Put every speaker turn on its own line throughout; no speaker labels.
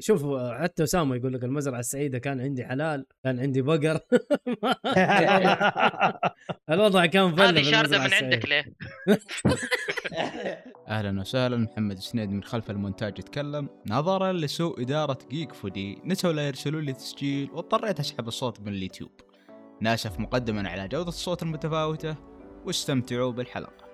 شوف حتى اسامه يقول لك المزرعه السعيده كان عندي حلال كان عندي بقر الوضع كان فل
هذه
في
شارده
المزرعة
من عندك
السعيدة.
ليه؟
اهلا وسهلا محمد سنيد من خلف المونتاج يتكلم نظرا لسوء اداره جيك فودي نسوا لا يرسلون لي تسجيل واضطريت اسحب الصوت من اليوتيوب ناسف مقدما على جوده الصوت المتفاوته واستمتعوا بالحلقه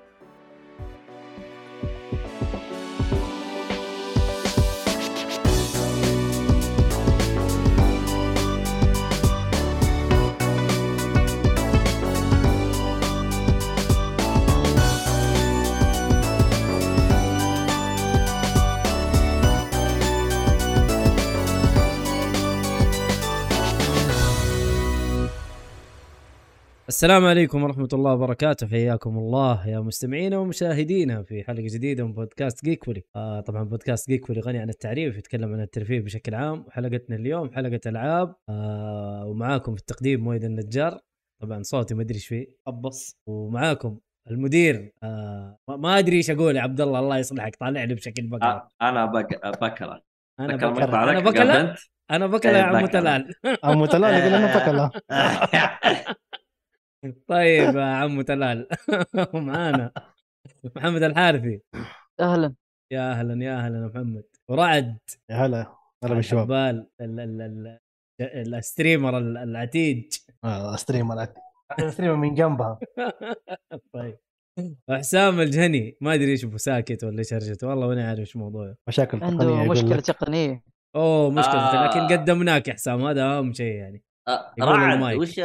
السلام عليكم ورحمه الله وبركاته حياكم الله يا مستمعينا ومشاهدينا في حلقه جديده من بودكاست جيكولي آه طبعا بودكاست جيكولي غني عن التعريف يتكلم عن الترفيه بشكل عام وحلقتنا اليوم حلقه العاب آه ومعاكم في التقديم مويد النجار طبعا صوتي ما ادري ايش فيه ابص ومعاكم المدير آه ما- ما ادري ايش اقول يا عبد الله الله يصلحك طالع لي بشكل بقره
آه، انا بك- بكره
انا
ذكر
بكره
المقطع
انا
ذاك
بكره
قبلت
انا بكره يا
إيه،
عم
بكرة.
تلال
عمو تلال يقول انا بكلا
طيب يا عم تلال معانا محمد الحارثي
اهلا
يا اهلا يا اهلا يا محمد ورعد
يا هلا هلا بالشباب
حبال ال- ال- ال- ال- الستريمر ال- العتيج
آه، ستريمر ستريمر من جنبها
طيب وحسام الجهني ما ادري ايش ابو ساكت ولا ايش هرجته والله ماني عارف ايش موضوعه
مشاكل تقنيه
عنده
يقول
مشكله
لك.
تقنيه
اوه مشكلته
آه.
لكن قدمناك يا حسام هذا اهم شيء يعني
آه،
يقول
رعد
المايك.
وش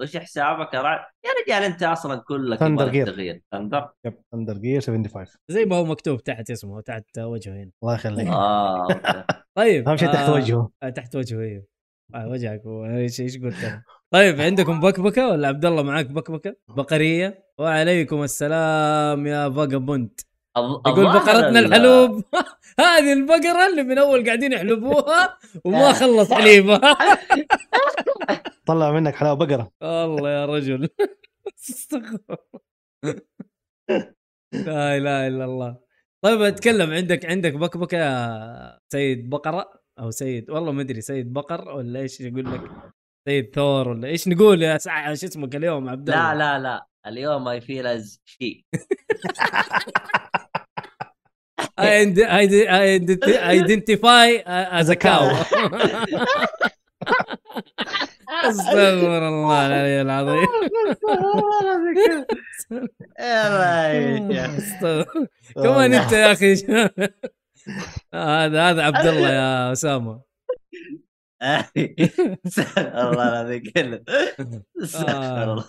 وش حسابك يا رعد؟ يا رجال انت اصلا كلك
Thunder
يبغى لك
Gear.
تغيير ثندر
يب اندر جير 75
زي ما هو مكتوب تحت اسمه تحت وجهه هنا
الله يخليك
اه أوكي.
طيب
اهم شيء تحت
آه،
وجهه
آه، تحت وجهه ايوه آه، وجهك هو. ايش ايش قلت انا طيب عندكم بكبكه ولا عبد الله معاك بكبكه بقريه وعليكم السلام يا فاجابوند
الظ-
يقول
الظاهر
بقرتنا
ال-
الحلوب هذه البقره اللي من اول قاعدين يحلبوها وما
آه.
خلص حليبها
طلع منك حلاوه بقره
الله يا رجل استغفر لا اله الا الله طيب اتكلم عندك عندك بكبكه يا سيد بقره او سيد والله ما ادري سيد بقر ولا ايش يقول لك سيد ثور ولا ايش نقول يا سع... ايش اسمك اليوم عبد الله
لا لا لا اليوم اي فيل از شي
ايدنتيفاي از ا كاو استغفر الله العلي العظيم استغفر
Oh,
كمان
آه.
انت يا اخي Ah, هذا هذا عبد الله يا اسامه
الله العظيم كله
آه.
استغفر الله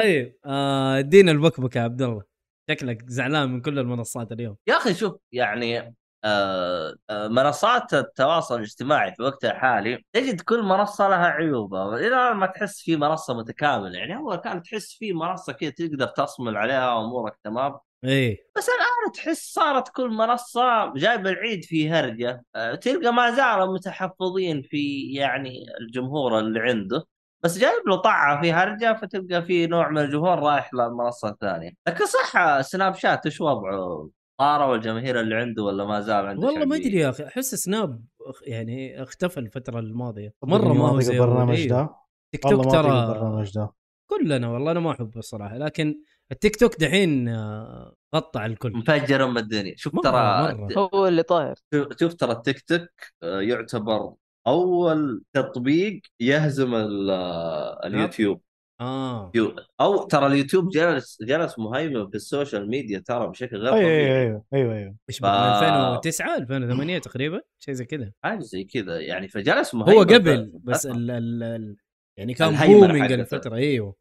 طيب آه، ادينا البكبكه يا عبد الله شكلك زعلان من كل المنصات اليوم
يا اخي شوف يعني آه، آه، منصات التواصل الاجتماعي في وقتها الحالي تجد كل منصه لها عيوبها الى الان ما تحس في منصه متكامله يعني اول كان تحس في منصه كذا تقدر تصمل عليها امورك تمام
ايه
بس الان تحس صارت كل منصه جايبه العيد في هرجه آه، تلقى ما زالوا متحفظين في يعني الجمهور اللي عنده بس جايب له طعه في هرجه فتلقى في نوع من الجمهور رايح للمنصه الثانيه لكن صح آه، سناب شات ايش وضعه طاروا الجماهير اللي عنده ولا ما زال عنده
والله ما
شعبية؟
ادري يا اخي احس سناب أخ- يعني اختفى الفتره الماضيه مره
والله
ما هو
طيب
زي أول.
البرنامج
أيوه.
ده
تيك
والله
توك
ما طيب
ترى
البرنامج ده
كلنا والله انا ما احبه الصراحه لكن التيك توك دحين آه، غطى على الكل
مفجر ام الدنيا شوف
مرة-
ترى
مرة.
هو اللي طاير
شوف- شوف ترى التيك توك آه، يعتبر اول تطبيق يهزم ال- آه، اليوتيوب
اه
يو- او ترى اليوتيوب جلس جلس مهيمن في السوشيال ميديا ترى بشكل غير
ايوه
طبيعي
ايوه ايوه ايوه
ايش
ف-
من 2009 2008 تقريبا شيء زي كذا
حاجه زي كذا يعني فجلس مهيمن
هو قبل
ف-
بس ال ال ال يعني كان
الهيمنة
بومينج
حقته.
الفتره ايوه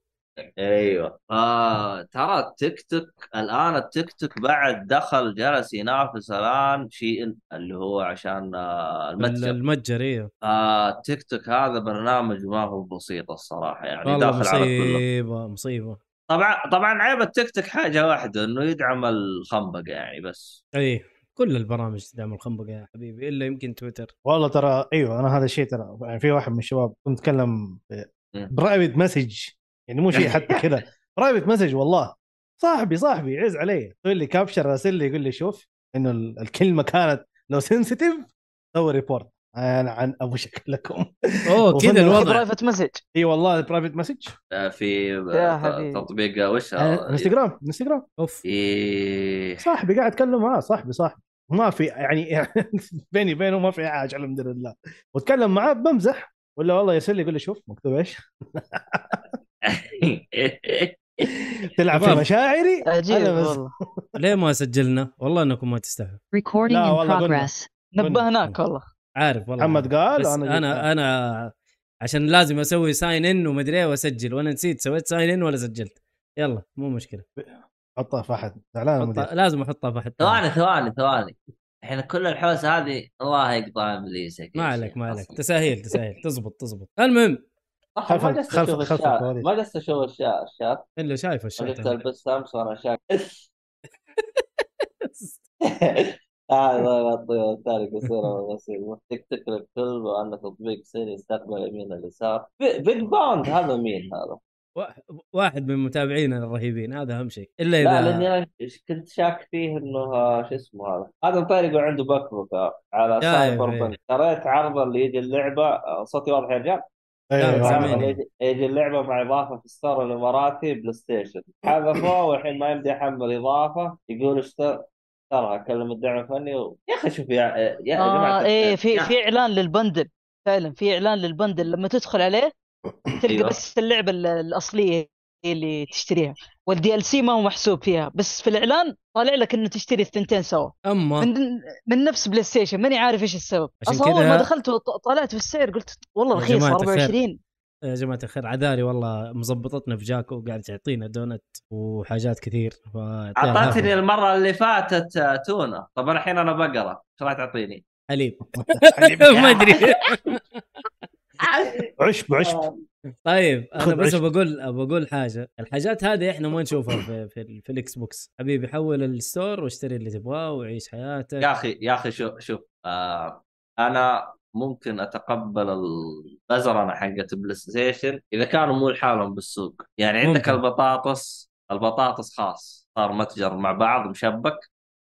ايوه آه ترى التيك توك الان التيك توك بعد دخل جلس ينافس الان شيء اللي هو عشان آه، المتجر
المتجر ايوه
آه التيك توك هذا برنامج ما هو بسيط الصراحه يعني
والله
داخل على كله
مصيبه مصيبه
طبعا طبعا عيب التيك توك حاجه واحده انه يدعم الخنبقه يعني بس
ايه كل البرامج تدعم الخنبقه يا حبيبي الا يمكن تويتر
والله ترى ايوه انا هذا الشيء ترى يعني في واحد من الشباب كنت اتكلم برايفت مسج يعني مو شيء حتى كذا برايفت مسج والله صاحبي صاحبي يعز علي يقول لي كابشر راسل لي يقول لي شوف انه ال- الكلمه كانت لو سنسيتيف سوي ريبورت انا عن ابو شكلكم
اوه
وصلنا
كذا الوضع
برايفت مسج
اي والله برايفت مسج
آه، في
يا حبيبي.
تطبيق وش
انستغرام انستغرام
اوف
إيه.
آه، صاحبي قاعد اتكلم معاه صاحبي صاحبي ما في يعني بيني وبينه ما في حاجه الحمد لله واتكلم معاه بمزح ولا والله يرسل لي يقول لي شوف مكتوب ايش تلعب في
عفوا.
مشاعري
عجيب
أنا بس-
والله
ليه ما سجلنا؟ والله انكم ما تستحوا
Recording
لا
in
والله قلنا.
progress.
نبهناك والله
عارف والله
محمد قال
بس انا انا, أنا عشان لازم اسوي ساين ان ومدري ايه واسجل وانا نسيت سويت ساين ان ولا سجلت يلا مو مشكله
حطها في احد زعلان المدير
حطها لازم احطها في حتة.
ثواني ثواني ثواني احنا كل الحوسه هذه الله يقطع ابليسك
ما عليك ما عليك تساهيل تساهيل تزبط تزبط المهم
خلف-
خلف
خلف-
خلف
خلف الكواليس.
ما جلست اشوف الشات الشات
الا شايف الشات
جلست البس امس وانا شاك هذا الله ذلك صورة بسيطة تكتك للكل وأن تطبيق سيري يستقبل يمين اليسار بي- بيج باوند هذا مين هذا؟
وا- واحد من متابعينا الرهيبين هذا اهم شيء الا
لا لاني
اذا
انا ش- كنت شاك فيه انه آه، شو اسمه هذا هذا مطير عنده بكبكه على
يا
سايبر
إيه.
بنك قريت عرضه اللي يجي اللعبه آه، صوتي واضح يا رجال
لا،
أيوة،
سامعني.
عرضه
أيوة.
اللي يجي- يجي اللعبه مع اضافه في ستار الاماراتي بلاي ستيشن حذفوه والحين ما يمدي يحمل اضافه يقول اشتر ترى كلم الدعم الفني و... يا اخي شوف يا يا- يا
اه
جماعه
ايه في
يا-
في اعلان للبندل فعلا في اعلان للبندل لما تدخل عليه تلقى
أيوة.
بس اللعبه ال- الاصليه هي اللي تشتريها والدي ال سي ما هو محسوب فيها بس في الاعلان طالع لك انه تشتري الثنتين سوا
اما
آه.
من من نفس بلاي ستيشن ماني عارف ايش السبب
عشان
اصلا اول
كذا-
ما دخلت وط- طلعت في السعر قلت والله
يا
رخيص
جماعة الخير.
24
يا جماعه الخير عذاري والله مزبطتنا في جاكو وقاعد تعطينا دونت وحاجات كثير ف-
اعطتني المره اللي فاتت آه، تونه طب أنا الحين انا بقره ايش راح تعطيني؟
حليب
حليب.
ما ادري
عشب
آه.
عشب
طيب
خذ
انا بس
عشت.
بقول بقول حاجه الحاجات هذه احنا ما نشوفها في في, في الاكس بوكس حبيبي حول الستور واشتري اللي تبغاه وعيش حياتك
يا اخي يا اخي شوف شوف آه انا ممكن اتقبل البزرنه حقت بلاي ستيشن اذا كانوا مو لحالهم بالسوق يعني عندك
ممكن.
البطاطس البطاطس خاص صار متجر مع بعض مشبك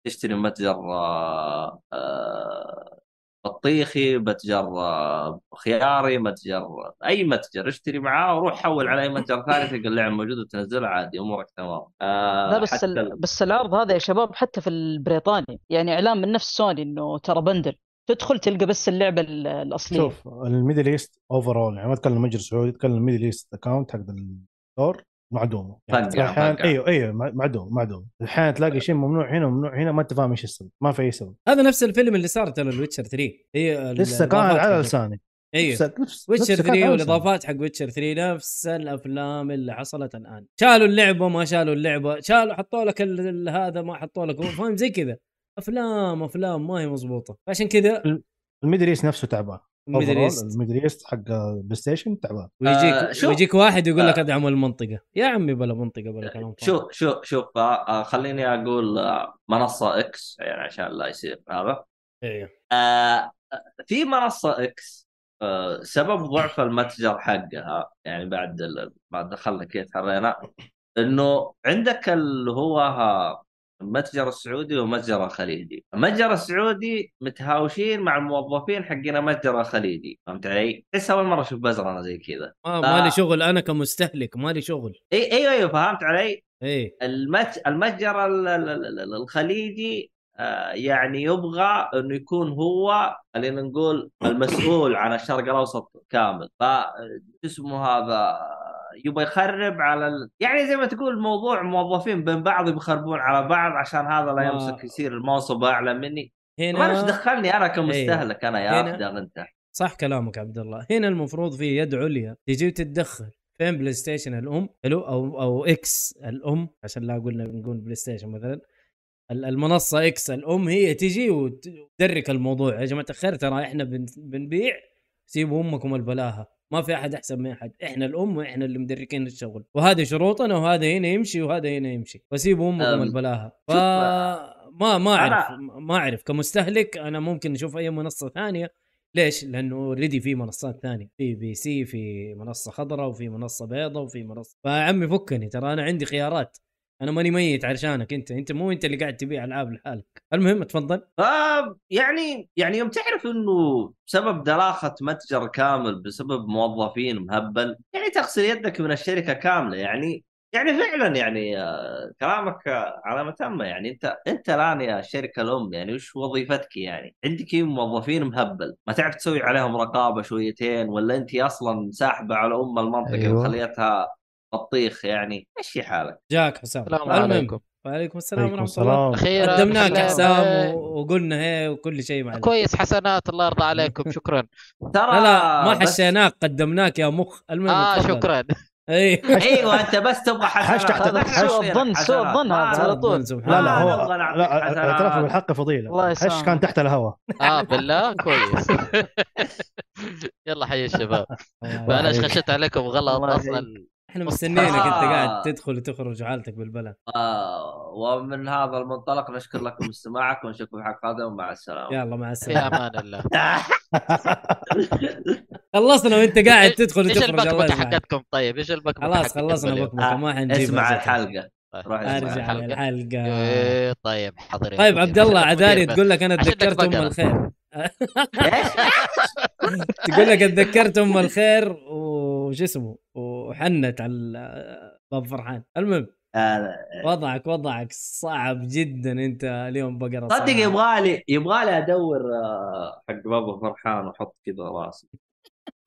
تشتري متجر آه آه بطيخي متجر آه خياري متجر اي متجر اشتري معاه وروح حول على اي متجر ثاني تلقى اللعبه موجوده وتنزلها عادي امورك تمام آه
لا بس
حتى
ال... بس العرض هذا يا شباب حتى في البريطاني يعني اعلان من نفس سوني انه ترى بندل تدخل تلقى بس اللعبه ال- الاصليه
شوف الميدل ايست اوفر اول يعني ما اتكلم متجر سعودي اتكلم الميدل ايست اكونت حق الدور معدومه يعني
طقع،
احيانا
طقع.
ايوه ايوه مع- معدوم معدوم احيانا تلاقي شيء ممنوع هنا وممنوع هنا ما انت فاهم ايش السبب ما في اي سبب
هذا نفس الفيلم اللي صار ترى الويتشر 3 هي ال-
لسه كان
الإضافات
على
حقت-
لساني
ايوه
لسه- نفس-
ويتشر
نفسه كان
3
على
والاضافات حق ويتشر 3 نفس الافلام اللي حصلت الان شالوا اللعبه ما شالوا اللعبه شالوا حطوا لك ال- ال- هذا ما حطوا لك هو فاهم زي كذا افلام افلام ما هي مضبوطه عشان كذا
الميدل ايست نفسه تعبان
مدري
Overall،
ايش
الميدل ايست حق بلاي ستيشن تعبان
آه،
ويجيك
شوف.
ويجيك واحد يقول لك
آه.
ادعم المنطقه يا عمي بلا منطقه بلا كلام فاضي.
شوف شوف شوف آه، آه، خليني اقول آه، منصه اكس يعني عشان لا يصير هذا
ايوه
آه، في منصه اكس آه، سبب ضعف المتجر حقها يعني بعد ال- بعد دخلنا كذا تحرينا انه عندك اللي هو آه، المتجر السعودي والمتجر الخليجي، المتجر السعودي متهاوشين مع الموظفين حقين المتجر الخليجي، فهمت علي؟ لسه اول مره اشوف بزرنا زي كذا.
ما
آه.
مالي شغل انا كمستهلك مالي شغل إيه.
اي ايوه ايوه فهمت علي؟
اي
المت... المتجر ال- ال- ال- ال- الخليجي آه، يعني يبغى انه يكون هو خلينا نقول المسؤول عن الشرق الاوسط كامل ف اسمه هذا يبغى يخرب على ال... يعني زي ما تقول موضوع موظفين بين بعض بيخربون على بعض عشان هذا لا
ما-
يمسك يصير المنصب اعلى مني ما ايش
هنا إيه.
دخلني انا كمستهلك انا يا
هنا-
افدر انت
صح كلامك عبد الله هنا المفروض في يد عليا تجي وتتدخل فين بلاي ستيشن الام حلو او او اكس الام عشان لا قلنا نقول بلاي ستيشن مثلا ال- المنصه اكس الام هي تجي وت- وتدرك الموضوع يا جماعه الخير ترى احنا بن- بنبيع سيبوا امكم البلاهه ما في احد احسن من احد احنا الام واحنا اللي مدركين الشغل وهذه شروطنا وهذا هنا يمشي وهذا هنا يمشي فسيبوا امكم
أم،
البلاهه ف...
شوف،
ما ما
أنا-
اعرف ما اعرف كمستهلك انا ممكن اشوف اي منصه ثانيه ليش؟ لانه اوريدي في منصات ثانيه في بي سي في منصه خضراء وفي منصه بيضاء وفي منصه فعمي فكني ترى انا عندي خيارات انا ماني ميت علشانك انت انت مو انت اللي قاعد تبيع العاب لحالك المهم تفضل
آه يعني يعني يوم تعرف انه بسبب دلاخه متجر كامل بسبب موظفين مهبل يعني تغسل يدك من الشركه كامله يعني يعني فعلا يعني آه، كلامك آه، على ما تم يعني انت انت الان يا شركه الام يعني وش وظيفتك يعني؟ عندك موظفين مهبل ما تعرف تسوي عليهم رقابه شويتين ولا انت اصلا ساحبه على ام المنطقه
أيوة.
أيوه.
أيوة. وخليتها بطيخ يعني مشي حالك
جاك حسام
السلام
المهم.
عليكم
وعليكم السلام
عليكم
ورحمه الله
السلام
اخيرا
قدمناك
سلام.
حسام
إيه،
و- وقلنا هي وكل شيء معنا
كويس حسنات الله يرضى عليكم شكرا
ترى
لا لا ما
آه، بس- آه،
حشيناك قدمناك يا مخ المهم
اه
تفضل. إيه.
شكرا
اي
ايوه انت بس تبغى حسنات
هاشتاج تحت-
هذا آه،
هاشتاج-
سوء الظن سوء الظن هذا على طول
لا لا
آه،
هو
نبغى نعطيك
لا
حسنات.
اعترافه بالحق فضيله
الله
هش
يسامحك.
كان تحت الهواء
اه بالله كويس يلا حي الشباب
الله
فانا
عليك.
خشيت عليكم غلط
الله
اصلا
احنا مستنينك انت
آه.
قاعد تدخل وتخرج وحالتك بالبلا
آه، ومن هذا المنطلق نشكر لكم استماعكم ونشوفكم في حلقه قادمه ومع السلامه
يلا مع
في
السلامه
امان الله
خلصنا وانت قاعد تدخل
ايش
وتخرج الله
البكبكه
يسلمك
حقتكم طيب ايش البكبكه
خلاص
حقتكم
خلصنا
اليوم؟
بكبكه ما حنجيب
اسمع
أسئلة.
الحلقه
طيب.
روح اسمع
ارجع
الحلقة.
للحلقه
إيه، طيب حاضر يا
طيب
مدير.
عبد الله
مدير
عذاري
بس.
تقول لك انا
عشان
تذكرت ام
بقرة.
الخير
إيش؟
تقول لك تذكرت ام الخير وش اسمه وحنت على باب فرحان المهم
آه،
وضعك وضعك صعب جدا انت اليوم بقره
صدق
صراحة.
يبغالي يبغالي ادور آه، حق بابا فرحان واحط كذا راسي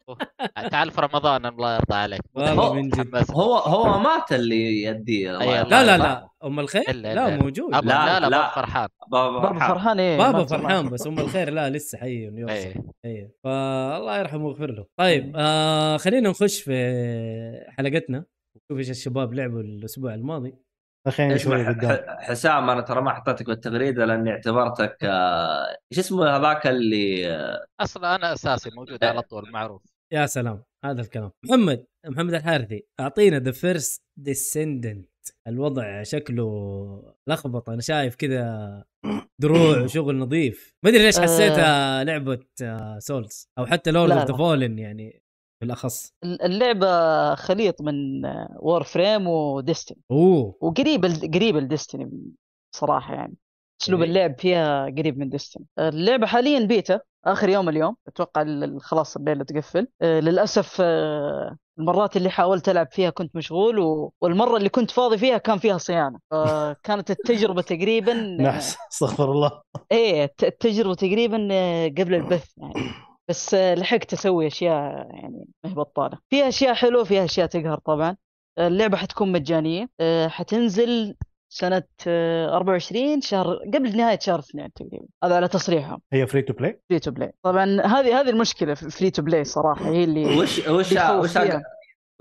تعال في رمضان الله يرضى عليك
والله من جد
متحمس.
هو هو مات اللي يديه الله
أي
يرحمه.
لا لا
لا.
لا ام الخير
إلا-
لا
إلا.
موجود
أبا-
لا،
لا لا
لا.
بابا فرحان
بابا
بابا
فرحان
فرحان ايه
بابا
ما
فرحان
سمعت.
بس ام الخير لا لسه حي يوصل
إيه.
اي فالله يرحمه ويغفر له طيب آه خلينا نخش في حلقتنا نشوف ايش الشباب لعبوا الاسبوع الماضي
خلينا
اسمع
نشوف قدام
ح- حسام انا ترى ما حطيتك بالتغريده لاني اعتبرتك آه، ايش اسمه هذاك اللي آه،
اصلا انا اساسي موجود على طول معروف
يا سلام هذا الكلام محمد محمد الحارثي اعطينا ذا فيرست ديسندنت الوضع شكله لخبط انا شايف كذا دروع وشغل نظيف ما ادري ليش
آه.
حسيتها لعبه آه، سولز او حتى لورد
لا،
اوف ذا
لا.
فولن يعني بالاخص
اللعبه خليط من وور فريم وديستن
اوه
وقريب قريب لديستني صراحه يعني اسلوب
جميل.
اللعب فيها قريب من ديستني اللعبه حاليا بيتا اخر يوم اليوم اتوقع ال- ال- خلاص الليله تقفل آه، للاسف آه، المرات اللي حاولت العب فيها كنت مشغول و... والمره اللي كنت فاضي فيها كان فيها آه، صيانه فكانت التجربه تقريبا
نحس استغفر الله
ايه الت- التجربه تقريبا آه، قبل البث يعني بس آه، لحقت اسوي اشياء يعني ما هي بطاله فيها اشياء حلوه فيها اشياء تقهر طبعا آه، اللعبه حتكون مجانيه آه، حتنزل سنة آه، 24 شهر قبل نهاية شهر اثنين تقريبا هذا على تصريحهم
هي فري تو بلاي
فري تو بلاي طبعا هذه هذه المشكلة في فري تو بلاي صراحة هي اللي
وش وش
بيخوف
وش
فيها.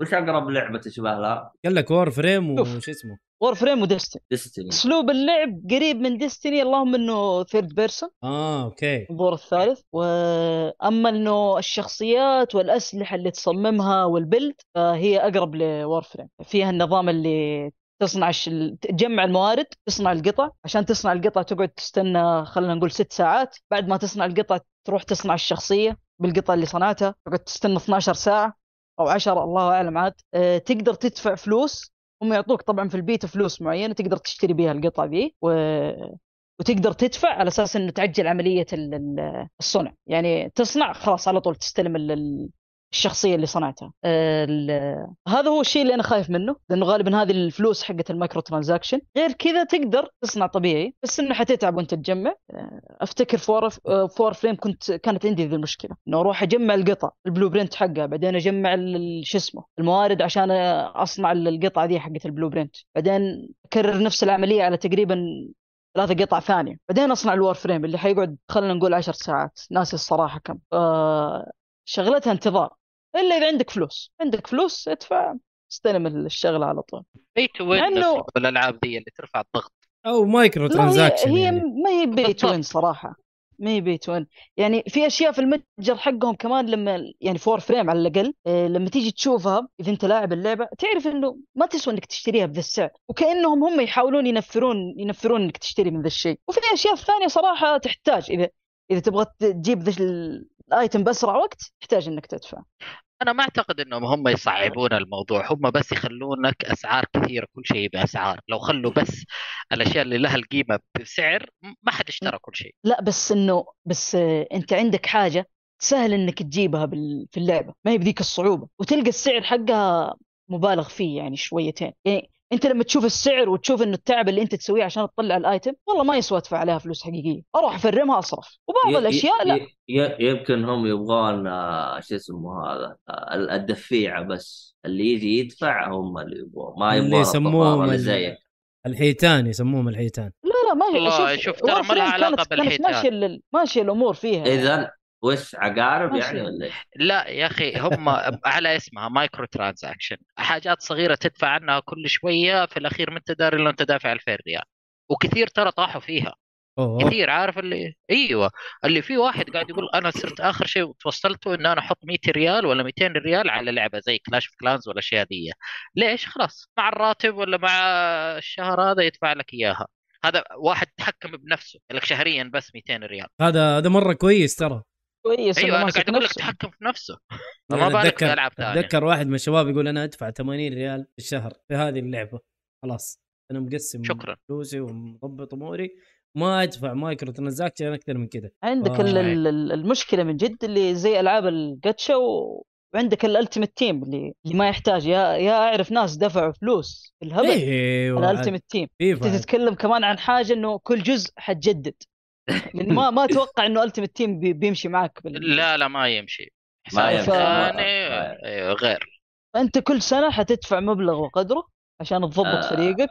وش اقرب لعبه تشبه لها؟
قال لك وور فريم
شوف.
وش اسمه
وور فريم وديستني
ديستني
اسلوب اللعب قريب من ديستني اللهم انه ثيرد بيرسون
اه اوكي
الدور الثالث واما انه الشخصيات والاسلحه اللي تصممها والبلد فهي اقرب لور فريم فيها النظام اللي تصنع الش... تجمع الموارد تصنع القطع عشان تصنع القطع تقعد تستنى خلينا نقول ست ساعات بعد ما تصنع القطع تروح تصنع الشخصيه بالقطع اللي صنعتها تقعد تستنى 12 ساعه او 10 الله اعلم عاد أه، تقدر تدفع فلوس هم يعطوك طبعا في البيت فلوس معينه تقدر تشتري بيها القطع ذي و... وتقدر تدفع على اساس انه تعجل عمليه ال- ال- الصنع يعني تصنع خلاص على طول تستلم ال- ال- الشخصيه اللي صنعتها ال- هذا هو الشيء اللي انا خايف منه لانه غالبا هذه الفلوس حقت المايكرو ترانزاكشن غير كذا تقدر تصنع طبيعي بس انه حتتعب وانت تجمع افتكر فور فور فريم كنت كانت عندي ذي المشكله انه اروح اجمع القطع البلو برنت حقها بعدين اجمع ال- ال- شو اسمه الموارد عشان اصنع القطعه دي حقت البلو برنت بعدين اكرر نفس العمليه على تقريبا ثلاثة قطع ثانية بعدين أصنع الوار فريم اللي حيقعد خلينا نقول عشر ساعات ناسي الصراحة كم آه شغلتها انتظار إلا إذا عندك فلوس عندك فلوس ادفع استلم الشغلة على طول
بي تو وين
لأنه-
الالعاب دي اللي ترفع الضغط
او مايكرو
لا هي,
ترانزاكشن
هي
يعني.
ما هي بي تو وين صراحة ما هي بي تو وين يعني في أشياء في المتجر حقهم كمان لما يعني فور فريم على الأقل آه لما تيجي تشوفها إذا أنت لاعب اللعبة تعرف إنه ما تسوى إنك تشتريها بذا السعر وكأنهم هم يحاولون ينفرون ينفرون إنك تشتري من ذا الشيء وفي أشياء ثانية صراحة تحتاج إذا إذا تبغى تجيب ذا ال- الايتم باسرع وقت تحتاج انك تدفع
انا ما اعتقد انهم هم يصعبون الموضوع هم بس يخلونك اسعار كثيره كل شيء باسعار لو خلوا بس الاشياء اللي لها القيمه بسعر ما حد اشترى كل شيء
لا بس انه بس آه، انت عندك حاجه سهل انك تجيبها بال... في اللعبه ما هي بذيك الصعوبه وتلقى السعر حقها مبالغ فيه يعني شويتين يعني انت لما تشوف السعر وتشوف انه التعب اللي انت تسويه عشان تطلع الايتم والله ما يسوى ادفع عليها فلوس حقيقيه اروح افرمها اصرف وبعض
ي-
الاشياء لا
ي- ي- يمكن هم يبغون آه، شو اسمه هذا آه، ال- الدفيعه بس اللي يجي يدفع هم اللي يبغون ما
اللي
يبغون
يسموهم
الطفارة اللي
ال-
زيك
الحيتان يسموهم الحيتان
لا لا ما هي
والله شوف ترى ما
Warframe
لها علاقة
كانت- كانت
بالحيتان.
ماشيه لل- ماشيه الامور فيها يعني
اذا وش عقارب
ماشي.
يعني ولا إيش؟
لا يا اخي هم على اسمها مايكرو ترانزاكشن حاجات صغيره تدفع عنها كل شويه في الاخير ما انت داري الا انت دافع 2000 ريال وكثير ترى طاحوا فيها
اوه أوه.
كثير عارف اللي ايوه اللي في واحد قاعد يقول انا صرت اخر شيء توصلته ان انا احط 100 ريال ولا 200 ريال على لعبه زي كلاش اوف كلانز ولا اشياء ذي ليش خلاص مع الراتب ولا مع الشهر هذا يدفع لك اياها هذا واحد تحكم بنفسه قال لك شهريا بس 200 ريال
هذا هذا مره كويس ترى
كويس إنه
ايوه انا
ماسك
قاعد اقول لك
نفسه.
تحكم في نفسه
أنا
فما بالك
يعني أتذكر-
بالعاب ثانيه
اتذكر واحد من الشباب يقول انا ادفع 80 ريال في الشهر في هذه اللعبه خلاص انا مقسم
شكراً.
فلوسي ومضبط اموري ما ادفع مايكرو ترانزاكشن اكثر من كذا
عندك
آه.
ال- ال- ال- المشكله من جد اللي زي العاب الجاتشا و- وعندك الالتيميت تيم اللي اللي ما يحتاج يا يا اعرف ناس دفعوا فلوس في الهبل
ايوه عاد.
الالتيميت تيم انت
فيفا عاد.
تتكلم كمان عن حاجه انه كل جزء حتجدد لان ما ما اتوقع انه التيميت تيم بي- بيمشي معك بال...
لا لا ما يمشي
ما
حساب
يمشي، ما-
ثاني
ما
أيوة، غير
انت كل سنه حتدفع مبلغ وقدره عشان تضبط
آه.
فريقك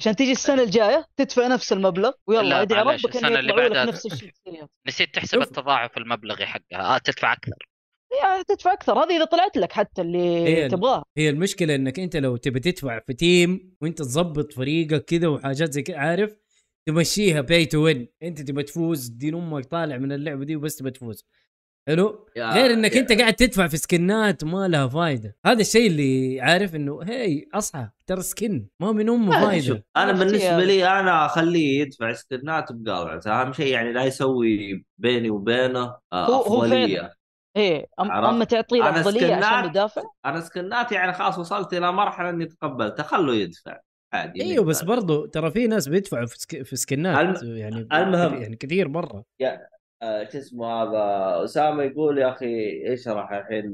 عشان تيجي السنه الجايه تدفع نفس المبلغ ويلا
لا،
ادعي
معلش،
ربك انه
السنة اللي
يطلعوا لك
بعدها-
نفس الشيء
نسيت تحسب
شوف.
التضاعف المبلغي حقها آه تدفع اكثر
يعني تدفع اكثر هذه اذا طلعت لك حتى
إيه.
اللي تبغاه
هي المشكله انك انت لو تبي تدفع في تيم وانت تظبط فريقك كذا وحاجات زي كذا عارف تمشيها باي تو وين انت تبى تفوز دين امك طالع من اللعبه دي وبس تبى تفوز حلو
يا-
غير انك
آه، يا-
انت قاعد تدفع في سكنات ما لها فايده هذا الشيء اللي عارف انه هي اصحى ترى سكن ما من امه
أنا شوف،
فايده
انا
أختي
بالنسبه
هذه.
لي انا اخليه يدفع سكنات بقلعته اهم شيء يعني لا يسوي بيني وبينه آه،
هو- هو فعلاً.
افضليه
ايه أم
عرفت؟
اما تعطيه
أنا
الافضليه عشان
سكنات-
يدافع
انا سكنات يعني خلاص وصلت الى مرحله اني تقبلت خلوه يدفع عادي
ايوه بس برضو ترى في ناس بيدفعوا في, سك... في سكنات يعني
المهم.
يعني كثير مره
آه، شو اسمه هذا اسامه يقول يا اخي اشرح الحين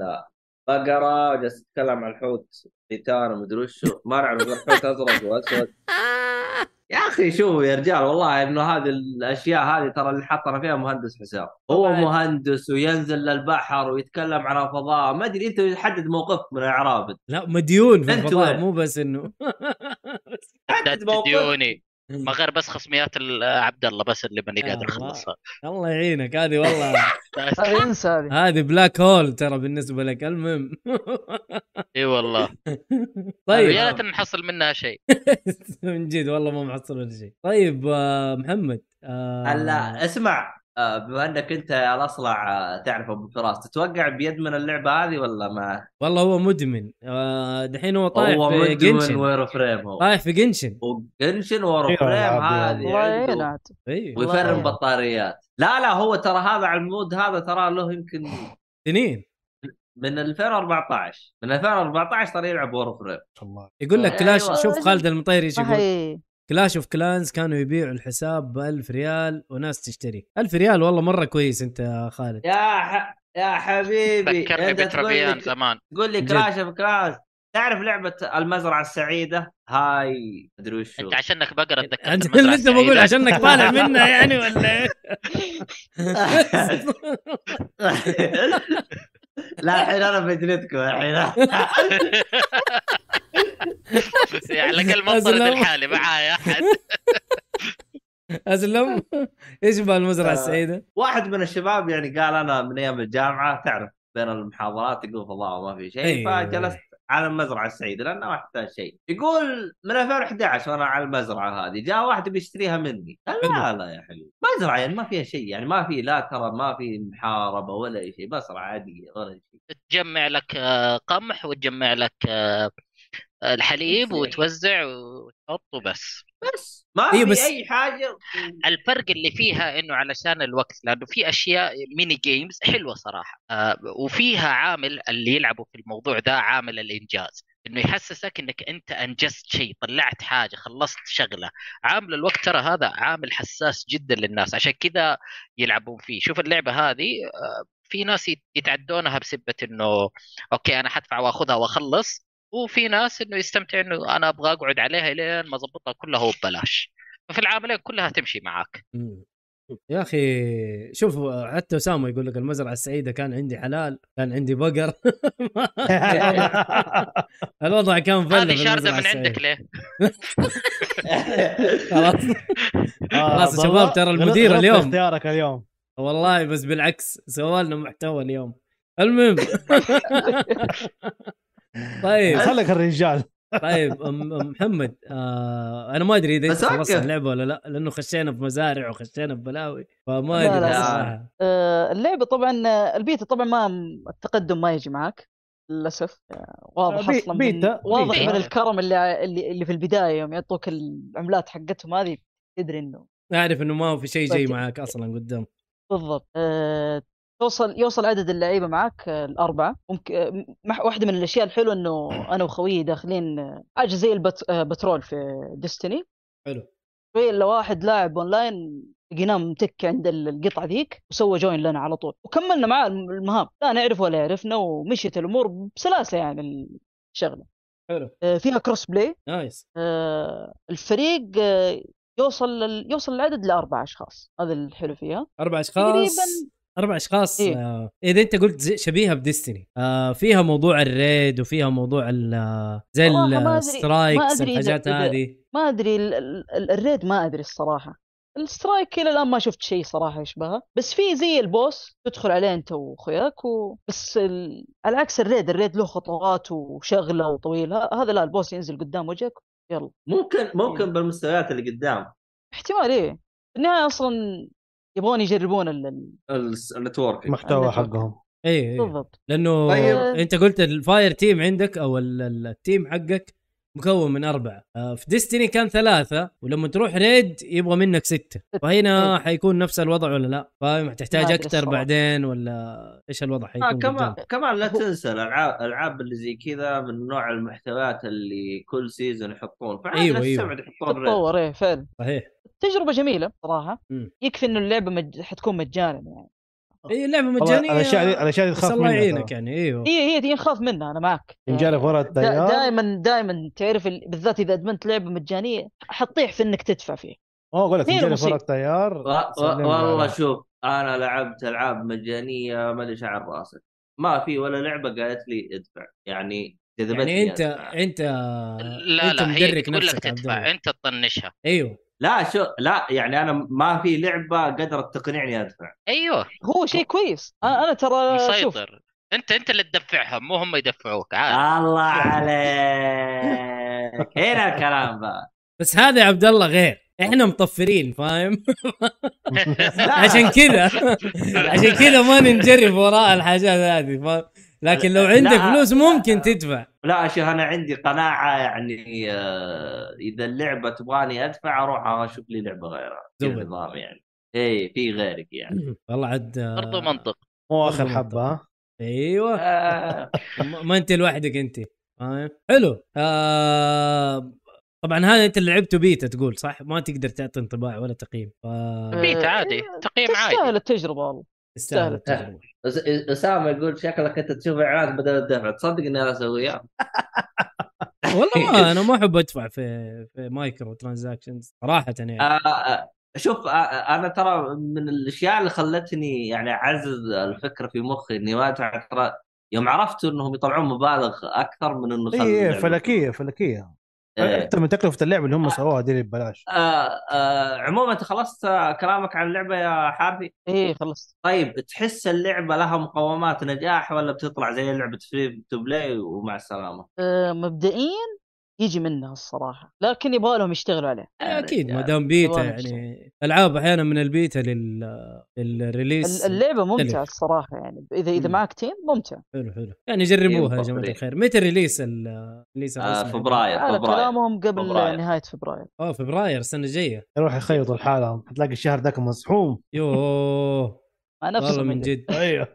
بقره جالس تتكلم عن الحوت حيتان ومدري وشو ما نعرف إذا الحوت ازرق واسود يا اخي شوف يا رجال والله انه هذه الاشياء هذه ترى اللي حطنا فيها مهندس حساب هو
طبعاً.
مهندس وينزل للبحر ويتكلم عن الفضاء ما ادري انت تحدد موقفك من اعرابك
لا مديون في
أنت
الفضاء
وين؟
مو بس انه
حدد
دات
موقفك
ديوني ما غير بس خصميات ال- عبد الله بس اللي ماني
يا
قادر
الله.
اخلصها
الله يعينك هذه والله
بس-
هذه انسى هذه
هذه بلاك هول ترى بالنسبه لك المهم
اي والله
طيب
يا ريت نحصل منها شيء
من جد والله ما محصل ولا شيء طيب آه، محمد آه،
هلا اسمع آه، بما انك انت يا الاصلع آه، تعرف ابو فراس تتوقع بيد من اللعبه هذه ولا ما
والله هو مدمن آه، دحين هو طايح
هو
في
مدمن
جنشن
وير فريم هو
طايح آه، في جنشن
وجنشن
أيوة،
وير فريم
ألعاب دي.
هذه
الله
عنده.
يعينك
ايوه
والله
ويفرم
يعني.
بطاريات لا لا هو ترى هذا على المود هذا ترى له يمكن
سنين
من 2014 من 2014 ترى يلعب وور فريم
الله
يقول
آه،
لك كلاش
أيوة.
شوف خالد المطيري ايش
ما
يقول
هي
كلاش اوف كلانز كانوا يبيعوا الحساب ب 1000 ريال وناس تشتري 1000 ريال والله مره كويس انت يا خالد
يا ح... يا حبيبي
ذكرني
أنت تقول لي-
بتربيان زمان
تقول لي
جد.
كلاش اوف كلاش تعرف لعبه المزرعه السعيده هاي ادري وش
انت عشانك بقره تذكرت
انت
المزرعة
لسه بقول
السعيدة.
عشانك طالع منها يعني ولا إيه؟
لا الحين انا بجلدكم الحين
بس يعني على الاقل منطرد
أزلم.
الحالي معايا احد
اسلم ايش بالمزرعه
آه.
السعيده؟
واحد من الشباب يعني قال انا من ايام الجامعه تعرف بين المحاضرات يقول فضاء وما في شيء
أيوة.
فجلست على المزرعه السعيده لانه ما احتاج شيء يقول من 2011 وانا على المزرعه هذه جاء واحد بيشتريها مني قال لا لا يا حبيبي مزرعه يعني ما فيها شيء يعني ما في لا ترى ما في محاربه ولا أي شيء مزرعه عاديه ولا شيء
تجمع لك آه، قمح وتجمع لك آه، الحليب
نفس الشيء.
وتوزع وتحط وبس
بس ما
إيه
في
بس-
اي حاجه
الفرق اللي فيها انه علشان الوقت لانه في اشياء ميني جيمز حلوه صراحه آه، وفيها عامل اللي يلعبوا في الموضوع ده عامل الانجاز انه يحسسك انك انت انجزت شيء طلعت حاجه خلصت شغله عامل الوقت ترى هذا عامل حساس جدا للناس عشان كذا يلعبون فيه شوف اللعبه هذه آه، في ناس يت- يتعدونها بسبه انه اوكي انا حدفع واخذها واخلص وفي ناس انه يستمتع انه انا ابغى اقعد عليها لين ما اضبطها كلها وببلاش ففي العاملين كلها تمشي معاك
مم. يا اخي شوف حتى اسامه يقول لك المزرعه السعيده كان عندي حلال كان عندي بقر
إيه.
آه،
الوضع كان فل
هذه
في
شارده
المزرعة
من عندك
السعيدة.
ليه؟
خلاص خلاص يا شباب، ترى المدير اليوم.
اختيارك اليوم
والله بس بالعكس سوالنا محتوى اليوم المهم طيب
خليك الرجال
إيه.
طيب أم أم محمد آه انا ما ادري اذا انت
بس وقف.
خلصت اللعبه ولا لا لانه خشينا في مزارع وخشينا في بلاوي فما
لا،
ادري
لا.
صراحه
آه، اللعبه طبعا آه، البيتا طبعا ما التقدم ما يجي معك للاسف آه، واضح
بي-
اصلا من-
بيتا-
واضح
بيتا.
من الكرم اللي ع- اللي اللي في البدايه يوم يعطوك العملات حقتهم هذه تدري انه
اعرف انه ما في شيء جاي
طيب.
معاك اصلا قدام
بالضبط آه، توصل يوصل عدد اللعيبه معك آه، الاربعه ممكن آه، م- مح- واحده من الاشياء الحلوه انه انا وخويي داخلين آه، حاجه زي البترول في ديستني
حلو
في الا واحد لاعب اونلاين لقيناه متك عند ال- القطعه ذيك وسوى جوين لنا على طول وكملنا معاه الم- المهام لا نعرف ولا يعرفنا ومشيت الامور بسلاسه يعني الشغله
حلو
آه، فيها كروس بلاي
نايس
آه، الفريق آه، يوصل لل- يوصل العدد لاربع اشخاص هذا الحلو فيها
اربع اشخاص
تقريبا
اربع اشخاص
إيه.
آه اذا انت قلت زي- شبيهه بديستني آه فيها موضوع الريد وفيها موضوع ال- آه، زي
صراحة ما أدري- ما
السترايكس
أدري إذا-
الحاجات
إذا-
هذه
ما ادري ال- ال- ال- الريد ما ادري الصراحه السترايك الى الان ما شفت شيء صراحه يشبهه بس في زي البوس تدخل عليه انت واخوياك و... بس ال... على عكس الريد الريد له خطوات وشغله وطويله هذا لا البوس ينزل قدام وجهك يلا
ممكن
أيوة.
ممكن بالمستويات اللي قدام
احتمال ايه في النهايه اصلا يبغون يجربون ال- ال...
الس- النتوركينج
المحتوى حقهم
اي اي
بالضبط آه،
لانه
طيب.
انت قلت الفاير تيم عندك او ال- ال- التيم حقك مكون من اربعه آه، في ديستني كان ثلاثه ولما تروح ريد يبغى منك سته فهنا
أيوة.
حيكون نفس الوضع ولا لا فاهم
ما
حتحتاج
أدري
اكثر
الصراحة.
بعدين ولا ايش الوضع حيكون
آه كمان
قدام؟
كمان لا
هو-
تنسى الالعاب الالعاب اللي زي كذا من نوع المحتويات اللي كل سيزون يحطون فعادي
أيوة،
لا تستبعد يحطون ريت.
تتطور ايه فعلا
صحيح
تجربه جميله صراحه
مم.
يكفي انه اللعبه مج... حتكون مجانا يعني
هي اللعبه
والله
مجانيه
الاشياء دي الاشياء
إيه،
دي
بس
تخاف
الله
منها
يعينك
يعينك
يعني ايوه
هي هي دي نخاف منها انا معك
ان
آه.
جالك ورا التيار
دائما دائما تعرف ال- بالذات اذا ادمنت لعبه مجانيه حتطيح في انك تدفع فيه
هو اقول لك
هي
ان جالك
المصيبة.
ورا التيار
و- و-
سلم
والله
على-
شوف انا لعبت العاب مجانيه ما لي شعر راسك ما في ولا لعبه قالت لي ادفع يعني جذبتني
يعني انت
أدفع.
انت
لا
انت
لا هي
مدرك
تقول لك
نفسك يا عبد
تدفع
الله.
انت تطنشها
ايوه
لا شو لا يعني انا ما في لعبه قدرت تقنعني ادفع
ايوه
هو شيء كويس أ- انا
آه،
ترى شوف
مسيطر انت انت اللي تدفعهم مو هم يدفعوك عارف
آه.
الله عليك هنا الكلام بقى
بس هذا يا عبد الله غير احنا مطفرين فاهم
لا.
عشان كذا عشان كذا ما نجرب وراء الحاجات هذه فاهم لكن لو عندك
لا.
فلوس ممكن تدفع
لا شوف انا عندي قناعه يعني آه، اذا اللعبه تبغاني ادفع اروح اشوف لي لعبه غيرها كذا
زود.
نظام يعني اي في غيرك يعني
والله عاد آه،
برضو منطق
مو اخر حبه ها
ايوه
آه،
ما ما انت لوحدك انت فاهم حلو آه... طبعا هذا انت اللي لعبته بيتا تقول صح ما تقدر تعطي انطباع ولا تقييم ف
بيت عادي تقييم عادي
تستاهل التجربه والله
تستاهل التجربه
أس- اسامه يقول شكلك انت تشوف اعلانات بدل الدفع تصدق اني انا اسويها
والله ما انا ما احب ادفع في في مايكرو ترانزاكشنز صراحه يعني
آه، آه، شوف آه، آه، انا ترى من الاشياء اللي خلتني يعني اعزز الفكره في مخي اني ما أدفع، ترى يوم عرفت انهم يطلعون مبالغ اكثر من انه خل-
اي إي، فلكيه فلكيه
إيه.
اكثر من تكلفه اللعبه اللي هم سووها دي اللي ببلاش
آه، آه، عموما أنت خلصت آه، كلامك عن اللعبه يا حافي
ايه خلصت
طيب تحس اللعبه لها مقومات نجاح ولا بتطلع زي لعبه فري تو بلاي ومع السلامه
آه، مبدئيا يجي منها الصراحه لكن يبغى لهم يشتغلوا عليه
اكيد
يعني
ما دام بيتا
يبغى لهم
يعني العاب احيانا من البيتا لل
ال-
للريليس
اللعبه ممتعه
مختلف.
الصراحه يعني اذا اذا
مم.
معك تيم ممتع
حلو حلو يعني جربوها يا
ينفع
جماعه
ليه.
الخير متى الريليس ال- الريليس
آه،
الرسمي؟
إيه،
فبراير
على
فبراير
كلامهم قبل
فبراير.
نهايه فبراير
اه فبراير السنه الجايه
يروح يخيط الحالة حتلاقي الشهر ذاك مزحوم
يوه
مع نفس
والله من جد
إيه.
ايوه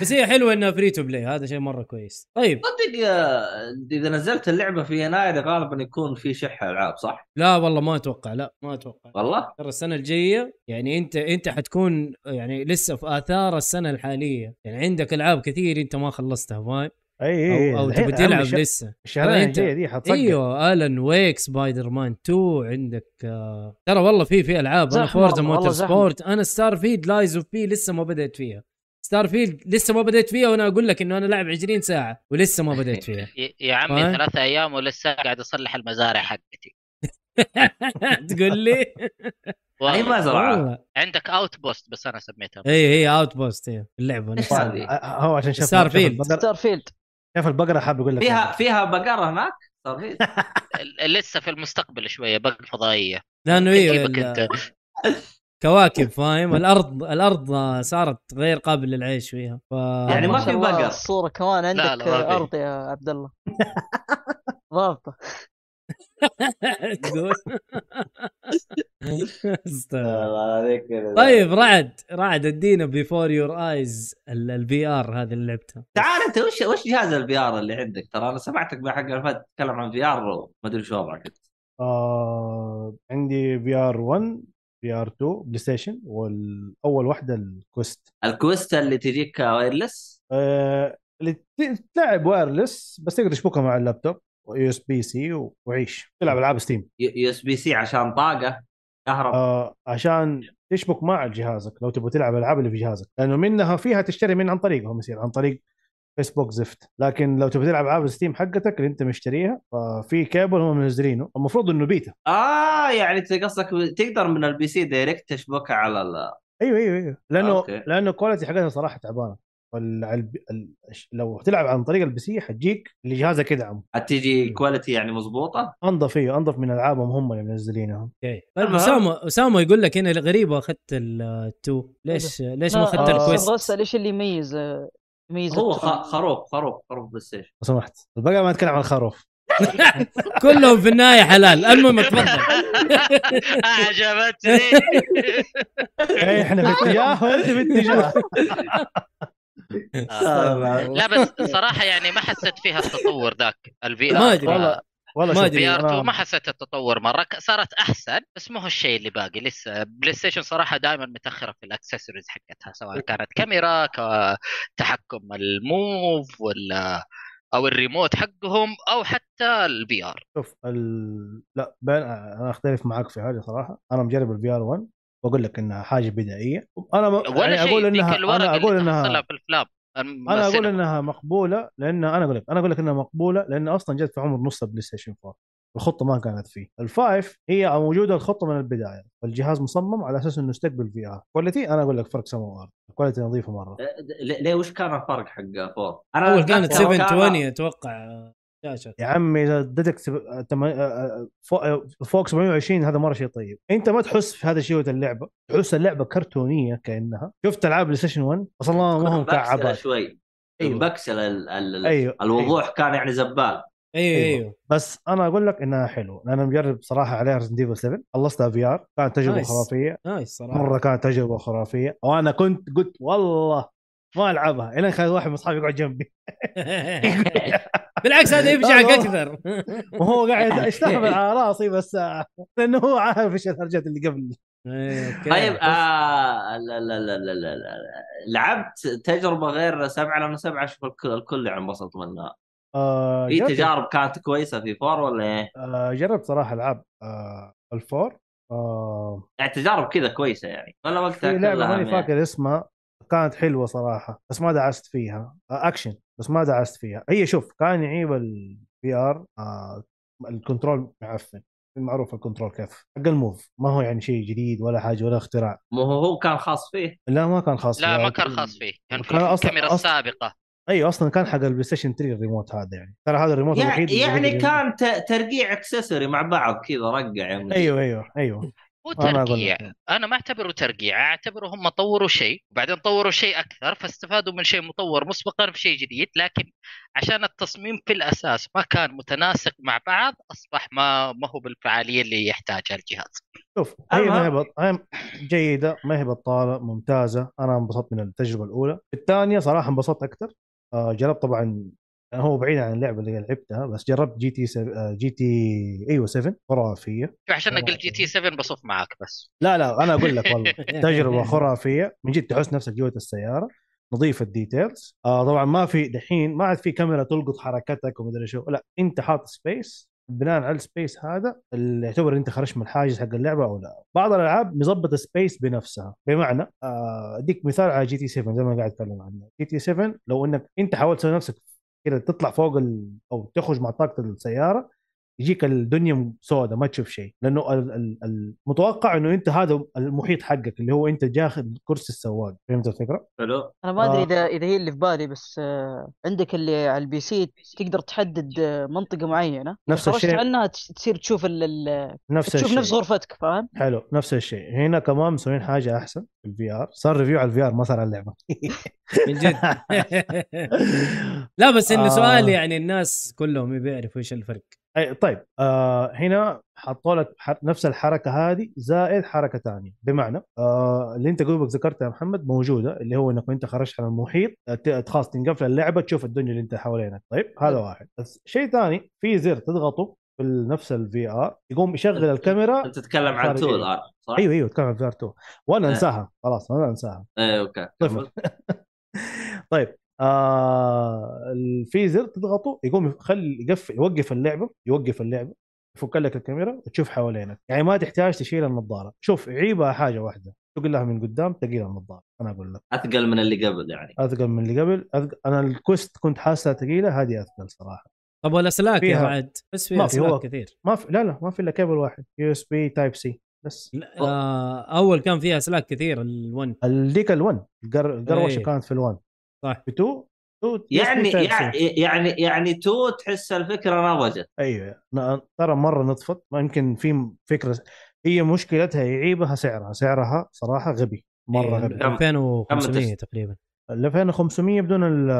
بس هي حلوه انها فري تو بلاي هذا شيء مره كويس طيب
صدق آه، اذا نزلت اللعبه في يناير غالبا يكون في شح العاب صح؟
لا والله ما اتوقع لا ما اتوقع
والله؟
ترى السنه الجايه يعني انت انت حتكون يعني لسه في اثار السنه الحاليه يعني عندك العاب كثير انت ما خلصتها فاهم
اي اي
او, أو
إيه، الحين
تبي
أهم
تلعب
الش-
لسه
الشهرين
أنت-
الجاية دي حتصقع
ايوه الن ويك سبايدر مان 2 عندك آه، ترى والله في في العاب انا
زحمة
فورزا
والله،
موتور
زحمة.
سبورت انا ستار فيلد لايز اوف بي لسه ما بدأت فيها ستار فيلد لسه ما بدأت فيها وانا اقول لك انه انا لاعب 20 ساعه ولسه ما بدأت فيها
يا- يا عمي
فاهم؟
ثلاثة ايام ولسه قاعد اصلح المزارع حقتي
تقول لي
هي
والله
مزرعه
والله
عندك اوت بوست بس انا سميتها
هي هي اوت بوست هي اللعبه
طيب،
نفسها
هذه.
هو عشان شاف
ستار
شاف
فيلد.
البقرة-
ستار فيلد
شاف البقرة حاب يقول لك
فيها فيها بقره هناك صار في-
ل- لسه في المستقبل شويه بق فضائيه
لانه هي
اجيبك
ال-
انت
كواكب فاهم الارض الارض صارت غير قابل للعيش فيها ف...
يعني ما في
شاء الله
بقر.
الصوره كمان
لا،
عندك
ما في.
ارض يا عبد الله ضابطه
تقول استغفر.
الله عليك يا زلمة.
طيب رعد رعد ادينا بيفور يور ايز الفي ار هذه اللي لعبتها
تعال انت وش وش جهاز الفي ار اللي عندك؟ ترى انا سمعتك مع حق الفات تتكلم عن في ار وما ادري شو وضعك
آه عندي في ار 1 في ار 2 بلاي ستيشن والاول واحده الكوست
الكويست اللي تجيك وايرلس
آه اللي ت- تلعب وايرلس بس تقدر تشبكها مع اللابتوب يو اس بي سي وعيش تلعب العاب ستيم
يو اس بي سي عشان طاقه كهرباء
آه عشان تشبك مع جهازك لو تبغى تلعب العاب اللي في جهازك لانه منها فيها تشتري من عن طريقهم يصير عن طريق فيسبوك زفت لكن لو تبغى تلعب العاب ستيم حقتك اللي انت مشتريها ففي كابل هم منزلينه المفروض انه بيتا
اه يعني انت قصدك تقدر من البي سي دايركت تشبكها على ال
ايوه ايوه ايوه
آه،
لانه
أوكي.
أوكي. لانه الكواليتي حقتها صراحه تعبانه فال... على الب... ال... الش- لو تلعب عن طريق البي سي حتجيك اللي جهازها كده عم
تجي كواليتي يعني مضبوطه
انظف ايه انظف من العابهم هم اللي منزلينها
اوكي طيب
المهم.
اسامه اسامه يقول لك هنا غريبه اخذت التو ليش
أيوه.
ليش ما
لا،
اخذت
آه،
الكويست
أبغى اسال ايش اللي آه، يميز يميز
هو
الترند؟
خ- خروف خروف خروف بلاي ستيشن
لو سمحت البقره ما نتكلم عن الخروف
كلهم في النهايه حلال المهم تفضل
آه، عجبتني
إيه، احنا في اتجاه وانت في اتجاه
آه.
آه،
لا بس صراحه يعني ما حسيت فيها التطور ذاك الفي ار
ما أدري.
والله- والله
ما
شوف،
أدري،
في ار 2
أنا-
ما حسيت التطور مره ك- صارت احسن بس مو هالشيء اللي باقي لسه بلاي ستيشن صراحه دائما متاخره في الاكسسوارز حقتها سواء كانت كاميرا كتحكم الموف ولا او الريموت حقهم او حتى البي ار
شوف ال... لا بين... انا اختلف معاك في هذه صراحه انا مجرب الفي ار 1 واقول لك انها حاجه بدائيه انا م...
ولا
يعني
شيء
اقول
ذيك
انها
الورقه
انا اقول
اللي
انها
تحصلها في الافلام
انا اقول
يعني.
انها مقبوله لان انا اقول لك انا اقول لك انها مقبوله لان اصلا جت في عمر نص البلاي ستيشن 4 الخطه ما كانت فيه الفايف هي موجوده الخطه من البدايه الجهاز مصمم على اساس انه يستقبل في ار كواليتي انا اقول لك فرق سما وارض الكواليتي نظيفه مره
أه. ليه ليه وش كان الفرق حق فور؟
اول كانت
أتذكر كان- آه.
720 اتوقع شاشه
يا عمي اذا ادتك سب- تم- آه، آه، فوق- آه، فوق 720 هذا مره شيء طيب انت ما تحس في هذا شيء اللعبه تحس اللعبه كرتونيه كانها شفت العاب بلاي ستيشن 1 اصلا ما هم
كنا مبكسلة
كعبات
شوي
أيوة.
مبكسل ال- ال-
ايوه أيوه.
الوضوح كان يعني زبال
ايوه
أيوة.
ايوه
بس انا اقول لك انها حلوه انا مجرب صراحه عليها ريزن ديفل 7 خلصتها في ار كانت تجربه
نايس.
خرافيه
نايس صراحه
مره كانت تجربه خرافيه وانا كنت قلت والله ما العبها الين خلال واحد من اصحابي يقعد جنبي
بالعكس هذا يبشعك اكثر
وهو قاعد يستحمل على راسي بس آه، لانه هو عارف ايش الهرجات اللي قبلي
إيه، أوكي.
طيب آه لا لا لا لا لا لا. لعبت تجربه غير سبعه لانه سبعه اشوف الكل الكل يعني انبسط منها
آه،
في
جربت-
إيه، تجارب كانت كويسه في فور ولا ايه؟
آه، جربت صراحه العاب آه، الفور آه،
يعني تجارب كذا كويسه يعني ولا وقتها
في لعبه
كلها
إيه، ماني
يعني.
فاكر اسمها كانت حلوه صراحه بس ما دعست فيها آه، اكشن بس ما دعست فيها هي شوف كان يعيب الفي ار آه، الكنترول معفن المعروف الكنترول كيف حق الموف ما هو يعني شيء جديد ولا حاجه ولا اختراع
مو هو هو كان خاص فيه
لا ما كان خاص
لا
فيه.
ما كان خاص فيه كان في
كان أصلاً-
الكاميرا
أصلاً-
السابقه
ايوه اصلا كان حق البلاي ستيشن 3 الريموت هذا يعني ترى هذا الريموت الوحيد
يعني,
اللي
يعني
موجود.
كان ت- ترقيع اكسسوري مع بعض كذا رقع يا مدير.
ايوه ايوه ايوه
مو
انا اقول
ترقيع
لك.
انا ما اعتبره ترقيع اعتبره هم طوروا شيء وبعدين طوروا شيء اكثر فاستفادوا من شيء مطور مسبقا في شيء جديد لكن عشان التصميم في الاساس ما كان متناسق مع بعض اصبح ما ما هو بالفعاليه اللي يحتاجها الجهاز
شوف هي
أما-
ما هي بط- هي جيده ما هي بطاله ممتازه انا انبسطت من التجربه الاولى الثانيه صراحه انبسطت اكثر آه، جربت طبعا أنا هو بعيد عن اللعبه اللي لعبتها بس جربت جي تي سف... آه، جي تي ايوه 7 خرافيه
شوف عشان
والله
اقول جي تي 7 بصف معاك بس
لا لا انا اقول لك والله تجربه خرافيه من جد تحس نفسك جوه السياره نظيفه الديتيلز آه طبعا ما في دحين ما عاد في كاميرا تلقط حركتك ومدري شو لا انت حاط سبيس بناء على السبيس هذا اللي يعتبر انت خرجت من الحاجز حق اللعبه او لا بعض الالعاب مظبطه سبيس بنفسها بمعنى آه، اديك مثال على جي تي 7 زي ما قاعد اتكلم عنه جي تي 7 لو انك انت حاولت تسوي نفسك كذا تطلع فوق ال... او تخرج مع طاقه السياره يجيك الدنيا سوداء ما تشوف شيء لانه ال- ال- المتوقع انه انت هذا المحيط حقك اللي هو انت جاخذ كرسي السواق فهمت الفكره؟
حلو
انا ما ادري
آه.
اذا اذا هي اللي في بالي بس آه، عندك اللي على البي سي تقدر تحدد آه، منطقه معينه
نفس
خرجت
الشيء.
عنها تس- تصير تشوف ال- ال-
نفس
تشوف
الشيء
نفس غرفتك فاهم
حلو نفس الشيء هنا كمان مسوين حاجه احسن في الفي ار صار ريفيو على الفي ار ما صار على اللعبه
من جد لا بس انه
آه.
سؤال يعني الناس كلهم بيعرفوا ايش الفرق
أي طيب آه هنا حطوا لك ح- نفس الحركه هذه زائد حركه ثانيه بمعنى آه اللي انت قلبك ذكرتها يا محمد موجوده اللي هو انك انت خرجت على المحيط آه، ت- خلاص تنقفل اللعبه تشوف الدنيا اللي انت حوالينك طيب هذا واحد بس شيء ثاني في زر تضغطه في نفس الفي ار يقوم يشغل الكاميرا
انت تتكلم عن
خارجية.
تول الان صح؟
ايوه ايوه تكلم عن فيار 2 وانا
آه.
انساها خلاص انا انساها
ايوه اوكي
طفل. طيب آه ال- في زر تضغطه يقوم يخلي يقفل يوقف اللعبه يوقف اللعبه يفك لك الكاميرا وتشوف حوالينك يعني ما تحتاج تشيل النظاره شوف عيبها حاجه واحده تقلها من قدام تقيل النظاره انا اقول لك
اثقل من اللي قبل يعني
اثقل من اللي قبل أثقل. انا الكوست كنت حاسها ثقيله هذه اثقل صراحه
طب والاسلاك يا
فيها-
بعد بس فيها
ما في،
اسلاك
هو-
كثير
ما في لا لا ما في الا كيبل واحد يو اس بي تايب سي بس
لا، آه اول كان فيها اسلاك كثير ال1
ال- ديك ال1 القروشه
إيه.
كانت في ال1
صح.
في 2
يعني يعني يعني يعني تو تحس الفكره نضجت
ايوه أنا ترى مره نطفت ما يمكن في فكره هي مشكلتها عيبها سعرها سعرها صراحه غبي مره
إيه،
غبي
كم-
2500
كم
تقريبا
ال 2500 بدون ال-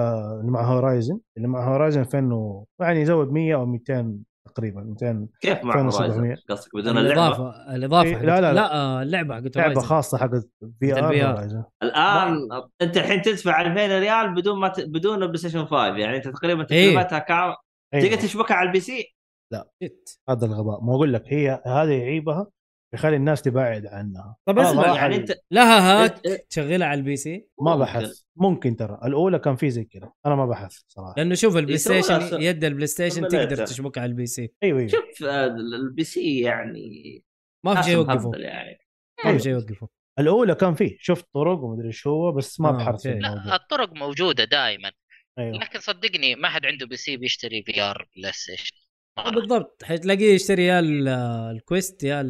اللي مع هورايزن اللي مع هورايزن 2000 و... يعني يزود 100 او 200 تقريبا 200
كيف مع
2700.
Horizon؟ قصدك بدون اللعبه
الاضافه الاضافه
إيه،
حقت-
لا، لا، لا.
لا آه، اللعبه حقت
لعبه
Horizon.
خاصه حق في
مثل VR.
ار
الان انت الحين تدفع 2000 ريال بدون ما ت... بدون بلاي ستيشن 5 يعني انت تقريبا
إيه.
تكلفتها كام؟
إيه.
تقدر تشبكها على البي سي
جد.
أيوة، هذا الغباء ما اقول لك هي هذا يعيبها يخلي الناس تبعد عنها
طب
آه،
اسمع
صراحة
يعني انت
لها
إيه.
هاك
إنت-
تشغلها على البي سي
ما
ممكن.
بحث ممكن ترى الاولى كان في زي كذا انا ما بحثت صراحه
لانه شوف البلاي
يسوي
ستيشن
أس-
يد البلاي ستيشن
أمليتها.
تقدر تشبكها على البي سي
ايوه ايوه
شوف آه، البي سي يعني
ما في شيء
أسهم
يوقفه
هبل يعني
ما في
أيوة.
شيء يوقفه
الاولى كان فيه شفت طرق ومدري شو هو، بس ما
آه،
بحثت في
أوكي.
الموضوع
لا الطرق موجوده دائما
ايوه
لكن صدقني ما حد عنده بي سي بيشتري في ار بلاي ستيشن مرة.
آه، بالضبط حتلاقيه يشتري يا ال- آه، الكويست يا آه،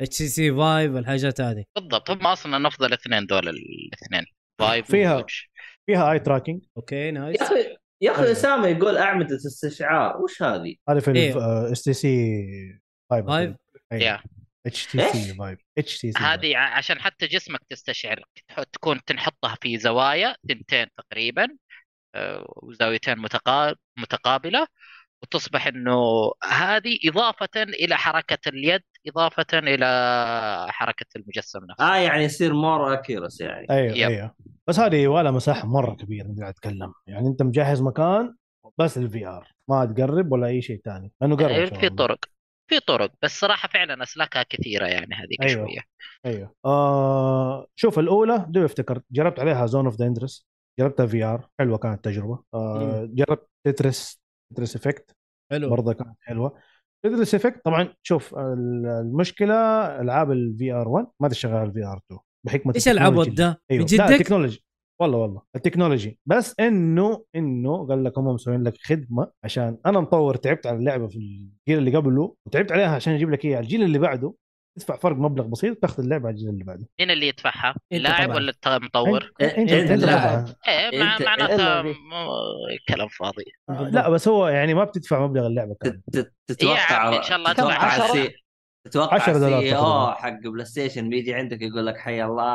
الاتش سي سي فايف الحاجات هذه
بالضبط هم اصلا افضل اثنين دول الاثنين فايف
فيها-
وواتش.
فيها اي تراكنج
اوكي نايس
يا اخي يا
أيوة.
اخي اسامه يقول اعمده استشعار وش هذه؟
هذا في آه،
إيه.
اس تي سي
فايف؟
فايب أيوه.
يا.
اتش تي سي فايب اتش تي سي
هذه ع- عشان حتى جسمك تستشعر تح- تكون تنحطها في زوايا ثنتين تقريبا آه، وزاويتين متقا- متقابله وتصبح انه هذه اضافه الى حركه اليد اضافه الى حركه المجسم نفسه
اه يعني يصير مور اكيرس يعني
ايوه
يب.
ايوه بس هذه يبغى لها مساحه مره كبيره نقدر اتكلم يعني انت مجهز مكان بس الفي ار ما تقرب ولا اي شيء ثاني لانه قرب إن شاء
إيه، يعني في
الله.
طرق في طرق بس صراحه فعلا اسلاكها كثيره يعني هذيك
أيوة.
شويه
ايوه آه شوف الاولى دوي افتكرت جربت عليها زون اوف ذا اندرس جربتها في ار حلوه كانت التجربه آه جربت تترس تترس افكت
حلو
برضه كانت حلوه تدرس افكت طبعا شوف ال- المشكله العاب الفي ار 1 ما تشتغل على الفي ار 2 بحكمه
ايش العبط
التكنولوجي.
ده؟
ايوه لا
بجدك؟
التكنولوجي والله والله التكنولوجي بس انه انه قال لك هم مسوين لك خدمه عشان انا مطور تعبت على اللعبه في الجيل اللي قبله وتعبت عليها عشان اجيب لك اياها الجيل اللي بعده تدفع فرق مبلغ بسيط تاخذ اللعبه على الجيل اللي بعده
مين اللي يدفعها؟
أنت
اللاعب
طبعاً.
ولا الت- المطور؟
أنت- أنت-
إيه،
أنت
أنت
لاعب.
طبعاً.
ايه مع-
أنت-
معناتها
إلا بي.
م- كلام فاضي
لا بس هو يعني ما بتدفع مبلغ اللعبه كامل
تت- تت-
إيه، يا
تتوقع
عمي، إن شاء الله
تتوقع
أدفع
السي تتوقع
10 دولار
السي او
تقريباً.
حق بلاي ستيشن بيجي عندك يقول لك حي الله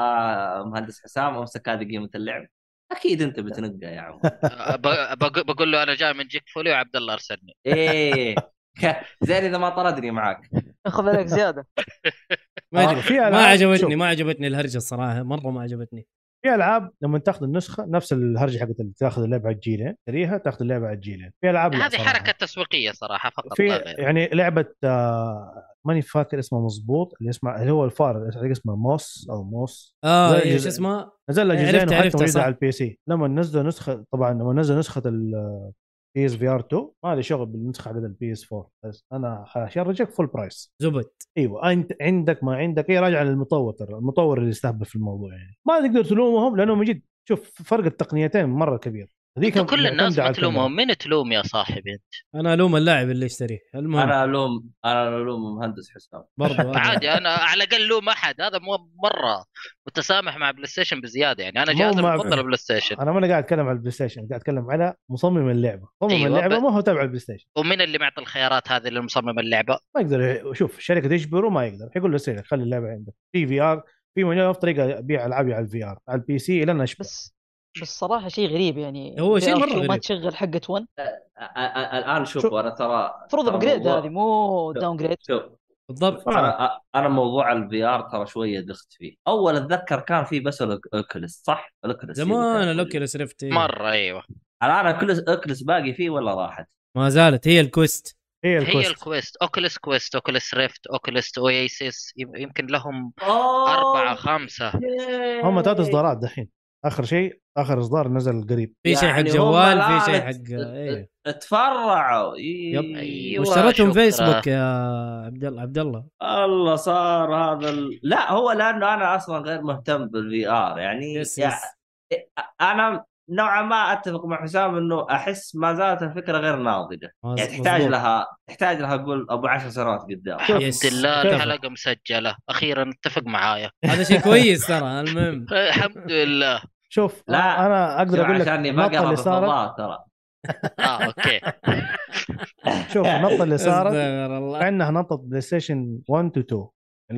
مهندس حسام امسك هذه قيمه اللعب اكيد انت بتنقى يا عم
أه، ب- بق- بقول له انا جاي من جيك فولي وعبد الله ارسلني
ايه زين اذا ما طردني معاك
اخذ عليك زياده
ما
آه،
ادري
في
ما
ألعاب-
عجبتني
شوف،
ما عجبتني الهرجه الصراحه مره ما عجبتني
في العاب لما تاخذ النسخه نفس الهرجه حقت اللي تاخذ اللعبه على الجيلين تشتريها تاخذ اللعبه على الجيلين في العاب لا
هذه
صراحة.
حركه تسويقيه صراحه فقط
في
لا غير
يعني لعبه آه، ماني فاكر اسمه مضبوط اللي اسمه اللي هو الفار اسمه موس او موس
اه
زي
إيه، شو
الجزء-
اسمه
نزل لها
عرفت-
جزئين
عرفت
وحتى موجوده
صح.
على البي سي لما نزلوا نسخه طبعا لما نزل نسخه ال آه، بي اس في ار 2 ما لي شغل بالنسخه حقت البي اس 4 بس انا حشرجك فول برايس
زبد
ايوه انت عندك ما عندك هي راجعه للمطور ترى المطور اللي استهبل في الموضوع يعني ما تقدر تلومهم لانهم من جد شوف فرق التقنيتين مره كبير
انت كل الناس
معتمدة على
بتلومهم مين تلوم يا صاحبي انت
انا الوم اللاعب اللي يشتريه المهم
انا الوم انا الوم مهندس حسام
برضو أنا-
عادي انا على الاقل لوم احد هذا مو- مره متسامح مع بلاي ستيشن بزياده يعني انا
مو
جهازي
مع-
المفضل بلاي ستيشن
كلامهم. انا ما قاعد اتكلم على البلاي ستيشن قاعد اتكلم على مصمم اللعبه مصمم
أيوة،
أيوة اللعبه
ب-
ما هو تابع البلاي ستيشن
ومين اللي معطي الخيارات هذه لمصمم اللعبه؟
ما يقدر شوف الشركه تجبره ما يقدر يقول له سيرك خلي اللعبه عندك في في ار في مليون طريقه ابيع العابي على الفي ار على البي سي الى انا اشبع
بس بس صراحه شيء غريب يعني
هو شيء
VR2
مرة
ما
غريب.
تشغل حقه 1
أ- أ- الان شوف
شوف.
انا ترى
المفروض
ترى
ابجريد
موضوع-
هذه مو داون جريد
شوف
بالضبط
آه.
ترى أ- انا موضوع الفي ار ترى شويه دخت فيه اول اتذكر كان في بس الاوكلس صح الاوكلس
زمان الاوكيولس ريفت إيه.
مره ايوه
الان الاوكلس باقي فيه ولا راحت
ما زالت هي الكوست
هي
هي
الكوست
الكويست اوكلس كويست اوكلس ريفت اوكلس اويسيس يمكن لهم
أوه،
اربعه خمسه
هم ثلاث اصدارات دحين اخر شيء اخر اصدار نزل قريب
في شيء حق
يعني هم
جوال في شيء
لعنة-
حق ايه
تفرعوا إيه.
يب.
أيوة.
واشترتهم
شكرا.
فيسبوك يا عبد الله عبد الله
الله صار هذا ال... لا هو لانه انا اصلا غير مهتم بالفي ار يعني
يس
يع-
يس
انا نوعا ما اتفق مع حسام انه احس ما زالت الفكره غير ناضجه
مز-
يعني تحتاج
مظبوط.
لها تحتاج لها قول ابو عشر سنوات قدام
شوف.
الحمد
يس.
لله
شوف.
الحلقه مسجله اخيرا اتفق معايا
هذا شيء كويس ترى المهم
الحمد لله
شوف
لا،
لا انا اقدر اقول لك
عشاني ما
النقطه
قرا
اللي صارت
بالفضاء ترى
اه اوكي
شوف النقطه اللي صارت
استغفر الله
عندنا نقطه بلاي ستيشن 1 تو 2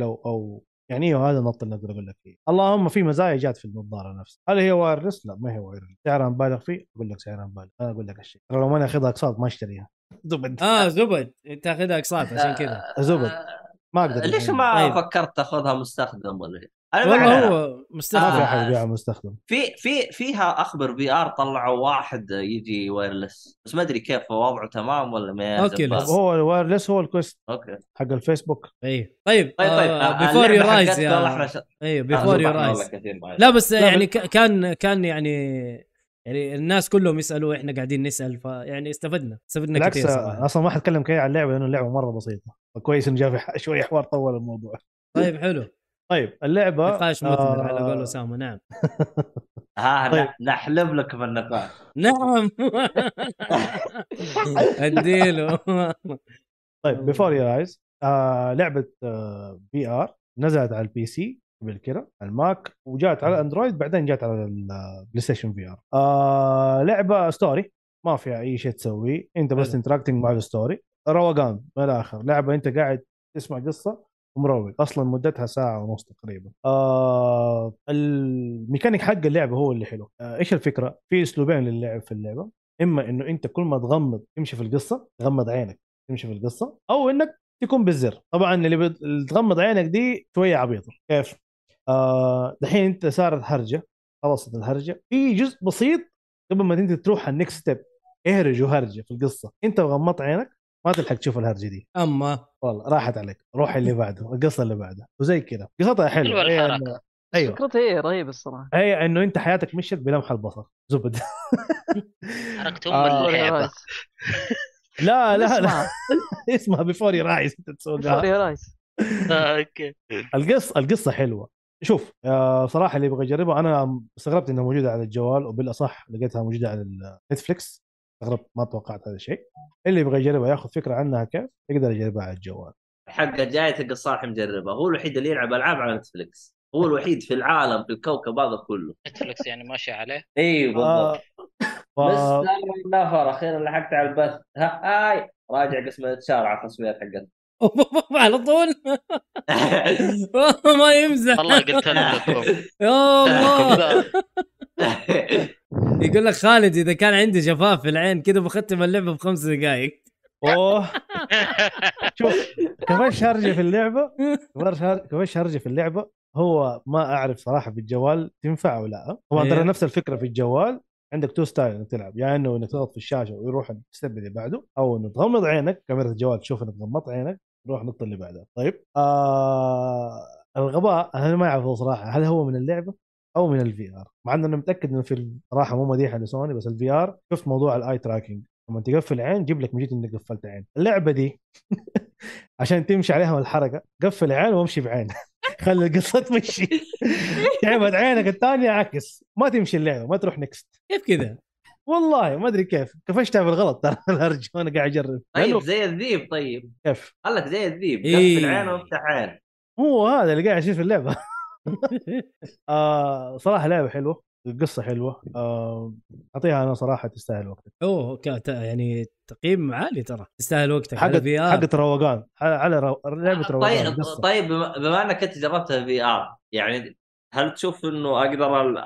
لو او يعني ايوه هذا النقطه اللي اقدر اقول لك فيه اللهم في مزايا جات في النظاره نفسها هل هي وايرلس؟ لا ما هي وايرلس سعرها مبالغ فيه اقول لك سعرها مبالغ انا اقول لك الشيء ترى لو ماني اخذها اقساط ما اشتريها زبد
آه.
اه زبد انت اخذها اقساط عشان كذا
آه، زبد ما اقدر
ليش
يعني.
ما
طيب.
فكرت تاخذها مستخدم ولا شيء؟ انا ما
والله
أعرف.
هو
ما في
مستغرب
آه.
احد يبيعها مستخدم
في في فيها اخبر بي ار طلعوا واحد يجي وايرلس بس ما ادري كيف وضعه تمام ولا ما
أوكي،
زبال.
بس.
هو الوايرلس هو الكوست
اوكي طيب
حق الفيسبوك
اي طيب
طيب آه،
بيفور يور
اللعبة
رايز
حقتنا
يا
احنا ش-
ايوه
آه،
بيفور يور
سبحان الله
رايز
كثير معلش.
لا بس
لا،
يعني
بس-
ك- كان كان يعني يعني الناس كلهم يسالوا احنا قاعدين نسال فيعني استفدنا استفدنا
بالعكس آه،
كثير صراحه
اصلا ما حتكلم كثير عن اللعبه لانه اللعبه مره بسيطه فكويس انه جاء في ح- شويه حوار طول الموضوع
طيب حلو
طيب اللعبه
نقاش مثمر
آه،
على قول اسامه نعم
ها
طيب.
طيب. نحلب لك بالنقاش
نعم اديله
طيب بيفور يور ايز لعبه بي ار آه، نزلت على البي سي قبل كده على الماك وجات على الاندرويد بعدين جات على آه، البلاي ستيشن في ار لعبه ستوري آه، ما فيها اي شيء تسويه انت بس
حلو.
انتراكتنج مع الستوري روقان من الاخر لعبه انت قاعد تسمع قصه ومروق اصلا مدتها ساعه ونص تقريبا آه الميكانيك حق اللعبه هو اللي حلو آه ايش الفكره في اسلوبين للعب في اللعبه اما انه انت كل ما تغمض تمشي في القصه تغمض عينك تمشي في القصه او انك تكون بالزر طبعا اللي بت- اللي تغمض عينك دي شويه عبيطه كيف آه دحين انت صارت هرجه خلصت الهرجه في جزء بسيط قبل ما انت تروح على النكست ستيب اهرج وهرجه في القصه انت غمضت عينك ما تلحق تشوف الهرجه دي
اما
والله راحت عليك روح اللي بعده القصه اللي بعده وزي كذا قصتها حلوه
حلوة
هي
الحركة.
إنه- ايوه
فكرته إيه، هي رهيبه الصراحه
هي انه انت حياتك مشت بلمح البصر زبد
حركتهم
آه.
اللعبه
لا لا لا
اسمها
اسمها بيفوري رايز انت تسوقها
فوري رايس
آه، اوكي
القصه القصه حلوه شوف آه صراحه اللي يبغى يجربها انا استغربت انها موجوده على الجوال وبالاصح لقيتها موجوده على نتفلكس استغربت ما توقعت هذا الشيء اللي يبغى يجربها ياخذ فكره عنها كيف يقدر يجربها على الجوال
حقه جاي تلقى صالح مجربه هو الوحيد اللي يلعب العاب على نتفلكس هو الوحيد في العالم في الكوكب هذا كله
نتفلكس يعني ماشي عليه
اي
آه.
بالضبط
ف...
بس دائما النافر اخيرا لحقت على البث ها- هاي راجع قسم الانتشار على التصوير حقتنا
على طول ما يمزح
والله قلت لكم
يا الله
لا،
يقول لك خالد اذا كان عندي جفاف في العين كذا بختم اللعبه بخمس دقائق
اوه شوف كفاش هرجه في اللعبه كفاش هر- كفاش هرجه في اللعبه هو ما اعرف صراحه في الجوال تنفع ولا لا طبعا ترى
إيه.
نفس الفكره في الجوال عندك تو ستايل انك تلعب يا يعني انه انك تضغط في الشاشه ويروح الستيب اللي بعده او انه تغمض عينك كاميرا الجوال تشوف انك غمضت عينك روح النقطه اللي بعدها طيب آه الغباء انا ما اعرفه صراحه هل هو من اللعبه او من الفي ار مع انه انا متاكد انه في ال- صراحه مو مديحه لسوني بس الفي ار شفت موضوع الاي تراكنج لما تقفل عين جيب لك مجيت انك قفلت عين اللعبه دي عشان تمشي عليها الحركه قفل عين وامشي بعين خلي القصه تمشي تعبت عينك الثانيه عكس ما تمشي اللعبه ما تروح نكست
كيف كذا؟
والله ما ادري كيف قفشتها بالغلط ترى الهرج وانا قاعد اجرب
طيب
لأنه
زي الذيب طيب
كيف
قال لك زي الذيب
إيه.
قفل عينه وافتح عين
هو هذا اللي قاعد يصير في اللعبه آه صراحه لعبه حلوه القصه حلوه آه اعطيها انا صراحه تستاهل وقتك
اوه أوكي، تا- يعني تقييم عالي ترى تستاهل وقتك
حق
على في ار
حقت روقان على, على رو... لعبه روقان
طيب
القصة.
طيب بما- بما انك انت جربتها في ار يعني هل تشوف انه اقدر أ-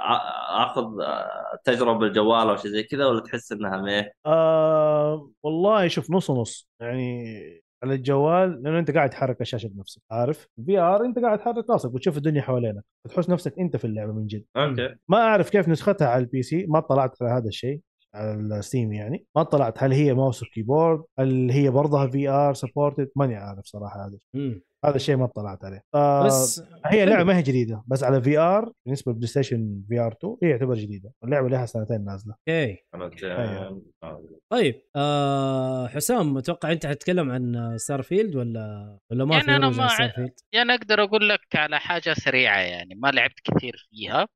اخذ آه، تجربه الجوال او شيء زي كذا ولا تحس انها ميه؟
آه والله شوف نص ونص يعني على الجوال لانه انت قاعد تحرك الشاشه بنفسك عارف في ار انت قاعد تحرك راسك وتشوف الدنيا حوالينك تحس نفسك انت في اللعبه من جد
اوكي
ما اعرف كيف نسختها على البي سي ما اطلعت على هذا الشيء على الستيم يعني ما اطلعت هل هي ماوس وكيبورد هل هي برضها في ار سبورتد ماني عارف صراحه هذا
مم.
هذا الشيء ما اطلعت عليه آه بس
بس
هي لعبه ما هي جديده بس على في ار بالنسبه للبلاي ستيشن في ار 2 هي تعتبر جديده اللعبه لها سنتين نازله
اوكي
عرفت.
أيوه.
طيب آه حسام اتوقع انت حتتكلم عن ستارفيلد ولا ولا ما
يعني
في
أنا
رجع
ما-
ستارفيلد
يعني اقدر اقول لك على حاجه سريعه يعني ما لعبت كثير فيها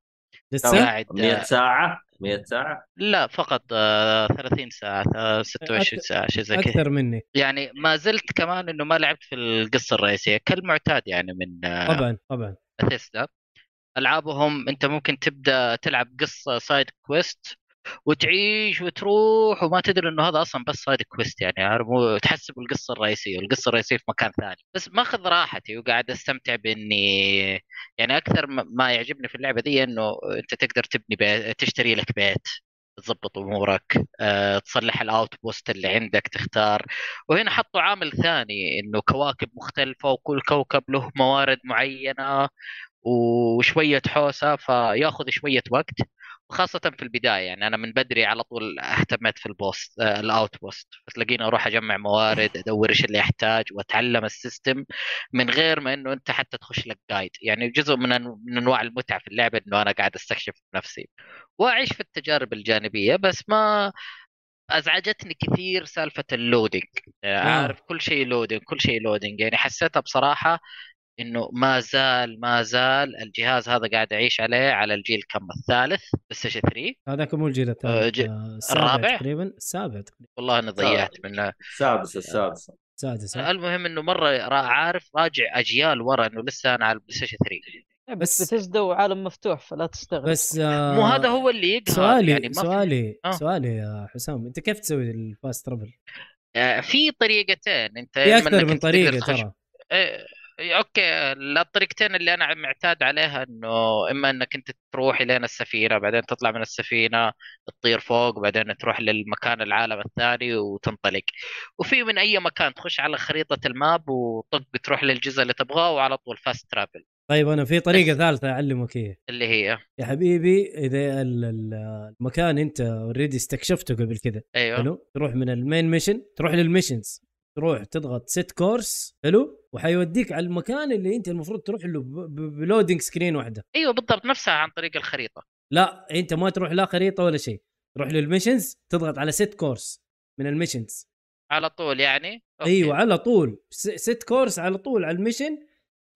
لسه
قاعد
100 ساعه 100 ساعه
لا فقط آه، 30 ساعه آه، 26 ساعه شيء زي كذا
اكثر مني
يعني ما زلت كمان انه ما لعبت في القصه الرئيسيه كالمعتاد يعني من آه،
طبعا طبعا
باثيسدا العابهم انت ممكن تبدا تلعب قصه سايد كويست وتعيش وتروح وما تدري انه هذا اصلا بس سايد كويست يعني عارف؟ مو تحسب القصه الرئيسيه والقصه الرئيسيه في مكان ثاني بس ماخذ راحتي وقاعد استمتع باني يعني اكثر ما- ما يعجبني في اللعبه ذي انه انت تقدر تبني بيت تشتري لك بيت تظبط امورك آه، تصلح الاوت بوست اللي عندك تختار وهنا حطوا عامل ثاني انه كواكب مختلفه وكل كوكب له موارد معينه وشويه حوسه فياخذ شويه وقت وخاصة في البداية يعني أنا من بدري على طول اهتمت في البوست آه، الأوت بوست فتلاقيني أروح أجمع موارد أدور إيش اللي أحتاج وأتعلم السيستم من غير ما إنه أنت حتى تخش لك جايد يعني جزء من أن- من أنواع المتعة في اللعبة إنه أنا قاعد أستكشف نفسي وأعيش في التجارب الجانبية بس ما أزعجتني كثير سالفة اللودينج آه، عارف كل شيء لودينج كل شيء لودينج يعني حسيتها بصراحة انه ما زال ما زال الجهاز هذا قاعد اعيش عليه على الجيل كم الثالث بس 3
هذاك مو الجيل
آه،
الثالث
ج-
آه، السابع
الرابع؟
تقريبا السابع تقريبا
والله انا ضيعت منه
السادسه السادسه
السادس آه.
المهم انه مره را- عارف راجع اجيال ورا انه لسه انا على البلاي ستيشن 3
بس-
بس بتزدا وعالم مفتوح فلا تستغرب
بس آه
مو هذا هو اللي يقهر
سؤالي
يعني ما في-
سؤالي
آه.
سؤالي يا حسام انت كيف تسوي الفاست ترافل؟
آه، في طريقتين انت
في
يا إما
اكثر
إيه، إنك
من
أنت
طريقه
تقدر تخش-
ترى
إيه، اوكي لا، الطريقتين اللي انا معتاد عليها انه اما انك انت تروح لين السفينه بعدين تطلع من السفينه تطير فوق بعدين تروح للمكان العالم الثاني وتنطلق وفي من اي مكان تخش على خريطه الماب وطق تروح للجزء اللي تبغاه وعلى طول فاست ترافل
طيب انا في طريقه ثالثه اعلمك اياها
اللي هي
يا حبيبي اذا ال- ال- المكان انت اوريدي استكشفته قبل كذا
ايوه
حلو تروح من المين ميشن تروح للميشنز تروح تضغط سيت كورس حلو وحيوديك على المكان اللي انت المفروض تروح له ب- ب- بلودينج سكرين واحده
ايوه بالضبط نفسها عن طريق الخريطه
لا انت ما تروح لا خريطه ولا شيء تروح للميشنز تضغط على سيت كورس من الميشنز
على طول يعني أوكي.
ايوه على طول س- سيت كورس على طول على الميشن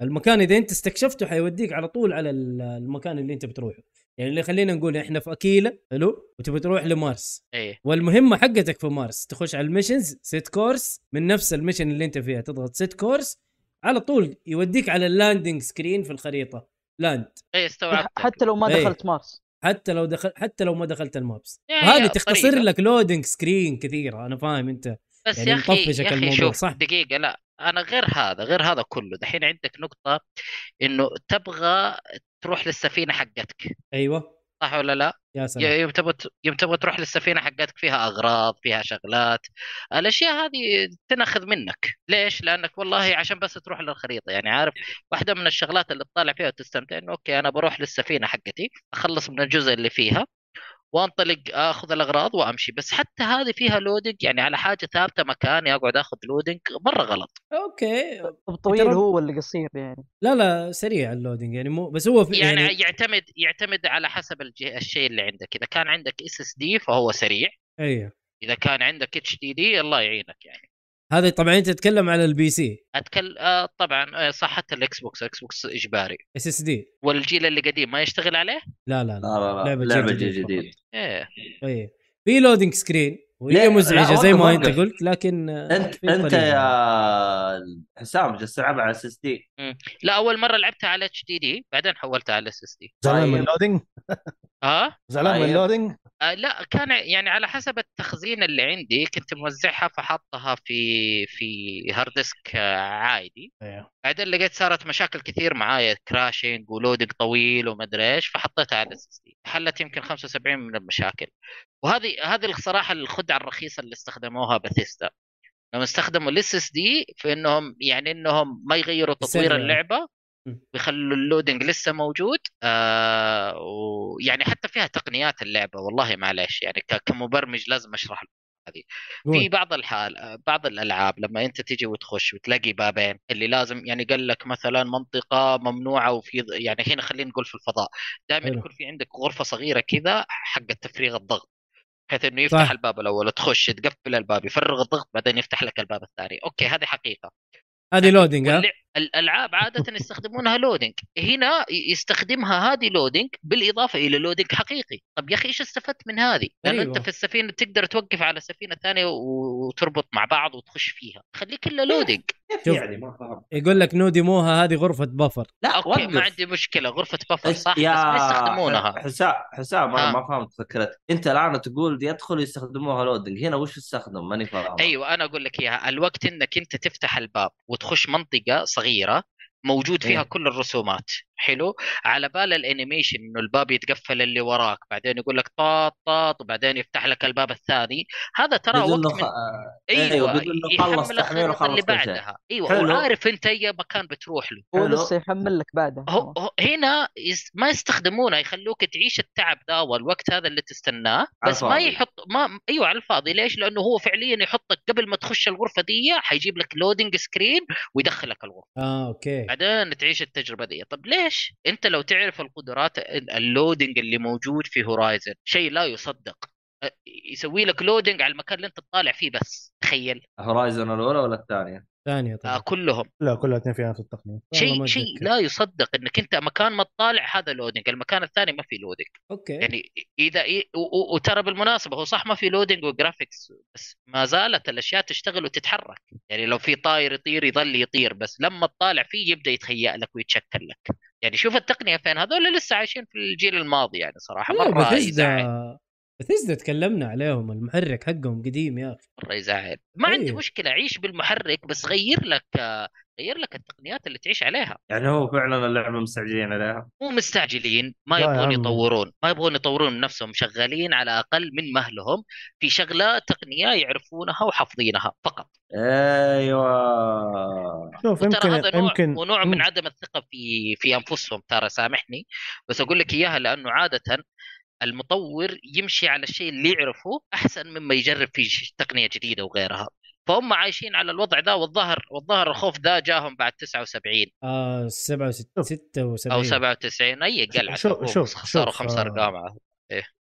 المكان اذا انت استكشفته حيوديك على طول على ال- المكان اللي انت بتروحه يعني اللي خلينا نقول احنا في اكيلا حلو وتبي تروح لمارس
ايه
والمهمه حقتك في مارس تخش على الميشنز سيت كورس من نفس الميشن اللي انت فيها تضغط سيت كورس على طول يوديك على اللاندنج سكرين في الخريطه لاند
اي استوعبت
حتى لو ما
إيه.
دخلت مارس
حتى لو دخل حتى لو ما دخلت المابس
يعني
وهذه تختصر
طريقة.
لك لودنج سكرين كثيره انا فاهم انت
بس
يعني
يا اخي
مطفشك
يا اخي
الموضوع،
شوف
صح؟
دقيقه لا انا غير هذا غير هذا كله دحين عندك نقطه انه تبغى تروح للسفينه حقتك
ايوه
صح ولا لا؟
يا سلام
يوم تبغى يوم تبغى تروح للسفينه حقتك فيها اغراض فيها شغلات الاشياء هذه تنخذ منك ليش لانك والله عشان بس تروح للخريطه يعني عارف واحده من الشغلات اللي تطالع فيها وتستمتع انه اوكي انا بروح للسفينه حقتي اخلص من الجزء اللي فيها وانطلق اخذ الاغراض وامشي بس حتى هذه فيها لودنج يعني على حاجه ثابته مكاني اقعد اخذ لودنج مره غلط
اوكي
طب طويل
ترى-
هو ولا قصير يعني
لا لا سريع اللودنج يعني مو بس هو في
يعني يعتمد يعتمد على حسب الجه- الشيء اللي عندك اذا كان عندك اس اس دي فهو سريع
ايوه
اذا كان عندك اتش دي دي الله يعينك يعني
هذا طبعا انت تتكلم على البي سي
اتكلم آه طبعا آه صح حتى الاكس بوكس اكس بوكس اجباري
اس اس دي
والجيل اللي قديم ما يشتغل عليه؟
لا لا لا
لا لا لا
لعبة
لعبه,
جيل
لعبة
جديد
جيل جديد
ايه
اي في لودنج سكرين
لا،
وهي
آه. لا،
مزعجه زي
وقف،
ما انت
وقف.
قلت لكن آه،
انت
في
انت
طريقة.
يا حسام جالس تلعب على اس اس دي
لا اول مره لعبتها على اتش دي دي بعدين حولتها على اس اس دي
زعلان من
طيب.
اللودنج
ها؟
زعلان من
طيب.
اللودنج
آه لا كان ع- يعني على حسب التخزين اللي عندي كنت موزعها فحطها في في هارد ديسك آه، عادي
إيه.
بعدين لقيت صارت مشاكل كثير معايا كراشنج ولودنج طويل ومدري ايش فحطيتها على اس اس دي حلت يمكن 75 من المشاكل وهذه هذه الصراحه الخدعه الرخيصه اللي استخدموها باثيستا لما استخدموا الاس اس دي في انهم يعني انهم ما يغيروا تطوير
يسرعوا.
اللعبه
مم.
بيخلوا اللودنج لسه موجود آه ويعني حتى فيها تقنيات اللعبه والله معليش يعني ك- كمبرمج لازم اشرح له في
قول.
بعض الحال بعض الالعاب لما انت تجي وتخش وتلاقي بابين اللي لازم يعني قال لك مثلا منطقه ممنوعه وفي يعني هنا خلينا نقول في الفضاء دائما
حلو.
يكون في عندك غرفه صغيره كذا حق تفريغ الضغط بحيث انه يفتح
صح.
الباب الاول تخش تقفل الباب يفرغ الضغط بعدين يفتح لك الباب الثاني اوكي هذه حقيقه يعني
هذه لودنج ها
واللع- الالعاب عاده يستخدمونها لودنج هنا ي- يستخدمها هذه لودنج بالاضافه الى لودنج حقيقي طب يا اخي ايش استفدت من هذه لانه
أيوة.
انت في السفينه تقدر توقف على سفينه ثانيه و- وتربط مع بعض وتخش فيها خليه كله لودنج
شوف.
يعني ما فاهم
يقول لك نو ديموها هذه غرفه بفر
لا
اوكي ما
وقف
عندي مشكله غرفه بفر
إيش-
صح بس ما يستخدمونها آه.
حسام حسام انا
ها.
ما فهمت فكرتك انت الان تقول يدخلوا يستخدموها لودنج هنا وش تستخدم ماني فاهم
ايوه انا اقول لك اياها الوقت انك انت تفتح الباب وتخش منطقه صغيره موجود فيها
إيه.
كل الرسومات حلو على بال الانيميشن انه الباب يتقفل اللي وراك بعدين يقول لك طاط طاط وبعدين يفتح لك الباب الثاني هذا ترى
بدون إنه
وقت
خ-
من...
آه،
ايوه,
أيوه، بدون إنه خلص
يحمل
تحميل
الخريطه اللي
وخلص كل شيء.
بعدها ايوه
حلو.
وعارف انت اي مكان بتروح له
هو
حلو.
لسه يحمل لك بعدها
هو هو- هنا يس- ما يستخدمونه يخلوك تعيش التعب ذا والوقت هذا اللي تستناه
على
بس ما
الفاضي.
يحط ما ايوه على الفاضي ليش؟ لانه هو فعليا يحطك قبل ما تخش الغرفه دي حيجيب لك لودنج سكرين ويدخلك الغرفه
اه اوكي
بعدين تعيش التجربه دي طب ليش؟ انت لو تعرف القدرات ال- اللودنج اللي موجود في هورايزن شيء لا يصدق أ- يسوي لك لودنج على المكان اللي انت تطالع فيه بس تخيل
هورايزون الاولى ولا الثانيه؟
ثانيه
آه،
طبعا
كلهم
لا كلها اثنين فيها نفس التقنيه
طيب. والله ما
شيء شيء
أتذكر.
لا يصدق انك انت مكان ما تطالع هذا لودنج المكان الثاني ما في لودنج
اوكي
يعني اذا إي- و- و- وترى بالمناسبه هو صح ما في لودنج وجرافيكس بس ما زالت الاشياء تشتغل وتتحرك يعني لو في طاير يطير يظل يطير بس لما تطالع فيه يبدا يتهيأ لك ويتشكل لك يعني شوف التقنيه فين هذول لسه عايشين في الجيل الماضي يعني صراحه
لا
مره يزعل
بثيسدا بثيسدا إيه، تكلمنا عليهم المحرك حقهم قديم يا اخي
مره يزعل ما
أيوه.
عندي مشكله عيش بالمحرك بس غير لك آه، غير لك التقنيات اللي تعيش عليها
يعني هو فعلا اللعبه مستعجلين عليها
مو مستعجلين ما
لا يا
يبغون
عم.
يطورون ما يبغون يطورون من نفسهم شغالين على اقل من مهلهم في شغله تقنيه يعرفونها وحافظينها فقط
ايوه
شوف
وترى
يمكن
هذا نوع
يمكن
ونوع من
مم.
عدم الثقه في في انفسهم ترى سامحني بس اقول لك اياها لانه عاده المطور يمشي على الشيء اللي يعرفه احسن مما يجرب فيه ش- تقنيه جديده وغيرها فهم عايشين على الوضع ذا والظهر والظهر الخوف ذا جاهم بعد 79
آه 67
شوف.
76
او 97 اي قلعه
شوف-
سووها،
شوف-
خسروا
شوف،
خمس
آه.
ارقام على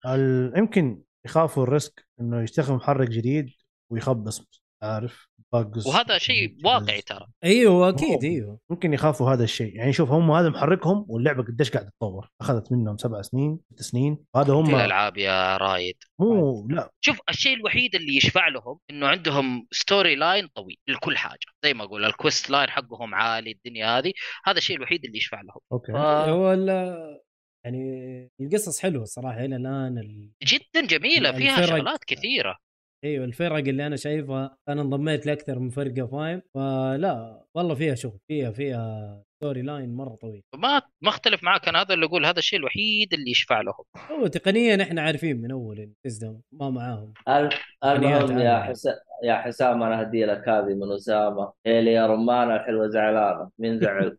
ال- يمكن يخافوا الريسك انه يشتغل محرك جديد ويخبص عارف باجز
وهذا شيء واقعي ترى
ايوه اكيد
أوه.
ايوه
ممكن يخافوا هذا الشيء يعني شوف هم هذا محركهم واللعبه قديش قاعده تتطور اخذت منهم سبع سنين ست سنين هذا
في
هم
الالعاب يا رايد
مو لا
شوف الشيء الوحيد اللي يشفع لهم انه عندهم ستوري لاين طويل لكل حاجه زي ما اقول الكويست لاين حقهم عالي الدنيا هذه هذا الشيء الوحيد اللي يشفع لهم
اوكي
آه.
هو ال- يعني القصص حلوه صراحه الى الان ال...
جدا جميله فيها
الفرق.
شغلات كثيره
ايوه الفرق اللي انا شايفها انا انضميت لاكثر من فرقه فاهم فلا والله فيها شغل فيها فيها ستوري لاين مره طويل
ما ما اختلف معك انا هذا اللي اقول هذا الشيء الوحيد اللي يشفع لهم
هو تقنيا احنا عارفين من اول إن تزدم ما معاهم
الم- المهم
فنيات
يا
عالية.
حسام يا حسام انا هدي لك هذه من اسامه هي لي يا رمان الحلوه زعلانه مين زعل؟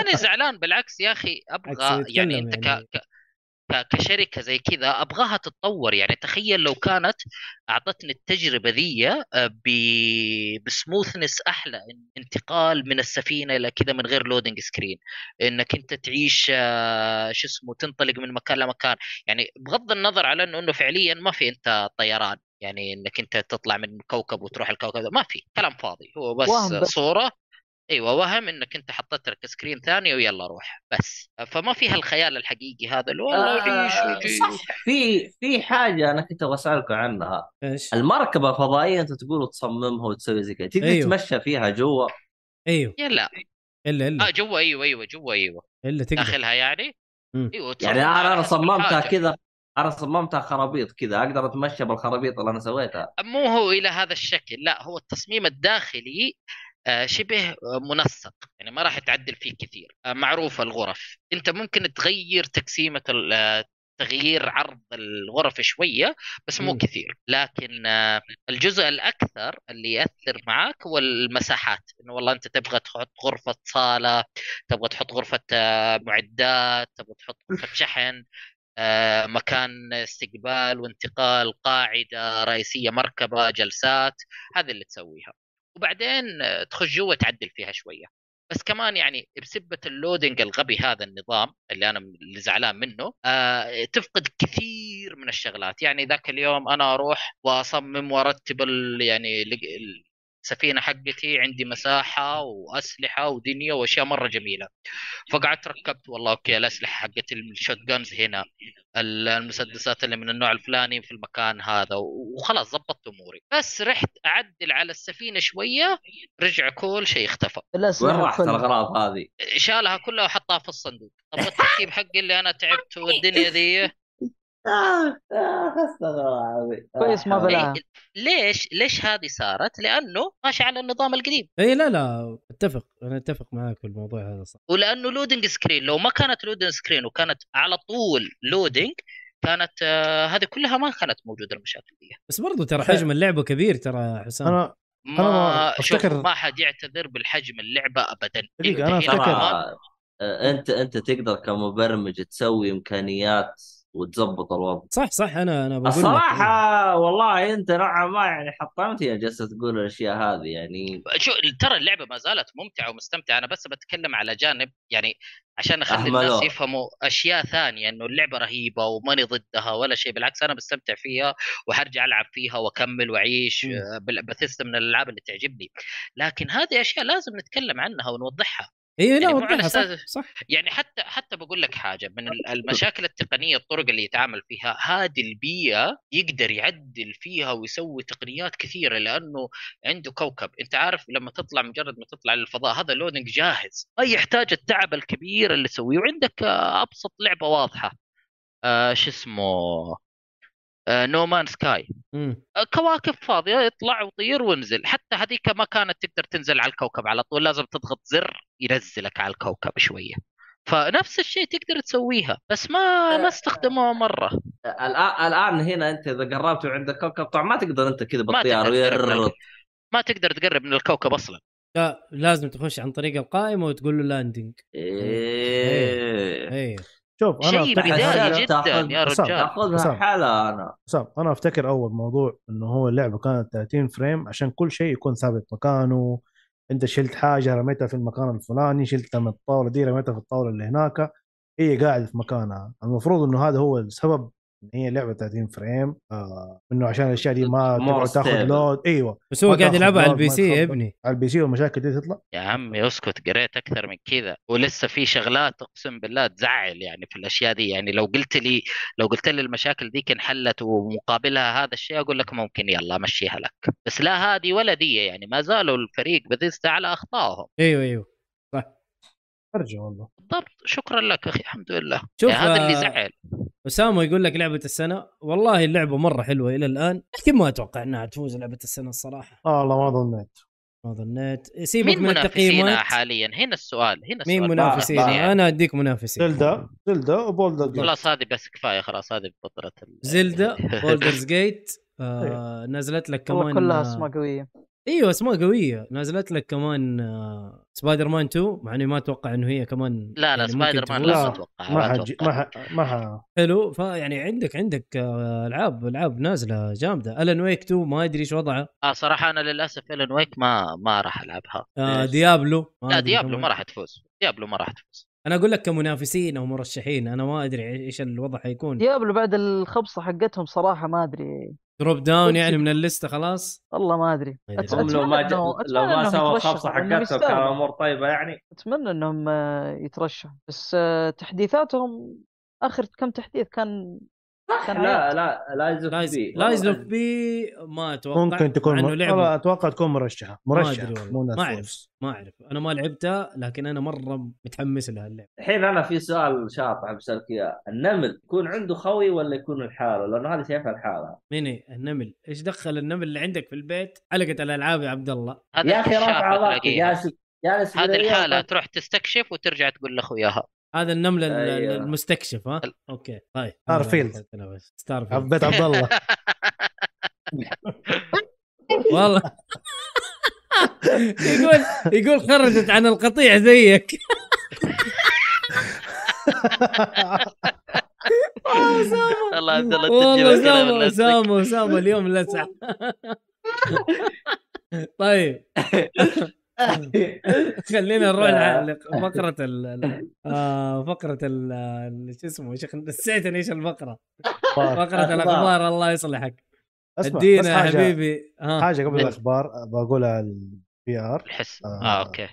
انا زعلان بالعكس يا اخي ابغى
عكس يتكلم
يعني انت ك...
يعني.
ك... ك- كشركه زي كذا ابغاها تتطور يعني تخيل لو كانت اعطتني التجربه ذي آه، ب... بسموثنس احلى إن- انتقال من السفينه الى كذا من غير لودنج سكرين انك انت تعيش آه، شو اسمه تنطلق من مكان لمكان يعني بغض النظر على انه انه فعليا ما في انت طيران يعني انك انت تطلع من كوكب وتروح الكوكب ما في كلام فاضي هو بس
وهم بس.
صوره ايوه وهم انك انت حطيت لك سكرين ثاني ويلا روح بس فما فيها الخيال الحقيقي هذا اللي والله عيش
آه،
وجيش.
صح في في حاجه انا كنت ابغى اسالكم عنها
ايش؟
المركبه الفضائيه انت تقول تصممها وتسوي زي كذا تقدر
أيوه.
تتمشى فيها جوا
ايوه
يلا
الا الا
اه جوا ايوه ايوه جوا ايوه
الا تقدر
داخلها يعني
إيه. مم.
ايوه
يعني
تصممها
انا
على
انا
حسب
صممتها
الحاجة.
كذا انا صممتها خرابيط كذا اقدر اتمشى بالخرابيط اللي انا سويتها
مو هو الى هذا الشكل لا هو التصميم الداخلي آه، شبه آه، منسق يعني ما راح تعدل فيه كثير آه، معروفه الغرف انت ممكن تغير تقسيمه ال- آه، تغيير عرض الغرف شويه بس مو
مم.
كثير لكن آه، الجزء الاكثر اللي ياثر معك هو المساحات انه والله انت تبغى تحط غرفه صاله تبغى تحط غرفه آه، معدات تبغى تحط غرفه شحن آه، مكان استقبال وانتقال قاعدة رئيسية مركبة جلسات هذا اللي تسويها وبعدين آه، تخش جوا تعدل فيها شوية بس كمان يعني بسبة اللودنج الغبي هذا النظام اللي أنا اللي زعلان منه آه، تفقد كثير من الشغلات يعني ذاك اليوم أنا أروح وأصمم وأرتب ال- يعني ال- ال- السفينة حقتي عندي مساحة وأسلحة ودنيا وأشياء مرة جميلة فقعدت ركبت والله اوكي الاسلحه حقت الشوت جنز هنا ال- المسدسات اللي من النوع الفلاني في المكان هذا و- وخلاص ضبطت اموري بس رحت اعدل على السفينه شويه رجع كل شيء اختفى
وين
الاسلحه
راحت
كلها
الاغراض هذه؟
شالها كلها وحطها في الصندوق طب التركيب حقي اللي انا تعبت والدنيا ذي
آه، آه، استغفر الله العظيم.
كويس ما
آه،
بلاها
ليش ليش هذه صارت لانه ماشي على النظام القديم
اي لا لا اتفق انا اتفق معاك في الموضوع هذا صح
ولانه لودنج سكرين لو ما كانت لودنج سكرين وكانت على طول لودنج كانت آه هذه كلها ما كانت موجوده المشاكل دي
بس برضو ترى حجم اللعبه كبير ترى يا حسام
انا
ما
ما
شوف
أفتكر-
ما حد يعتذر بالحجم اللعبه ابدا
دقيقة،
إنه
أنا
تغيير
أفتكر-
النظام
ترى آه، انت انت تقدر كمبرمج تسوي امكانيات وتظبط الوضع
صح صح انا انا بقول لك.
الصراحه والله انت نوعا ما يعني حطمتني جالسه تقول الاشياء هذه يعني
شو ترى اللعبه ما زالت ممتعه ومستمتعه انا بس بتكلم على جانب يعني عشان اخلي
أهملوه.
الناس يفهموا اشياء ثانيه انه اللعبه رهيبه وماني ضدها ولا شيء بالعكس انا بستمتع فيها وحرجع العب فيها واكمل واعيش
مم.
آه، بال- بثيستا من الالعاب اللي تعجبني لكن هذه اشياء لازم نتكلم عنها ونوضحها
اي لا
يعني مو على
وضحها صح,
أساس-
صح
يعني حتى حتى بقول لك حاجه من ال- المشاكل التقنيه الطرق اللي يتعامل فيها هذه البيئه يقدر يعدل فيها ويسوي تقنيات كثيره لانه عنده كوكب انت عارف لما تطلع مجرد ما تطلع للفضاء هذا لودنج جاهز ما يحتاج التعب الكبير اللي تسويه وعندك آه، ابسط لعبه واضحه آه، شو اسمه آه، نومان سكاي
مم.
كواكب فاضيه اطلع وطير وانزل حتى هذيك ما كانت تقدر تنزل على الكوكب على طول لازم تضغط زر ينزلك على الكوكب شويه فنفس الشيء تقدر تسويها بس ما ما استخدموها مره
الان الان هنا انت اذا قربت وعندك كوكب طبعا ما تقدر انت كذا بالطياره
تقدر تقرب
يررط.
ما تقدر تقرب من الكوكب اصلا
لا لازم تخش عن طريق القائمه وتقول له لاندنج
إيه.
ايوه
شوف انا
شيء
أفتكر-
بداية.
بدائي
تأخذ-
جدا يا
تأخذ-
رجال
تاخذها
حسام.
حالة انا
حسام انا افتكر اول موضوع انه هو اللعبه كانت 30 فريم عشان كل شيء يكون ثابت مكانه انت شلت حاجه رميتها في المكان الفلاني شلتها من الطاوله دي رميتها في الطاوله اللي هناك هي قاعده في مكانها المفروض انه هذا هو السبب إن هي لعبه 30 فريم آه انه عشان الاشياء دي ما
More
تقعد تاخذ
stable.
لود ايوه
بس هو
ما
قاعد
تاخذ
يلعبها على
لود،
البي
ما
سي
تخبط.
يا ابني
على البي سي والمشاكل دي تطلع
يا عمي اسكت قريت اكثر من كذا ولسه في شغلات اقسم بالله تزعل يعني في الاشياء دي يعني لو قلت لي لو قلت لي المشاكل دي انحلت ومقابلها هذا الشيء اقول لك ممكن يلا امشيها لك بس لا هذه ولا دي يعني ما زالوا الفريق بذيستا على اخطائهم
ايوه ايوه
ارجع والله
بالضبط شكرا لك اخي الحمد لله
شوف،
يعني هذا اللي
آه،
زعل
اسامه يقول لك لعبه السنه والله اللعبه مره حلوه الى الان لكن ما اتوقع انها تفوز لعبه السنه الصراحه
آه والله ما ظنيت
ما ظنيت سيبك
مين
من
منافسينا
التقييمات
حاليا هنا السؤال هنا السؤال يعني
مين منافسينا انا اديك منافسين
زلدا زلدا وبولدر جيت.
خلاص هذه بس كفايه خلاص هذه بفتره ال-
زلدا بولدرز جيت
إيه.
آه نزلت لك
والله
كمان
كلها
آه،
اسماء قويه
ايوه اسماء قويه نزلت لك كمان آه سبايدر مان 2 مع اني ما اتوقع انه هي كمان
لا لا
يعني ممكن
سبايدر مان
تفوز.
لا
لا،
اتوقع
ما حجي ما ح... ما ح...
حلو فيعني عندك عندك آه، العاب العاب نازله جامده الن ويك 2 ما ادري ايش وضعه
اه صراحه انا للاسف الن ويك ما ما راح العبها
آه ديابلو ما
لا
أدري
ديابلو
كمان.
ما راح تفوز ديابلو ما راح تفوز
انا اقول لك كمنافسين او مرشحين انا ما ادري ايش الوضع حيكون
ديابلو بعد الخبصه حقتهم صراحه ما ادري
دروب داون يعني من الليسته خلاص
والله ما ادري
ما أدري.
أت-
هم
أتمنى
لو ما ج...
إنه- أتمنى
لو ما
إنهم
سووا
يترشحوا،
خبصه
إنهم
حقتهم كان
يستاهلوا.
الامور طيبه يعني
اتمنى انهم آه، يترشحوا بس آه، تحديثاتهم اخر كم تحديث كان كان
لا لا لايز اوف
لايز
بي
لايز اوف بي ما اتوقع
ممكن تكون
مع
مر...
انه لعبه
والله اتوقع تكون مرشحه مرشحه
أدري والله.
مو
ما
ناس
أعرف.
فوز.
ما اعرف انا ما لعبتها لكن انا مره متحمس لها اللعبه
الحين انا في سؤال شاطح بسالك اياه النمل يكون عنده خوي ولا يكون لحاله؟ لانه هذه شايفها لحالها
ميني النمل ايش دخل النمل اللي عندك في البيت حلقه الالعاب يا عبد الله
هذا
يا اخي
الاكتشاف
رافع ضغطي
تلاقيه.
جالس جالس
هذه
بالرياض.
الحاله تروح تستكشف وترجع تقول لاخوياها
هذا النمل ال-
أيوه.
المستكشف ها
ال-
اوكي طيب
ستارفيلد.
ستار فيلد
عبيت عبد الله
والله يقول يقول خرجت عن القطيع زيك
والله عبد الله
والله اسامه
تجيبها كذا ولا تسك.
اسامه اسامه اليوم لسع طيب خلينا نروح لفقره ال ال- آه، فقره ال ال- شو اسمه يا شيخ نسيتني ايش الفقره فقره الاخبار الله يصلحك
اسمع طيب، بس
ادينا يا
حاجة-
حبيبي إيه. ها
حاجه قبل الاخبار بقولها البي ار
الحس
آه.
اه اوكي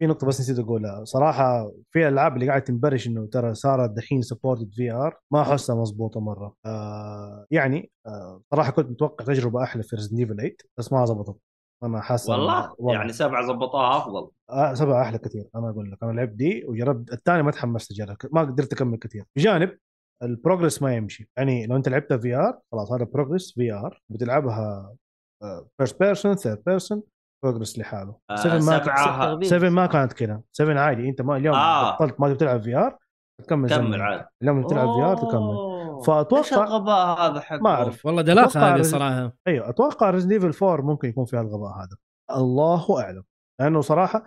في نقطة بس نسيت اقولها، صراحة في العاب اللي قاعد تنبرش انه ترى صارت دحين سبورتد في ار ما احسها مضبوطة مرة. آه يعني آه صراحة كنت متوقع تجربة احلى في ريزن ايفل 8 بس ما زبطت. انا حاسس
والله يعني سبعه زبطوها افضل
آه سبعة احلى كثير انا اقول لك انا لعبت دي وجربت الثاني ما تحمست اجرب ما قدرت اكمل كثير. بجانب البروجرس ما يمشي، يعني لو انت لعبتها في ار خلاص هذا بروجرس في ار بتلعبها آه، فيرست بيرسون ثيرد بيرسون بروجرس لحاله.
آه،
Seven ما-
سبعه
7 ما كانت كذا 7 عادي انت ما اليوم
آه.
آه. بطلت ما تلعب في ار تكمل
كمل
زمن.
عاد
اليوم تلعب في ار تكمل
أوه.
فأتوقع-
ايش الغباء هذا حق
ما أعرف.
والله دلاخه
أتوقع
هذه
رز-
صراحه
ايوه اتوقع ريزن ايفل 4 ممكن يكون فيها الغباء هذا الله اعلم لانه صراحه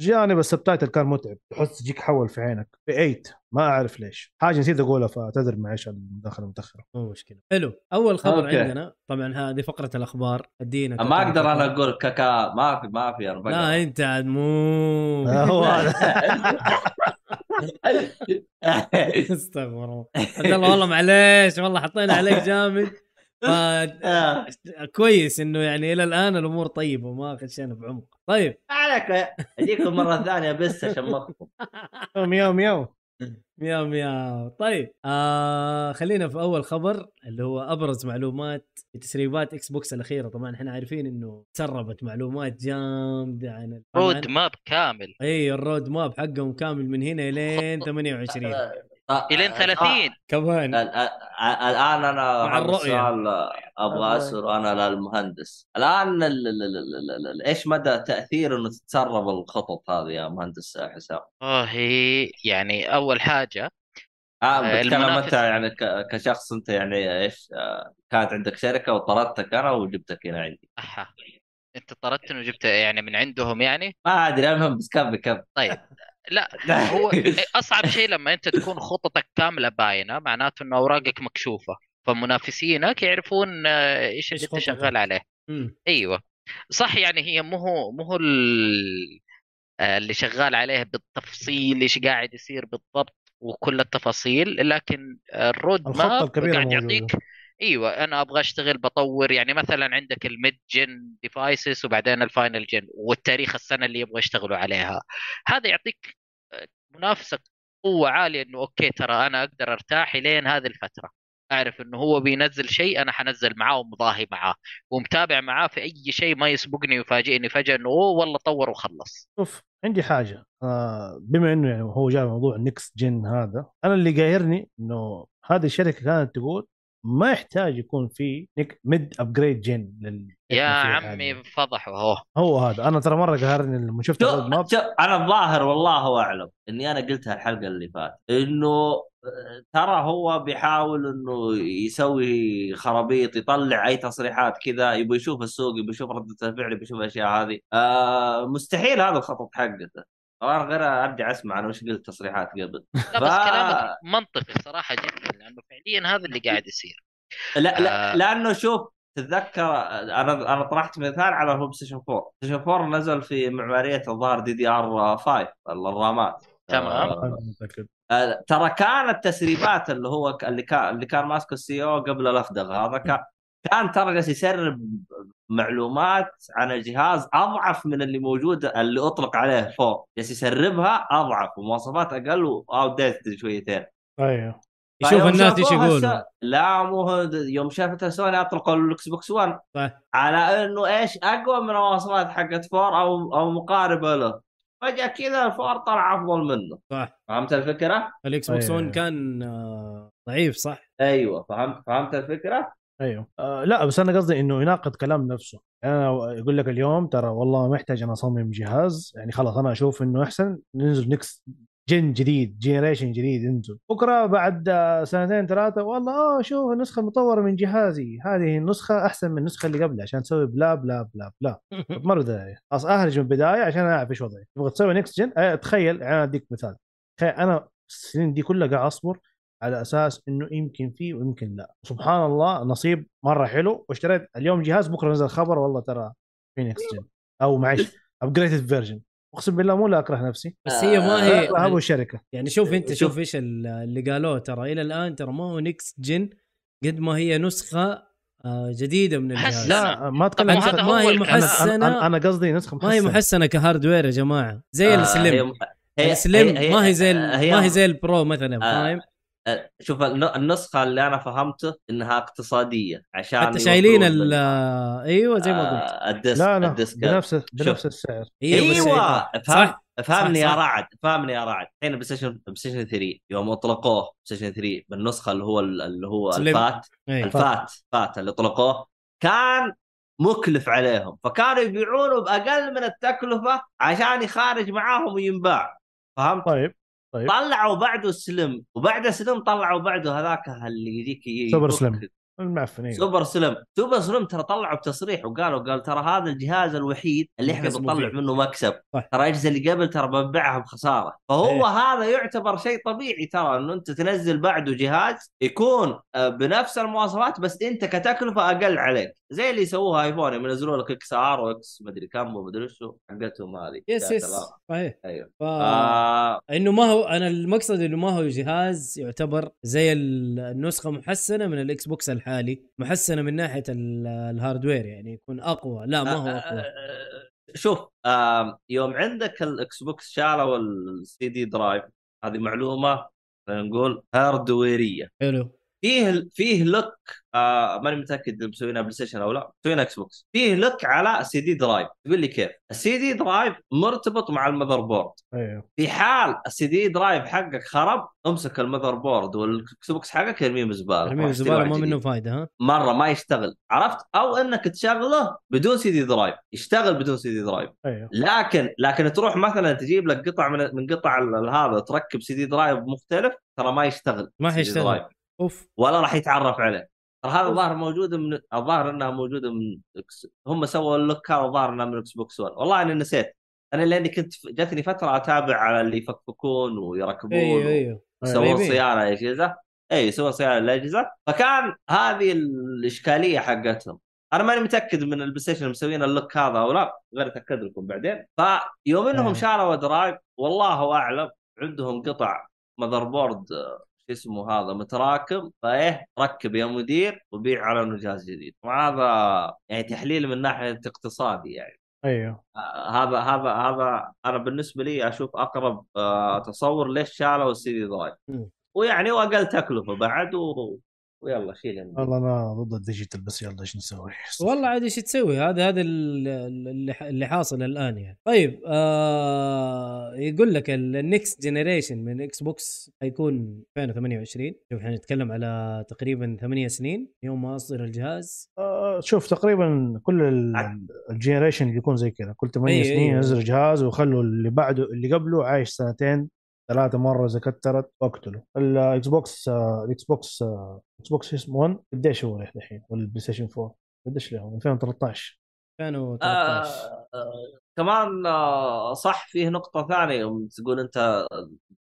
جانب السبتايتل كان متعب تحس يجيك حول في عينك في 8 ما اعرف ليش حاجه نسيت اقولها فاعتذر معلش على المداخله المتاخره
مو مشكله حلو اول خبر
أوكي.
عندنا طبعا هذه فقره الاخبار ادينا
ما اقدر انا اقول كاكا ما في ما في اربعه
لا انت عاد مو
آه، هو هذا
استغفر الله عبد الله والله معليش والله حطينا عليك جامد ف-
آه،
كويس انه يعني الى الان الامور طيبه وما خشينا بعمق طيب
ما عليك اجيكم مره ثانيه بس عشان ما أخطب.
مياو مياو
مياو مياو طيب آه خلينا في اول خبر اللي هو ابرز معلومات في تسريبات اكس بوكس الاخيره طبعا احنا عارفين انه تسربت معلومات جامده عن ال-
رود ماب كامل
اي الرود ماب حقهم كامل من هنا لين 28
آه،
الين
آه،
30
كمان
ال- ال- الان انا
مع
هذا
الرؤية.
السؤال ابغى
الرؤية.
اساله انا للمهندس الان ال- ال- ال- ال- ال- ال- ايش مدى تاثير انه تتسرب الخطط هذه يا مهندس حسام؟
والله آه، يعني اول حاجه
آه
آه،
بتكلم
المنافس-
انت يعني ك- كشخص انت يعني ايش آه، كانت عندك شركه وطردتك انا وجبتك هنا عندي
أحا. انت طردتني وجبت يعني من عندهم يعني
ما ادري المهم بس كمل كمل
طيب لا هو اصعب شيء لما انت تكون خططك كامله باينه معناته ان اوراقك مكشوفه فمنافسينك يعرفون آه، ايش اللي
إيش
انت
خططك.
شغال عليه
مم.
ايوه صح يعني هي مو هو مو هو ال- آه، اللي شغال عليه بالتفصيل ايش قاعد يصير بالضبط وكل التفاصيل لكن الرود
الخطة
ماب
الكبيرة
قاعد
موجودة.
يعطيك ايوه انا ابغى اشتغل بطور يعني مثلا عندك الميد جن ديفايسز وبعدين الفاينل جن والتاريخ السنه اللي يبغى يشتغلوا عليها هذا يعطيك آه، منافسه قوه عاليه انه اوكي ترى انا اقدر ارتاح لين هذه الفتره اعرف انه هو بينزل شيء انا حنزل معاه ومضاهي معاه ومتابع معاه في اي شيء ما يسبقني ويفاجئني فجاه انه اوه والله طور وخلص
شوف عندي حاجه آه بما انه يعني هو جاء موضوع النكس جن هذا انا اللي قاهرني انه هذه الشركه كانت تقول ما يحتاج يكون في نك ميد ابجريد جن لل
يا
إحنا فيه
عمي
حالياً.
فضحوا اهو
هو هذا انا ترى مره قاهرني لما شفت
شوف
الرود ماب
شوف انا الظاهر والله اعلم اني انا قلتها الحلقه اللي فاتت انه آه، ترى هو بيحاول انه يسوي خرابيط يطلع اي تصريحات كذا يبغى يشوف السوق يبغى يشوف رده الفعل يبغى يشوف الاشياء هذه آه مستحيل هذا الخطط حقته أنا غير ارجع اسمع انا وش قلت تصريحات قبل
لا بس
ف-
كلامك منطقي صراحه جدا لانه فعليا هذا اللي قاعد يصير
لا
آه.
لا لانه شوف تتذكر انا انا طرحت مثال على هو بلايستيشن 4 بلايستيشن 4 نزل في معماريه الظاهر دي دي ار 5 الرامات
تمام.
آه،
أنا متأكد.
آه، ترى كانت تسريبات اللي هو ك- اللي كان اللي كان ماسكه السي او قبل الافدغ هذا كان كان ترى جالس يسرب معلومات عن الجهاز اضعف من اللي موجود اللي اطلق عليه فوق جالس يسربها اضعف ومواصفات اقل واوت ديتد شويتين
ايوه
فيوم
يشوف الناس ايش
شافوها
يقولوا
س- لا مو هو- يوم شافتها سوني اطلقوا الاكس بوكس 1
صح
على انه ايش اقوى من المواصفات حقت فور او او مقاربه له فجاه كذا الفور طلع افضل منه
صح
فهمت الفكره؟
الاكس بوكس
أيوة.
1 كان آه، ضعيف صح
ايوه فهمت فهمت الفكره؟
ايوه آه لا بس انا قصدي انه يناقض كلام نفسه انا اقول لك اليوم ترى والله محتاج انا اصمم جهاز يعني خلاص انا اشوف انه احسن ننزل نكس جن جديد جنريشن جديد ينزل بكره بعد آه، سنتين ثلاثه والله اه شوف النسخه المطوره من جهازي هذه النسخه احسن من النسخه اللي قبلها عشان تسوي بلا بلا بلا بلا طب ما له داعي خلاص اهرج من البدايه عشان اعرف ايش وضعي تبغى تسوي نكس جن آه تخيل انا اديك مثال تخيل انا السنين دي كلها قاعد اصبر على اساس انه يمكن فيه ويمكن لا سبحان الله نصيب مره حلو واشتريت اليوم جهاز بكره نزل خبر والله ترى فينيكس جن او معلش ابجريدد فيرجن اقسم بالله مو لا اكره نفسي
بس هي ما هي
لا ابو الشركه
يعني شوف انت
شوف.
شوف ايش ال- اللي قالوه ترى الى الان ترى ما هو نكس جن قد ما هي نسخه آه، جديده من
أحس
الجهاز
لا،
لا ما اتكلم
طب
عن
أنت-
وهذا هو
ما هي
الكلام.
محسنه
أنا- انا انا قصدي نسخه
ما هي
محسنة.
محسنه كهاردوير يا جماعه زي
آه،
السليم السليم ما آه، هي زي ال- ما هي آه، يعني زي البرو مثلا فاهم
آه، شوف الن- النسخه اللي انا فهمته انها اقتصاديه عشان
حتى شايلين
يوفروا
ال-
بال-
ايوه زي ما قلت أيوة، إيه،
آه، الديسك
لا لا
الديسك
بنفس بنفس السعر
بس
ايوه
شايلين.
فهم
صح
فهمني
صح،
يا
صح.
رعد فهمني يا رعد الحين بلاي ستيشن بلاي ستيشن 3 يوم اطلقوه بلاي ستيشن 3 بالنسخه اللي هو اللي هو
سليم.
الفات
أيوة.
الفات فات اللي اطلقوه كان مكلف عليهم فكانوا يبيعونه باقل من التكلفه عشان يخارج معاهم وينباع فهمت؟
طيب
إيه.
طيب.
طلعوا بعده سلم وبعد سلم طلعوا بعده هذاك اللي يجيك ي-
سوبر
يفك-
سلم. المعفن
إيه.
ايوه
سوبر سلم سوبر سلم ترى طلعوا بتصريح وقالوا قال ترى هذا الجهاز الوحيد اللي احنا
كسبوا
بنطلع
فيه.
منه مكسب
صح.
ترى الاجهزه اللي قبل ترى بنبيعها بخساره فهو
إيه.
هذا يعتبر شيء طبيعي ترى انه انت تنزل بعده جهاز يكون آه، بنفس المواصفات بس انت كتكلفه اقل عليك زي اللي يسووها ايفون يوم ينزلوا لك اكس ار واكس مدري كم ومدري شو حقتهم هذه
يس
يا
يس
سلام.
صحيح
ايوه
ف...
آه
انه ما هو انا المقصد انه ما هو جهاز يعتبر زي ال- النسخه محسنه من الاكس بوكس الحالي محسنه من ناحيه ال- الهاردوير يعني يكون اقوى لا ما هو
آه، آه،
اقوى
آه، شوف آه، يوم عندك الاكس بوكس شالوا السي دي درايف هذه معلومه خلينا نقول هاردويريه
حلو
فيه فيه لوك آه ماني متاكد إذا مسوينها بلاي ستيشن او لا مسوينها اكس بوكس فيه لوك على سي دي درايف تقول لي كيف السي دي درايف مرتبط مع المذر بورد
ايوه
في حال السي دي درايف حقك خرب امسك المذر بورد والاكس بوكس حقك ارميه بالزباله
ارميه
روح اشتري
بالزباله
واحد
ما
جديد.
منه فايده ها
مره ما يشتغل عرفت او انك تشغله بدون سي دي درايف يشتغل بدون سي دي درايف
ايوه
لكن لكن تروح مثلا تجيب لك قطع من من قطع ال- ال- هذا تركب سي دي درايف مختلف ترى ما يشتغل
ما
CD
حيشتغل.
درايف
اوف
ولا راح يتعرف عليه ترى هذا الظاهر موجود من الظاهر انها موجوده من إكس- هم سووا اللوك هذا الظاهر انها من اكس بوكس 1 والله انا نسيت انا لاني كنت جاتني فتره اتابع على اللي يفككون ويركبون
ايوه
و-
ايوه
يسوون
طيبين.
صيانه الاجهزه اي إيه، يسوون صيانه الاجهزه فكان هذه الاشكاليه حقتهم انا ماني متاكد من البلاي ستيشن مسوين اللوك هذا او لا غير اتاكد لكم بعدين فيوم انهم
أيوه.
شاروا درايف والله اعلم عندهم قطع ماذر بورد آه، شو اسمه هذا متراكم فايه ركب يا مدير وبيع على انه جهاز جديد وهذا يعني تحليل من ناحيه اقتصادي يعني
ايوه
آه، هذا هذا هذا انا بالنسبه لي اشوف اقرب آه، تصور ليش شالوا السي دي درايف
مم.
ويعني واقل تكلفه بعد و... ويلا شيل المدير.
والله انا ضد الديجيتال بس يلا ايش نسوي؟
والله عاد ايش تسوي هذا هذا ال- ال- اللي ح- اللي حاصل الان يعني طيب آه يقول لك النكست جنريشن من اكس بوكس حيكون 2028 شوف احنا نتكلم على تقريبا ثمانية سنين يوم ما اصدر الجهاز
آه، شوف تقريبا كل ال- الجنريشن يكون زي كذا كل 8
أيوة،
سنين
أيوة.
ينزل جهاز ويخلوا اللي بعده اللي قبله عايش سنتين ثلاثة مرة إذا كترت واقتله الاكس بوكس آه، الاكس بوكس آه، اكس بوكس اسمه 1 قديش هو الحين والبلاي ستيشن 4 قديش لهم 2013
2013
آه آه، كمان آه صح فيه نقطة ثانية يوم تقول أنت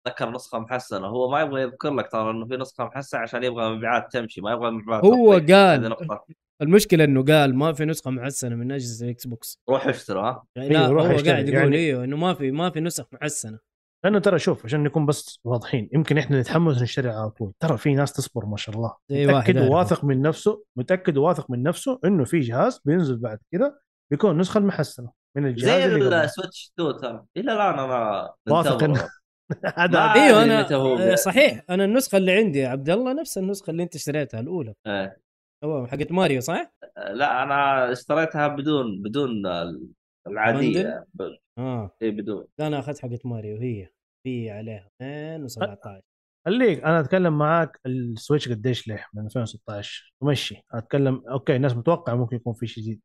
تذكر نسخة محسنة هو ما يبغى يذكر لك ترى أنه في نسخة محسنة عشان يبغى مبيعات تمشي ما يبغى مبيعات
هو
طيب،
تطيح.
قال.
هذه نقطة
المشكله انه قال ما في نسخه محسنه من اجهزه الاكس بوكس
روح اشتروا ها
يعني
أيوة،
لا هو
روح
قاعد
اشتري.
يقول
يعني-
ايوه انه ما في ما في نسخ محسنه
لأنه ترى شوف عشان نكون بس واضحين يمكن إحنا نتحمس نشتري على طول ترى في ناس تصبر ما شاء الله
زي واحد
متاكد
أعرفه.
وواثق من نفسه متاكد وواثق من نفسه انه في جهاز بينزل بعد كده بيكون النسخه المحسنه من الجهاز
زي
اللي قبله.
السويتش 2 ترى إلى الآن أنا
واثق
منتظره.
إنه- هذا
ما
ايوه
يعني
أدري
انا
متى هو
آه، صحيح انا النسخه اللي عندي يا عبد الله نفس النسخه اللي انت اشتريتها الاولى
آه.
إيه.
أوه، حقت ماريو صح؟
لا أنا اشتريتها بدون بدون ال- العادية ب-
اه
إيه بدون
لا انا اخذت حقت ماريو هي في عليها 2017
خليك انا اتكلم معاك السويتش قديش ليه من 2016 ماشي اتكلم اوكي الناس متوقع ممكن يكون في شيء جديد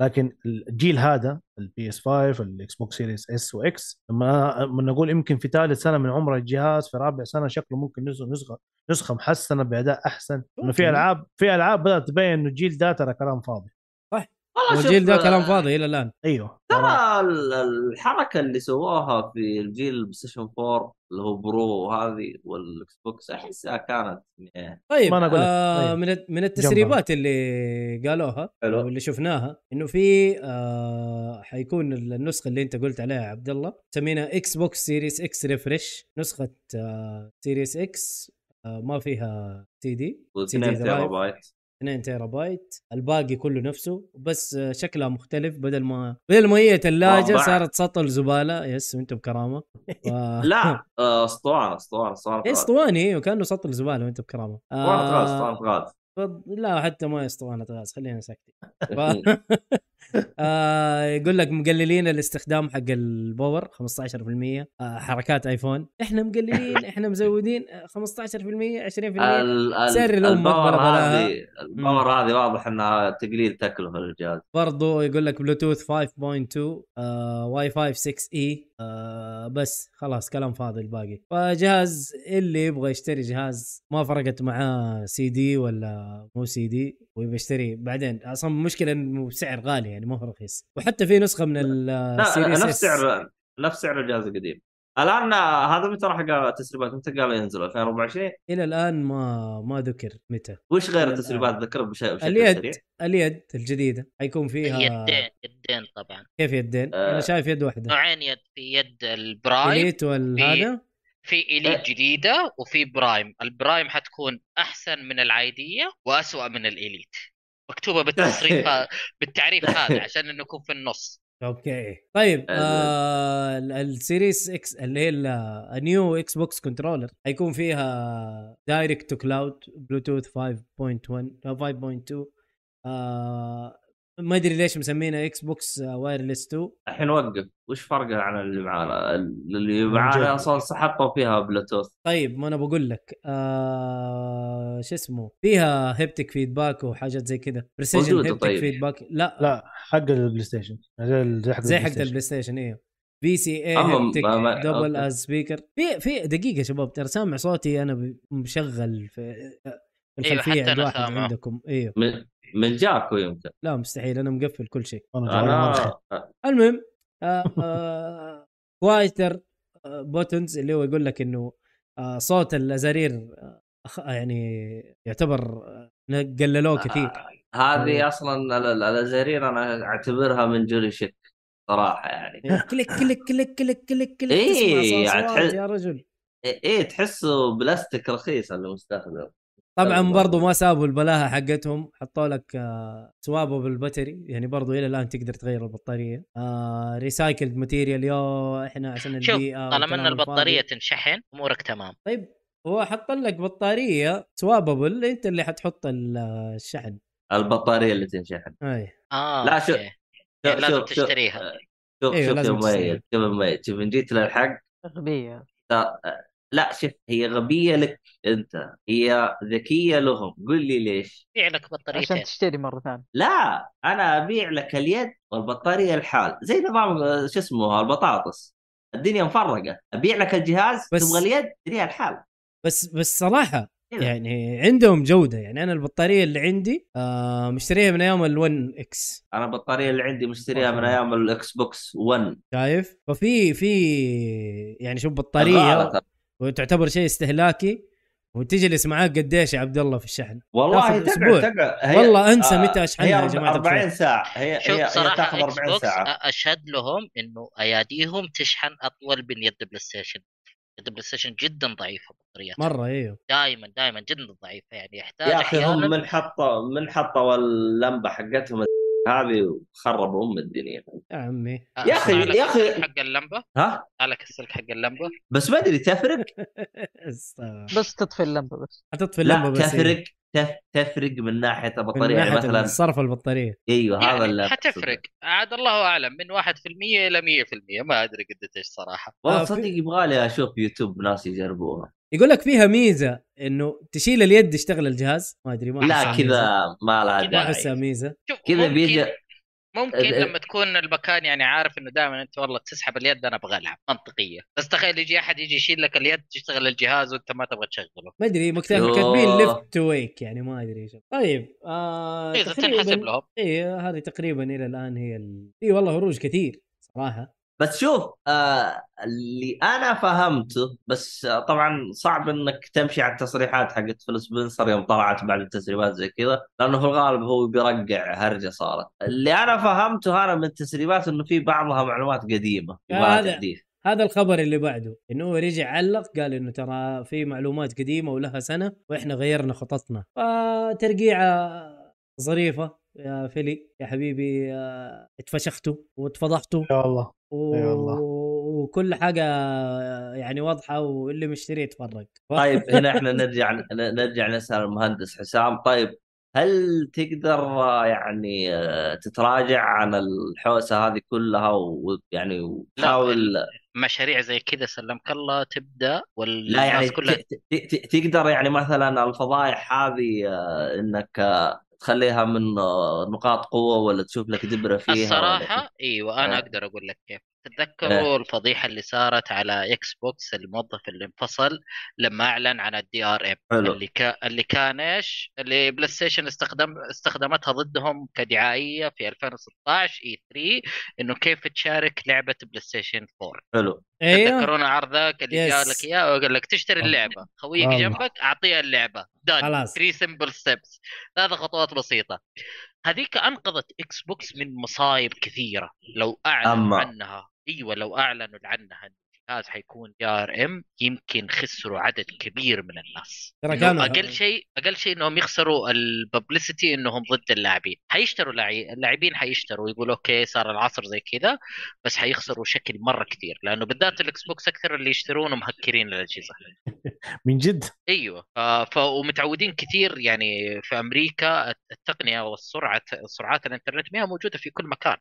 لكن الجيل هذا البي اس 5 الاكس بوكس سيريس اس واكس لما لما نقول يمكن في ثالث سنه من عمر الجهاز في رابع سنه شكله ممكن نزل نسخه نسخه محسنه باداء احسن انه في
ممكن.
العاب في العاب بدات تبين انه الجيل ده ترى كلام فاضي آه،
والله
والجيل
شوف،
ده كلام فاضي الى الان
ايوه
ترى ال- الحركه اللي سووها في الجيل البلايستيشن 4 اللي هو برو هذه والاكس بوكس احسها كانت إيه.
طيب
ما أنا أقول لك.
آه
طيب.
من الت- من التسريبات اللي قالوها
حلو.
واللي شفناها انه في آه حيكون النسخه اللي انت قلت عليها يا عبد الله سمينا اكس بوكس سيريس اكس ريفرش نسخه آه سيريس اكس آه ما فيها سي دي سي دي
2 تيرا
درايف
بايت
2 تيرا بايت الباقي كله نفسه بس آه، شكلها مختلف بدل ما بدل ما هي ثلاجه
مربع.
صارت سطل زباله يس انتم بكرامه ف...
لا آه، اسطوانه اسطوانه اسطوانه
إيه،
غاز.
اسطواني ايوه كانه سطل زباله وانت بكرامه
اسطوانه غاز
آه،
اسطوانه غاز
بض- لا حتى ما هي اسطوانه غاز خلينا ساكتين ف... آه يقول لك مقللين الاستخدام حق الباور 15% آه حركات ايفون احنا مقللين احنا مزودين آه، 15% 20%
ال- ال-
سري لو ما
الباور
أقبل أبلاها.
هذه الباور هذه واضح انها تقليل تكلفه للجهاز
برضو يقول لك بلوتوث 5.2 آه واي فاي 6 اي آه بس خلاص كلام فاضي الباقي فجهاز اللي يبغى يشتري جهاز ما فرقت معاه سي دي ولا مو سي دي ويبغى يشتري بعدين اصلا المشكله انه بسعر غالي يعني ما هو رخيص وحتى في نسخه من
لا
السيريس
نفس سعر نفس سعر الجهاز القديم الان آه، هذا متى راح قال التسريبات متى قال ينزل 2024
الى الان ما ما ذكر متى
وش غير
الآن.
التسريبات ذكر بشيء بشكل سريع
اليد اليد الجديده حيكون فيها
يدين يدين طبعا
كيف يدين؟
آه. طيب.
انا شايف يد واحده
نوعين يد في يد البرايم
اليت والهذا
في
إيه.
اليت جديده وفي برايم البرايم حتكون احسن من العاديه واسوا من الاليت مكتوبه بالتصريف ها- بالتعريف هذا عشان نكون في النص
اوكي طيب آه ال- السيريس اكس اللي هي ال- آه، النيو اكس بوكس كنترولر حيكون فيها دايركت تو كلاود بلوتوث 5.1 آه، 5.2 آه ما ادري ليش مسمينه آه، اكس بوكس وايرلس 2
الحين وقف وش فرقه عن اللي معانا اللي معانا
جد.
اصلا سحطوا فيها بلوتوث
طيب ما انا بقول لك آه شو اسمه فيها هيبتك فيدباك وحاجات زي كذا بريسيجن
موجودة
هيبتك
طيب.
فيدباك لا
لا حق البلاي ستيشن زي زي حق
زي
البلاي
حق
ستيشن.
البلاي ستيشن ايوه بي سي اي
أما-
هيبتك
ما-
دبل
أوكي.
از سبيكر في في دقيقه يا شباب ترى سامع صوتي انا ب- مشغل في في
إيه،
أيوة،
الخلفيه
حتى
عند
أنا
واحد
سامعه.
عندكم ايوه
من من جاكو يمكن
لا مستحيل انا مقفل كل شيء
أنا جوالي ما أدخل.
انا
المهم آه، آه، كوايتر آه، بوتنز اللي هو يقول لك انه آه، صوت الازارير آه، أخ- يعني يعتبر آه، قللوه كثير أيوه.
هذه اصلا ال- ال- الازارير انا اعتبرها من جوري شك صراحه يعني
أيوه. كليك كليك كليك كليك كليك كليك
إيه،
تسمع
يعني
صوت
تحس-
يا رجل
ايه تحسه بلاستيك رخيص اللي مستخدم
طبعا برضو ما سابوا البلاهه حقتهم حطوا لك آه، سوابوا بالبطاري يعني برضو الى الان تقدر تغير البطاريه آه ريسايكلد ماتيريال يا احنا عشان
شوف،
البيئه
طالما
والكلام
ان البطاريه
آه، الفاضي.
تنشحن امورك تمام
طيب هو حط لك بطاريه سواببل انت اللي حتحط ال- الشحن
البطاريه اللي تنشحن
اي
اه
لا، شوف-
أوكي. يعني لازم تشتريها
أيوه،
شوف شوف يا
لازم
مميز
تشتري.
شوف يا مميز شوف ان جيت للحق
غبيه
تا- لا شوف هي غبيه لك انت هي ذكيه لهم قل لي ليش
بيع لك
عشان
بطاريتين
تشتري مره ثانيه
لا انا ابيع لك اليد والبطاريه الحال زي نظام آه، شو اسمه البطاطس الدنيا مفرقه ابيع لك الجهاز
بس-
تبغى اليد تديها الحال
بس بس صراحه
كذا.
يعني عندهم جوده يعني انا البطاريه اللي عندي آه مشتريها من ايام ال1 اكس
انا البطاريه اللي عندي مشتريها من ايام الاكس بوكس 1
شايف ففي في يعني شوف بطاريه
غالة.
وتعتبر شيء استهلاكي وتجلس معاك قديش يا عبد الله في الشحن
والله
تاخذ أسبوع.
تقعد تقعد هي-
والله انسى
آه،
متى اشحنها
هي
يا جماعه
40
الخير
ساعه هي هي,
شوف
هي
صراحه
تاخذ
اكس
40
بوكس
ساعه
أ- اشهد لهم انه اياديهم تشحن اطول من يد بلاي ستيشن يد بلاي ستيشن جدا ضعيفه بطاريتها
مره ايوه
دائما دائما جدا ضعيفه يعني يحتاج
يا اخي هم
أحياناً-
من حطوا من حطوا اللمبه حقتهم هذه وخربوا ام الدنيع
يا عمي
يا أخي-
أسمع لك
يا أخي-
السلك حق اللمبه
ها
لك السلك حق اللمبه
بس ما ادري تفرق
استغفر.
بس تطفي اللمبه بس
حتطفي اللمبه
لا
بس إيه.
تفرق تف- تفرق من ناحيه
من
البطاريه يعني
ناحيه
مثلا
صرف البطاريه
ايوه هذا
يعني
اللي
حتفرق عاد الله اعلم من 1% الى 100% ما ادري قد ايش صراحه
والله
آه، في-
صدق يبغى لي اشوف يوتيوب ناس يجربوها
يقول لك فيها ميزه انه تشيل اليد يشتغل الجهاز ما ادري ما
لا
أحسها ميزة.
كذا ما لها
كذا
ما
داعي
احسها ميزه
شوف
كذا
ممكن-
بيجي
ممكن
ال-
لما تكون المكان يعني عارف انه دائما انت والله تسحب اليد انا ابغى العب منطقيه بس تخيل يجي احد يجي يشيل لك اليد تشتغل الجهاز وانت ما تبغى تشغله
ما ادري مكتب
يوه.
كاتبين ليفت تو ويك يعني ما ادري ايش طيب آه
ميزه إيه، تنحسب
تقريبا
لهم
اي هذه تقريبا الى الان هي ال... اي والله هروج كثير صراحه
بس شوف آه اللي انا فهمته بس آه طبعا صعب انك تمشي على التصريحات حقت فيل سبنسر يوم طلعت بعد التسريبات زي كذا لانه في الغالب هو بيرقع هرجه صارت اللي انا فهمته انا من التسريبات انه في بعضها معلومات قديمه
آه،
يبغى
هذا-
تحديث
هذا الخبر اللي بعده انه هو رجع علق قال انه ترى في معلومات قديمه ولها سنه واحنا غيرنا خططنا فترقيعه ظريفه يا فيلي يا حبيبي آه، اتفشختوا واتفضحتوا
يا الله
و...
أي والله.
وكل حاجه يعني واضحه واللي مشتري يتفرج
طيب هنا احنا نرجع ن- نرجع نسال المهندس حسام طيب هل تقدر آه، يعني آه، تتراجع عن الحوسه هذه كلها ويعني وتحاول
مشاريع زي كذا سلمك الله تبدا والناس
لا يعني
كلها
ت- ت- ت- تقدر يعني مثلا الفضائح هذه آه، انك آه، تخليها من آه، نقاط قوه ولا تشوف لك دبره فيها ولا
الصراحه ايوه انا
آه.
اقدر اقول لك كيف تتذكروا الفضيحه اللي صارت على اكس بوكس الموظف اللي انفصل لما اعلن عن الدي ار ام
حلو.
اللي كا... اللي كان ايش اللي بلاي ستيشن استخدم استخدمتها ضدهم كدعائيه في 2016 اي 3 انه كيف تشارك لعبه بلاي ستيشن 4
حلو
ايوه
تتذكرون عرض ذاك اللي
Yes.
قال لك اياه وقال لك تشتري
آه.
والله.
اللعبه خويك
والله.
جنبك اعطيه اللعبه دان
خلاص
3 سمبل ستيبس ثلاث خطوات بسيطه هذيك انقذت اكس بوكس من مصايب كثيره لو اعلنوا
أما.
عنها ايوه لو اعلنوا عنها إن الجهاز حيكون دي ار ام يمكن خسروا عدد كبير من الناس
ترى
إنه
كانوا-
اقل شيء اقل شيء انهم يخسروا الببليستي انهم ضد اللاعبين حيشتروا لاعي- اللاعبين حيشتروا يقولوا اوكي صار العصر زي كذا بس حيخسروا شكل مره كثير لانه بالذات الاكس بوكس اكثر اللي يشترونه مهكرين الاجهزه
من جد
ايوه ف... ف... ومتعودين كثير يعني في امريكا التقنيه والسرعه سرعات الانترنت ما هي موجوده في كل مكان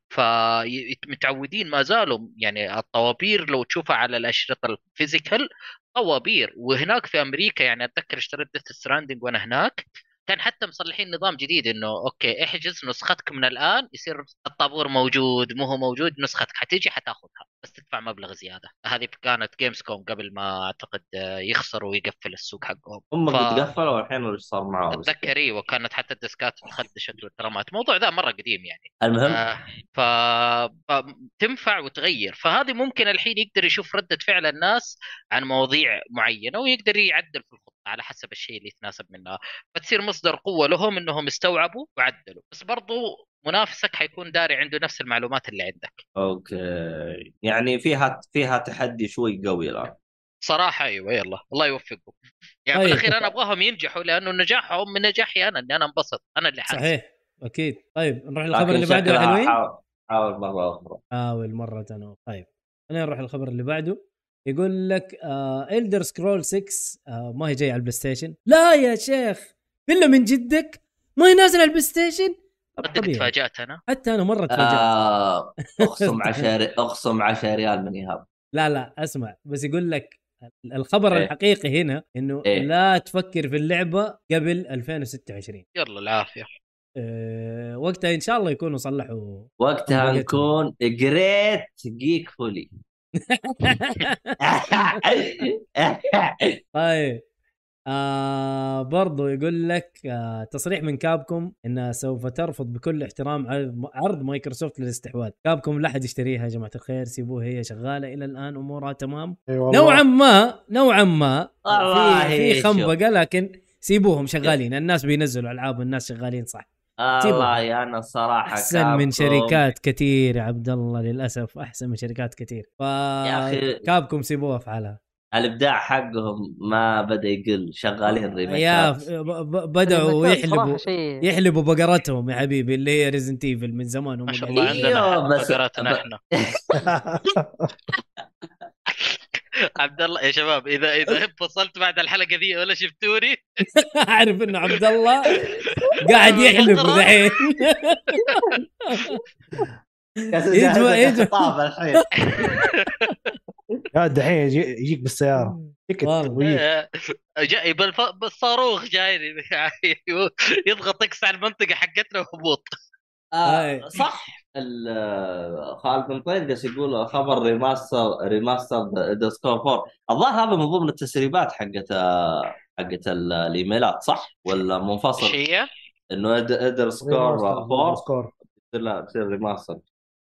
فمتعودين ما زالوا يعني الطوابير لو تشوفها على الاشرطه الفيزيكال طوابير وهناك في امريكا يعني اتذكر اشتريت ديث ستراندنج وانا هناك كان حتى مصلحين نظام جديد انه اوكي احجز نسختك من الان يصير الطابور موجود مو هو موجود نسختك حتيجي حتاخذها بس تدفع مبلغ زياده هذه كانت جيمز كوم قبل ما اعتقد يخسر ويقفل السوق حقهم
هم
ف-
قد قفلوا الحين وش صار معاهم
اتذكر ايوه كانت حتى الديسكات تخدشت واترمت الموضوع ذا مره قديم يعني
المهم
آه، ف... فتنفع وتغير فهذه ممكن الحين يقدر يشوف رده فعل الناس عن مواضيع معينه ويقدر يعدل في الخطه على حسب الشيء اللي يتناسب منها فتصير مصدر قوه لهم انهم استوعبوا وعدلوا بس برضو منافسك حيكون داري عنده نفس المعلومات اللي عندك
اوكي يعني فيها فيها تحدي شوي قوي الان
صراحه ايوه يلا الله يوفقكم يعني
طيب.
في الاخير انا ابغاهم ينجحوا لانه نجاحهم من نجاحي انا اني انا انبسط انا اللي حاسس
صحيح اكيد طيب نروح
لكن
للخبر اللي بعده يا
شكلها
حلوين
حاول- حاول مره اخرى
حاول مرة أخرى طيب خلينا نروح للخبر اللي بعده يقول لك إلدر سكرول 6 آه ما هي جاية على البلاي ستيشن لا يا شيخ بالله من جدك ما هي نازلة على البلاي ستيشن
صدق
طبيعي.
تفاجات انا
حتى أنا مرة تفاجأت
آه، اقسم 10 اقسم 10 ريال من ايهاب
لا لا اسمع بس يقول لك الخبر
إيه.
الحقيقي هنا انه
إيه.
لا تفكر في اللعبه قبل 2026
يلا العافيه
أه وقتها ان شاء الله يكونوا صلحوا
وقتها
بقيت.
نكون جريت جيك فولي
طيب آه برضو يقول لك آه تصريح من كابكم انها سوف ترفض بكل احترام عرض عرض مايكروسوفت للاستحواذ، كابكم لا احد يشتريها يا جماعه الخير سيبوها هي شغاله الى الان امورها تمام،
اي والله
نوعا ما نوعا ما
والله
في في
شوف.
خنبقه لكن سيبوهم شغالين الناس بينزلوا العاب والناس شغالين صح
والله انا الصراحه
احسن من
كابكم-
شركات كثير يا عبد الله للاسف احسن من شركات كثير ف
يا أخي.
كابكم سيبوها في حالها
الابداع حقهم ما بدا يقل شغالين
يا
ريميكات
ف- ب- ب- بدأوا يحلبوا
شيء
يحلبوا بقرتهم يا حبيبي اللي هي ريزنت ايفل من زمان هم
ما شاء
قاعدين.
الله عندنا
إيوه، بس-
فقراتنا
بس-
احنا عبد الله يا شباب اذا اذا انفصلت بعد الحلقه ذي ولا شفتوني
اعرف انه عبد الله قاعد يحلب
بقرة.
دحين يجوا- يجوا.
طاب الحين
يا دحين يجي- يجيك بالسياره تكت
والله.
إيه،
ويجيك
جاي آه، بالف- بالصاروخ جاي يضغط اكس على المنطقه حقتنا وهبوط
آه،
هاي.
صح ال- آه، خالد مطير قاعد يقول خبر ريماستر ريماستر ديسكور 4 الظاهر هذا من ضمن التسريبات حقت آه، حقت ال- الايميلات صح ولا
ايش
منفصل
هي؟
انه ادر سكور 4
سكور
لا تصير ريماستر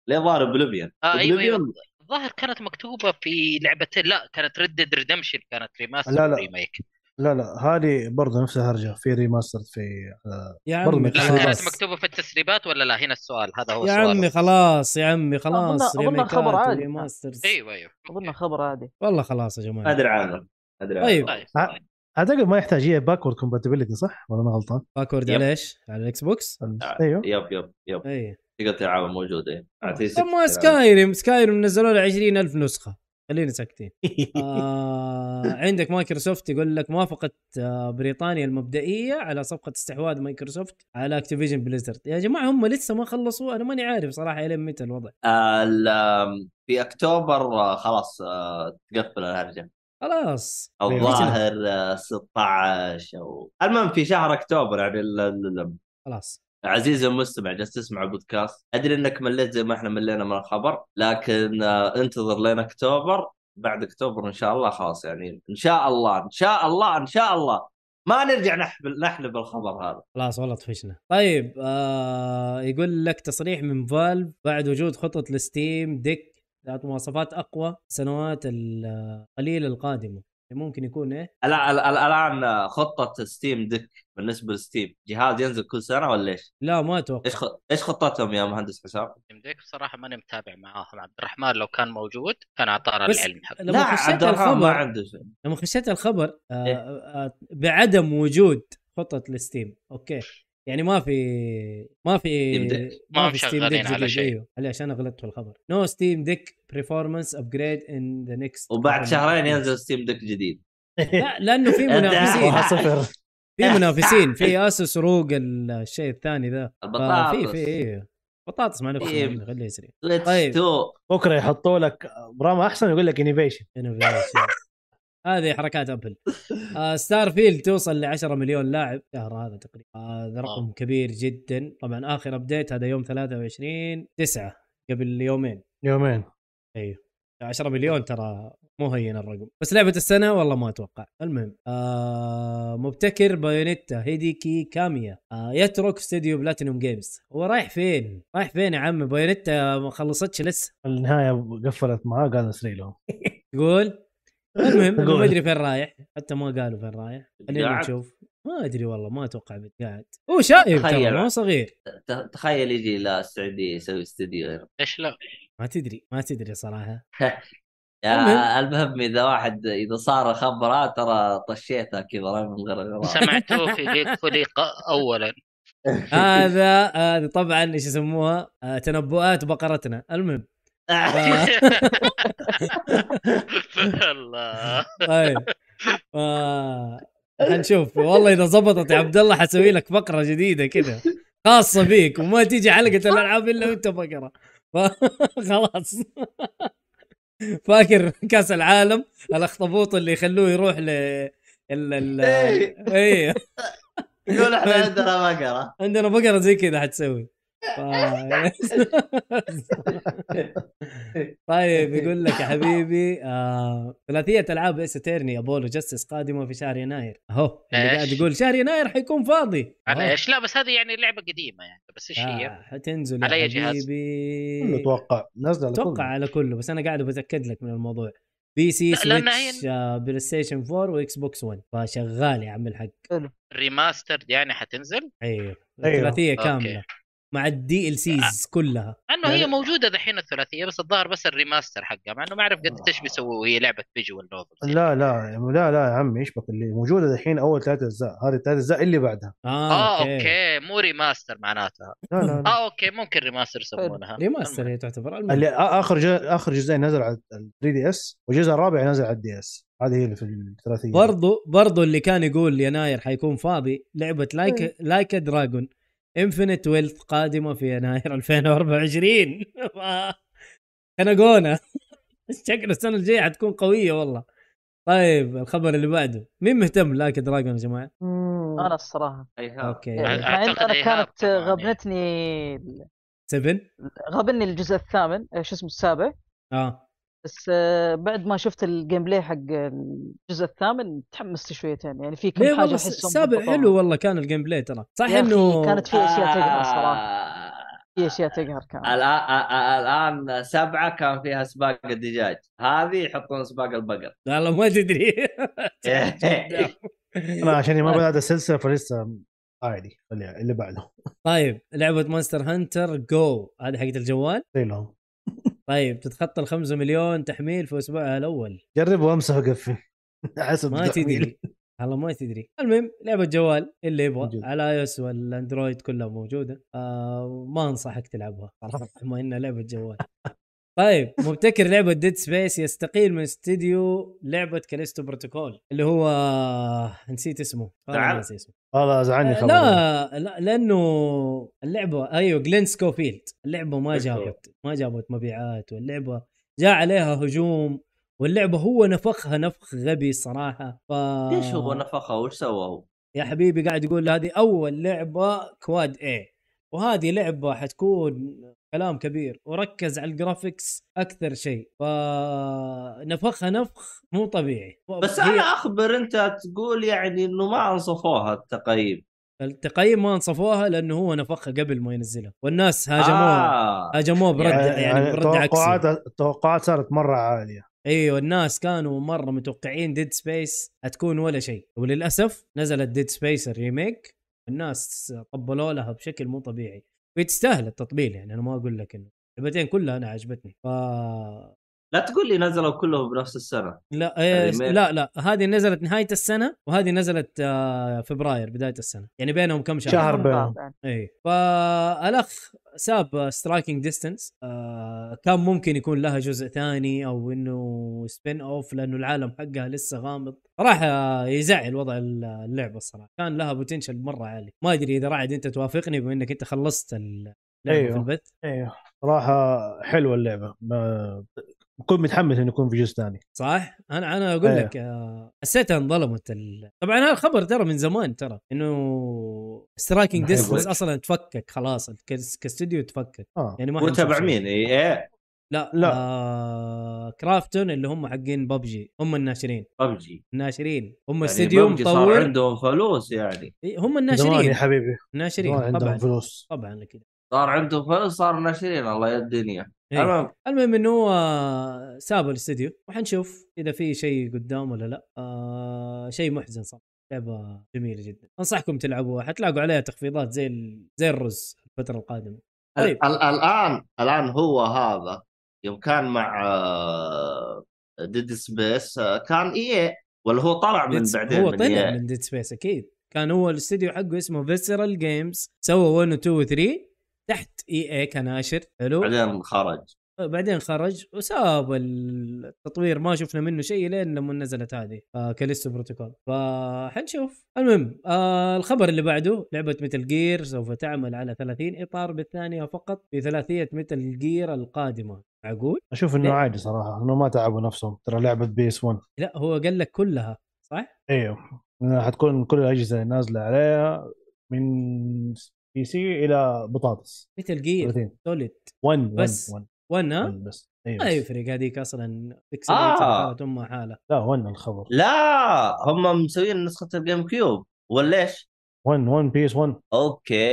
ليه ظاهر بليفيون
طيب،
آه، أيوة، أيوة. الظاهر كانت مكتوبه في لعبتين لا كانت ريد ديد ريدمشن كانت ريماستر
لا، لا.
ريميك
لا لا هذه برضه نفس الهرجه في ريماستر في آه،
يا
برضو
عمي
من
لا كانت
خلاص
مكتوبه في التسريبات ولا لا هنا السؤال هذا هو
يا
السؤال
عمي خلاص يا عمي خلاص
أظن- أظن الخبر
ريميكات
عادي.
وريماسترز.
ايوه ايوه
اظن خبر عادي
والله خلاص يا جماعه
ما ادري عنه ادري عنه
طيب.
طيب
آه. اعتقد ما يحتاج هي باكورد كومباتيبلتي صح ولا انا غلطان؟
باكورد
يب.
على ايش؟ على الاكس بوكس؟
ايوه
يب يب يب
اي
تقدر تلعبها موجوده إيه. أعطيه
طب ما
60.
سكايريم سكايريم نزلوا له 20000 نسخه خلينا ساكتين آه عندك مايكروسوفت يقول لك موافقت آه بريطانيا المبدئيه على صفقه استحواذ مايكروسوفت على اكتيفيجن بليزرد يا جماعه هم لسه ما خلصوا انا ماني عارف صراحه الين متى الوضع
آه، ال- في اكتوبر آه، خلاص آه، تقفل الهرجه
خلاص
الظاهر آه، 16 او المهم في شهر اكتوبر يعني ال- ال- ال-
خلاص
عزيزي المستمع جالس تسمع البودكاست ادري انك مليت زي ما احنا ملينا من الخبر لكن آه، انتظر لين اكتوبر بعد اكتوبر ان شاء الله خلاص يعني ان شاء الله ان شاء الله ان شاء الله ما نرجع نحبل نحلب الخبر هذا
خلاص والله طفشنا طيب آه يقول لك تصريح من فالف بعد وجود خطط لستيم ديك ذات مواصفات اقوى السنوات القليله القادمه آه، ممكن يكون ايه
الآن- الآن الان خطه ستيم دك بالنسبه لستيم جهاز ينزل كل سنه ولا ايش؟
لا ما اتوقع
ايش خ- ايش خطتهم يا مهندس حسام؟
ديك بصراحه ماني متابع معاهم عبد الرحمن لو كان موجود كان اعطانا
بس-
العلم حقه
لما خشيت
ما
الخبر
عنده شيء
لما خشيت الخبر آه،
إيه.
آه، بعدم وجود خطه الستيم اوكي يعني ما في ما في
Steam Deck.
ما
في
مشغلين
Steam Deck جديد،
على شيء.
ايوه علي- عشان أنا غلطت في الخبر نو ستيم ديك برفورمانس ابجريد ان ذا نكست
وبعد شهرين ينزل ستيم دك جديد
لا إيه. لانه في منافسين
1-0
في منافسين في اسس روق الشيء الثاني ذا آه، في في
البطاطس
إيه. بطاطس مع نفسه
طيب.
خليه يسري
سويتش
طيب.
2
بكره يحطوا لك براما احسن ويقول لك انيفيشن
Innovation. هذه حركات ابل آه ستار فيلد توصل ل 10 مليون لاعب الشهر هذا تقريبا آه هذا رقم كبير جدا طبعا اخر ابديت هذا يوم 23 9 قبل يومين
يومين
10 مليون ترى مو هين الرقم بس لعبه السنه والله ما اتوقع المهم آه مبتكر بايونيتا هيديكي كاميا آه يترك استديو بلاتينوم جيمز هو رايح فين رايح فين يا عم بايونيتا ما خلصتش لسه
النهايه قفلت معاه قال اسري لهم
تقول المهم أنا ما
قول.
ادري فين رايح حتى ما قالوا فين رايح خلينا
قاعد.
نشوف ما ادري والله ما اتوقع قاعد هو شايب ترى
تخيل.
ما هو صغير
ت- تخيل يجي لا السعوديه يسوي استديو هنا
ليش لا؟
ما تدري ما تدري صراحه
يا
المهم.
المهم اذا واحد اذا صار خبره ترى طشيتها كذا رمي من غير غير
سمعتوه في جيك خلق اولا
هذا هذه طبعا ايش يسموها آه، تنبؤات بقرتنا المهم آه،
الله
طيب آه، حنشوف والله اذا زبطت يا عبد الله حسوي لك فقره جديده كذا خاصه بيك وما تيجي حلقه الالعاب الا وانت فقره ف- خلاص فاكر كاس العالم الاخطبوط اللي يخلوه يروح ل ال ال
إيه.
ايه
يقول احنا عندنا بقره
عندنا بقره زي كذا حتسوي طيب يقول لك يا حبيبي آه، ثلاثيه العاب اس تيرني ابولو جستس قادمه في شهر يناير اهو اللي
إيش؟
قاعد يقول شهر يناير حيكون فاضي
انا
أهو.
ايش لا بس هذه يعني لعبه قديمه يعني بس ايش هي؟
آه، حتنزل يا
على أي
كله
جهاز؟
حبيبي
اتوقع نازله على
اتوقع
كله.
على كله بس انا قاعد بتاكد لك من الموضوع بي سي
لا، لأنها هي-
سويتش آه، بلاي ستيشن 4 واكس بوكس 1 فشغال يا عم الحق
ريماسترد يعني حتنزل؟
ايوه
أيوه.
ثلاثيه
أوكي. آه.
كامله مع الدي ال سيز كلها
انه
لا،
هي
لا.
موجوده دحين الثلاثيه بس الظاهر بس الريماستر حقها مع انه ما اعرف قد ايش بيسووا هي لعبه فيجوال يعني. نوفل
لا لا لا لا يا عمي ايش بك اللي موجوده الحين اول ثلاث اجزاء هذه الثلاث اجزاء اللي بعدها
آه،
آه،
اه اوكي مو ريماستر معناتها
لا لا, لا.
اه اوكي ممكن ريماستر يسمونها
ريماستر هي تعتبر المهم.
اللي آ- اخر جزء اخر جزئين نزل على 3 دي اس والجزء الرابع نزل على الدي اس هذه هي اللي في الثلاثيه
برضو برضو اللي كان يقول يناير حيكون فاضي لعبه لايك لايك دراجون انفينيت ويلث قادمه في يناير 2024 ف- خنقونا شكله السنه الجايه حتكون قويه والله طيب الخبر اللي بعده مين مهتم لايك دراجون يا جماعه
انا الصراحه
اوكي
أعتقد
مع ان انا يعني
إيهاب
كانت
يعني.
طبعاً.
غبنتني
7
غبني الجزء الثامن آه، شو اسمه السابع
اه
بس آه، بعد ما شفت الجيم بلاي حق الجزء الثامن تحمست شويتين يعني في كم
ليه
حاجه
والله
احسهم
السابع
ضبطوها.
حلو والله كان الجيم بلاي ترى صح
يا أخي
انه
كانت في اشياء
آه،
تقهر صراحه في اشياء تقهر كانت
الآن آه، الآن سبعة كان فيها سباق الدجاج هذه يحطون سباق البقر
والله ما تدري
انا عشان
آه.
ما بدات السلسله فلسه عادي خليها اللي بعده
طيب لعبه مونستر هانتر جو هذه حقت الجوال
زي لهم
طيب تتخطى ال 5 مليون تحميل في اسبوعها الاول
جرب وامسح اقفل حسب
ما
التحميل.
تدري والله ما تدري المهم لعبه جوال اللي يبغى
موجود.
على اي اس والاندرويد كلها موجوده آه ما انصحك تلعبها صراحه ما انها لعبه جوال طيب مبتكر لعبه ديد سبيس يستقيل من استديو لعبه كاليستو بروتوكول اللي هو نسيت اسمه والله
تعال.
ناسي اسمه
والله زعلني خبر
آه، لا
آه،
لا لانه اللعبه ايوه جلين سكوفيلد اللعبه ما
إيش هو؟
جابت ما جابت مبيعات واللعبه جاء عليها هجوم واللعبه هو نفخها نفخ غبي صراحه ف
ليش
آه.
هو نفخه وش سوى هو؟
يا حبيبي قاعد يقول هذه اول لعبه كواد اي وهذه لعبه حتكون كلام كبير وركز على الجرافيكس اكثر شيء فنفخها نفخ مو طبيعي
بس
هي-
انا اخبر انت تقول يعني انه ما انصفوها التقييم
التقييم ما انصفوها لانه هو نفخها قبل ما ينزلها والناس
آه،
هاجموه هاجموه برد يعني برد
توقعات
عكسي
التوقعات صارت مره عاليه
ايوه الناس كانوا مره متوقعين ديد سبيس هتكون ولا شيء وللاسف نزلت ديد سبيس الريميك الناس طبلوا لها بشكل مو طبيعي وتستاهل التطبيل يعني انا ما اقول لك انه اللعبتين كلها انا عجبتني ف
لا تقول لي نزلوا كلهم بنفس السنه
لا إيه
الريميك.
لا لا هذه نزلت نهايه السنه وهذه نزلت آه، فبراير بدايه السنه يعني بينهم كم شهر
شهر.
كلهم
بينهم.
بعض يعني.
اي فالاخ إيه. ساب سترايكنج ديستنس كان ممكن يكون لها جزء ثاني او انه سبين اوف لانه العالم حقها لسه غامض راح آه، يزعل وضع اللعبه الصراحه كان لها بوتنشل مره عالي ما ادري اذا رعد انت توافقني بما انك انت خلصت اللعبه أيوه.
أيوه.
في البث
ايوه صراحه حلوه اللعبه ما- بكون متحمس انه يكون في جزء ثاني
صح انا انا اقول
أيوه.
لك آه، حسيتها انظلمت ال... طبعا هذا الخبر ترى من زمان ترى انه سترايكنج
ما
ديستنس
حيقولك.
اصلا تفكك خلاص الكس- كاستوديو تفكك
اه
يعني ما حنشوف
وتبع
شيء.
مين؟ ايه
لا لا
لا.
آه كرافتون اللي هم حقين ببجي هم الناشرين
ببجي
الناشرين هم
يعني
استديو
ببجي يعني صار
مطور
عندهم فلوس يعني
إيه، هم
زمان
الناشرين
يا حبيبي زمان
الناشرين
عندهم
طبعا
فلوس
طبعا كذا
صار عندهم فلوس صار ناشرين الله يا الدنيا
إيه.
المهم
المهم انه هو سابوا الاستديو وحنشوف اذا في شيء قدام ولا لا آه شيء محزن صراحه لعبه جميله جدا انصحكم تلعبوها حتلاقوا عليها تخفيضات زي ال... زي الرز الفتره القادمه
أه،
طيب.
ال- ال- الان الان هو هذا يوم كان مع آه، ديد سبيس كان اي ولا هو طلع من
Dead-
بعدين
هو
من إيه،
طلع
EA.
من ديد سبيس اكيد كان هو الاستديو حقه اسمه فيسرال جيمز سوى 1 و 2 و 3 تحت E اي اي كناشر حلو
بعدين خرج
بعدين خرج وساب التطوير ما شفنا منه شيء لين لما نزلت هذه آه كاليستو بروتوكول فحنشوف المهم آه الخبر اللي بعده لعبه ميتال جير سوف تعمل على 30 اطار بالثانيه فقط في ثلاثيه ميتال جير القادمه معقول؟
اشوف انه
ليه؟
عادي صراحه انه ما تعبوا نفسهم ترى لعبه بيس 1
لا هو قال لك كلها
ايوه إنها حتكون كل الاجهزه اللي نازله عليها من بي سي الى بطاطس
ميتال جير
30
سوليد
1
إيه. بس.
1
1 ها؟ أيوة.
بس ايوه
ما
بس.
يفرق هذيك اصلا بيكسل
آه.
آه. امها حاله
لا 1 الخبر
لا هم مسويين نسخه الجيم كيوب ولا ايش؟
1 1 بيس 1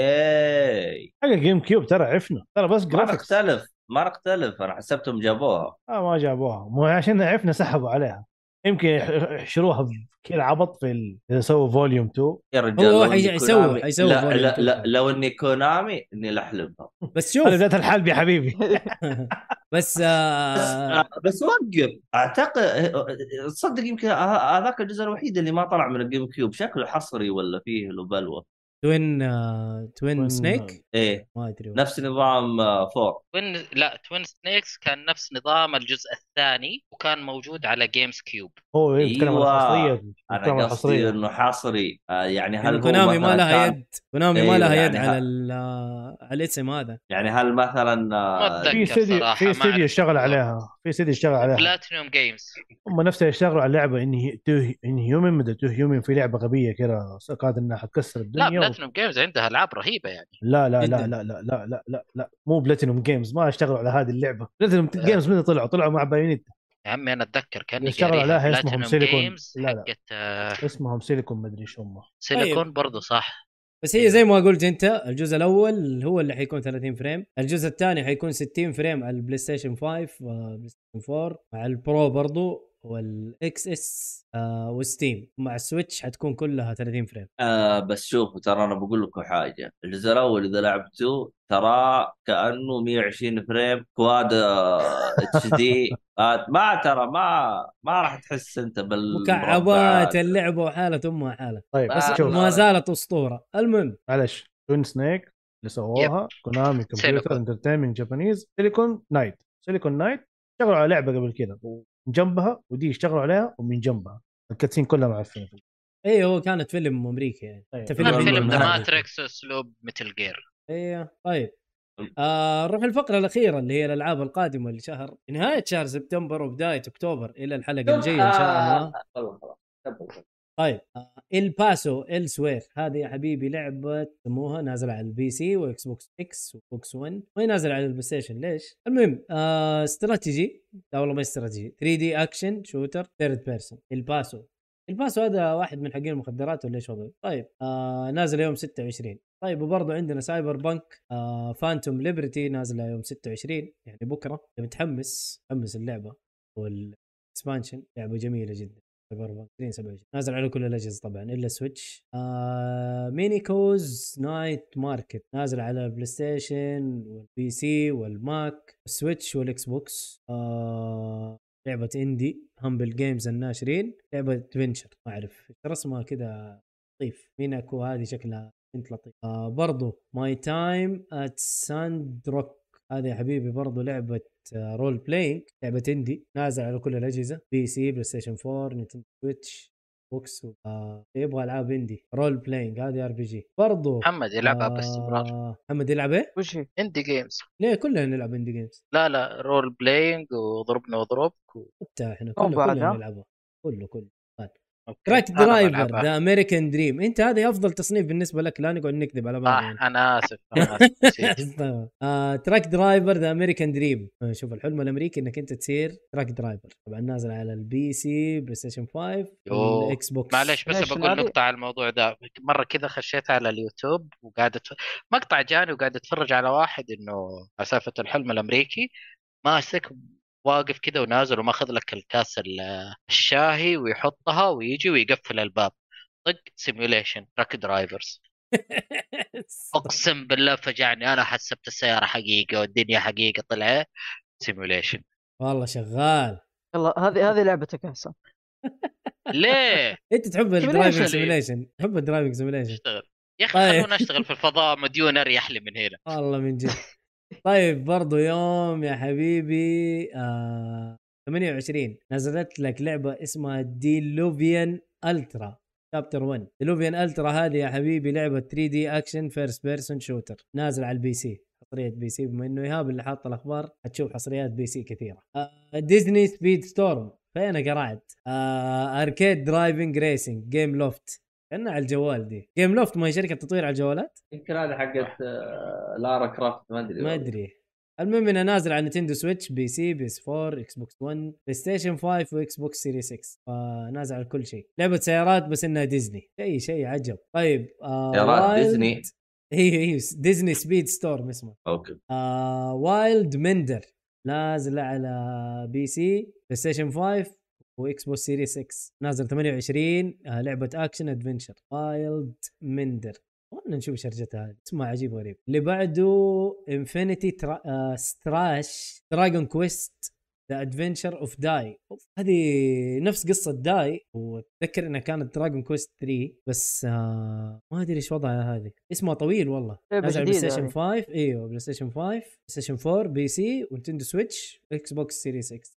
اوكي
حق الجيم كيوب ترى عفنا ترى بس
ما
جرافيكس اه
نختلف ما نختلف انا حسبتهم جابوها
آه، ما جابوها مو عشان عفنا سحبوا عليها يمكن يح- يحشروها بكل عبط في ال... إذا سووا فوليوم 2
يا رجال
هو
لو إني
حيج- حيسوي-
كونامي-
حيسوي
لا,
فوليوم
لا,
تو.
لا لو اني كونامي اني لحلبها
بس
هذا
شوف
بدايه الحلب يا حبيبي
بس
بس,
آه
بس وقف اعتقد تصدق يمكن ه- هذاك الجزء الوحيد اللي ما طلع من الجيم كيوب شكله حصري ولا فيه له بلوه
توين آه توين
توين-
سنيك
ايه
ما ادري والله.
نفس نظام آه، فور
توين لا توين سنيكس كان نفس نظام الجزء الثاني وكان موجود على جيمز كيوب
هو يتكلم عن
أيوة.
الحصريه يتكلم عن
انا قصدي
الحصريه
انه حصري آه، يعني هل
يعني
هو
كونامي ما
مثلاً
لها
كان-
يد كونامي ما
أيوة،
لها يد
يعني
على
ها-
ال- آه، على الاسم هذا
يعني هل مثلا آه،
ما أتذكر.
في استديو
صراحة
في
ما
استديو
أعرف.
اشتغل عليها في استديو اشتغل عليها
بلاتينيوم جيمز
هم نفسهم يشتغلوا على لعبه ان ان هيومن مدى تو هيومن في لعبه غبيه كذا كانت انها حتكسر
لا
الدنيا و...
بلاتينيوم جيمز عندها العاب رهيبه يعني
لا لا
جداً.
لا لا لا لا لا لا لا مو بلاتينوم جيمز ما اشتغلوا على هذه اللعبه بلاتينوم
آه.
جيمز متى طلعوا طلعوا مع بايونيتا
يا عمي انا اتذكر كاني
يشتغلوا
قاريها
عليها اسمهم
بلاتينيوم
سيليكون.
جيمز
لا، طيب. لا.
حقت آه،
اسمهم سيليكون مدري ايش هم
سيليكون برضو صح
بس
إيه.
هي زي ما قلت انت الجزء الاول هو اللي حيكون 30 فريم الجزء الثاني حيكون 60 فريم على البلاي ستيشن 5 والبلاي ستيشن 4 مع البرو برضو والاكس اس آه وستيم مع السويتش حتكون كلها 30 فريم
آه بس شوفوا ترى انا بقول لكم حاجه الجزء الاول اذا لعبته ترى كانه 120 فريم كواد آه، اتش دي آه، ما ترى ما ما راح تحس انت بال
مكعبات اللعبه وحاله امها حاله
طيب
بس
آه،
بس
شوف.
شوف
ما زالت اسطوره المهم
معلش توين سنيك اللي سووها كونامي كمبيوتر
سيليكون.
انترتينمنت جابانيز سيليكون نايت سيليكون نايت اشتغلوا على لعبه قبل كذا ومن جنبها ودي اشتغلوا عليها ومن جنبها الكاتسين كلها معفنه
اي إيه، هو كانت فيلم امريكي يعني
أيوة.
انت
كان
كان
هندي
فيلم ذا
ولا
ما-
هندي؟
ماتريكس اسلوب مثل جير
ايوه طيب آه نروح الفقرة الأخيرة اللي هي الألعاب القادمة لشهر نهاية شهر سبتمبر وبداية أكتوبر إلى الحلقة الجاية إن شاء الله طيب آه، الباسو السوير هذه يا حبيبي لعبه سموها نازله على البي سي واكس بوكس اكس وبوكس 1 وهي نازله على البلاي ستيشن ليش؟ المهم آه استراتيجي لا والله ما استراتيجي 3 دي اكشن شوتر ثيرد بيرسون الباسو الباسو هذا واحد من حقين المخدرات ولا ايش وضعه؟ طيب آه نازل يوم 26 طيب وبرضه عندنا سايبر بانك آه فانتوم ليبرتي نازله يوم 26 يعني بكره متحمس متحمس اللعبه والاكسبانشن لعبه جميله جدا سايبر بانك 2027 نازل على كل الاجهزه طبعا الا سويتش آه مينيكوز نايت ماركت نازل على البلاي ستيشن والبي سي والماك والسويتش والاكس بوكس آه لعبة اندي همبل جيمز الناشرين لعبة ادفنشر ما اعرف رسمها كذا لطيف ميناكو هذه شكلها بنت لطيف آه برضو ماي تايم ات ساند روك هذه يا حبيبي برضو لعبة آه، رول بلاينج لعبه اندي نازل على كل الاجهزه بي سي بلاي ستيشن 4 نينتندو سويتش بوكس و... آه... يبغى العاب اندي رول بلاينج هذه ار بي جي برضو
محمد يلعبها باستمرار
آه، محمد يلعب ايه؟
وش هي؟
اندي جيمز
ليه كلنا نلعب اندي جيمز
لا لا رول بلاينج وضربنا وضربك و...
حتى احنا
أو
كلنا
بعد،
كلنا
ها؟
نلعبها كله كله
أوكي.
كراك
إيه، أنا
درايفر
بلعبها.
ذا امريكان دريم انت هذه افضل تصنيف بالنسبه لك لا نقعد نكذب على بعض يعني.
صح انا اسف أنا آسف. نسيت.
آه، تراك درايفر ذا امريكان دريم آه، شوف الحلم الامريكي انك انت تصير تراك درايفر طبعا نازل على البي سي بلاي ستيشن 5
يوه.
والاكس بوكس
معلش بس
ليش
بقول
نادي؟
نقطة على الموضوع ده مرة كذا خشيت على اليوتيوب وقاعد أتف... مقطع جاني وقاعد اتفرج على واحد انه مسافة الحلم الامريكي ماسك واقف كذا ونازل وماخذ لك الكاس ال- الشاهي ويحطها ويجي ويقفل الباب طق سيميوليشن تراك درايفرز اقسم بالله فجعني انا حسبت السيارة حقيقة والدنيا حقيقة طلع سيميوليشن
والله شغال
يلا هذه هذه لعبتك يا حسام
ليه؟
انت تحب الدرايفنج
Simulation.
سيميليشن تحب الدرايفنج سيميليشن
اشتغل يا اخي
طيب.
خلونا اشتغل في الفضاء مديون اريح لي من هنا
والله من جد طيب برضو يوم يا حبيبي آه 28 نزلت لك لعبه اسمها ديلوفيان الترا شابتر 1 ديلوفيان الترا هذه يا حبيبي لعبه 3 دي اكشن فيرست بيرسون شوتر نازل على البي سي حصريه بي سي بما انه ايهاب اللي حاط الاخبار حتشوف حصريات بي سي كثيره آه ديزني سبيد ستورم فين قرعت آه اركيد درايفنج ريسنج جيم لوفت كانها على الجوال دي جيم لوفت ما هي شركه تطوير على الجوالات
يمكن هذه حقت آه، لارا كرافت ما ادري
ما ادري المهم انه نازل على نتندو سويتش بي سي بي اس 4 اكس بوكس 1 بلاي ستيشن 5 واكس بوكس سيري 6 فنازل على كل شيء لعبه سيارات بس انها ديزني شيء شيء عجب طيب آه
سيارات
Wild-
ديزني.
ايوه ايوه ديزني سبيد ستورم اسمه
اوكي
آه وايلد مندر نازل على بي سي بلاي ستيشن 5 واكس بوكس سيري 6 نازل 28 آه لعبه اكشن ادفنشر وايلد مندر خلنا نشوف شرجتها هذه اسمها عجيب وغريب اللي بعده انفينيتي ترا... آه ستراش دراجون كويست ذا ادفنشر اوف داي هذه نفس قصه داي واتذكر انها كانت دراجون كويست 3 بس آه ما ادري ايش وضعها هذه اسمها طويل والله
لعبة
نازل على بلاي
إيه، جديدة
ستيشن
هذه.
5 ايوه بلاي ستيشن 5 بلاي ستيشن 4 بي سي ونتندو سويتش اكس بوكس سيريس اكس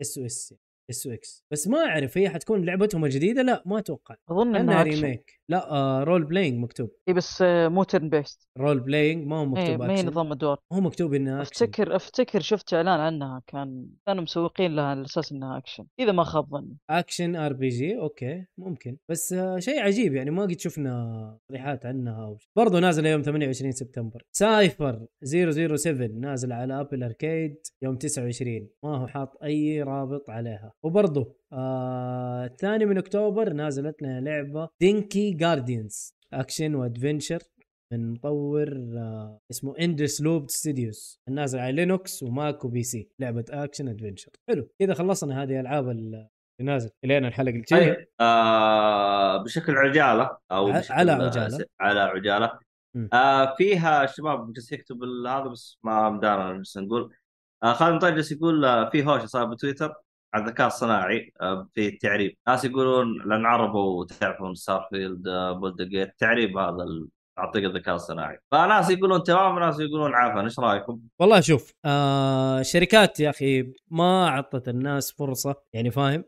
اس او اس اس او اكس بس ما اعرف هي حتكون لعبتهم الجديده لا ما اتوقع
اظن
انها
انها أكشن.
ريميك لا آه رول بلاينج مكتوب
اي بس آه، مو ترن بيست
رول بلاينج ما هو
إيه،
مكتوب
ما هي
اكشن
نظام ادوار
هو مكتوب انه أكشن.
افتكر افتكر شفت اعلان عنها كان كانوا مسوقين لها على اساس انها اكشن اذا ما خاب ظني
اكشن ار بي جي اوكي ممكن بس آه، شيء عجيب يعني ما قد شفنا تصريحات عنها أو شيء. برضو نازل يوم 28 سبتمبر سايفر 007 نازل على ابل اركيد يوم 29 ما هو حاط اي رابط عليها وبرضو آه، الثاني من اكتوبر نازلت لنا لعبه دينكي جارديانز اكشن وادفنشر من مطور آه، اسمه اندس لوب ستوديوز النازل على لينوكس وماك وبي سي لعبه اكشن ادفنشر حلو كذا خلصنا هذه العاب ال- نازل الين الحلقه اللي جايه
طيب آه بشكل عجاله او
ع-
بشكل-
على عجالة.
على عجاله
مم.
آه فيها شباب جالس يكتب ال- هذا بس ما مدانا جالس نقول آه خالد مطير جالس يقول آه، في هوشه صار بتويتر على الذكاء الصناعي آه في التعريب ناس يقولون لان عربوا تعرفون ستارفيلد آه بولد جيت تعريب هذا ال- عن طريق الذكاء الصناعي فناس يقولون تمام وناس يقولون عفن ايش رايكم؟
والله شوف آه شركات يا اخي ما اعطت الناس فرصه يعني فاهم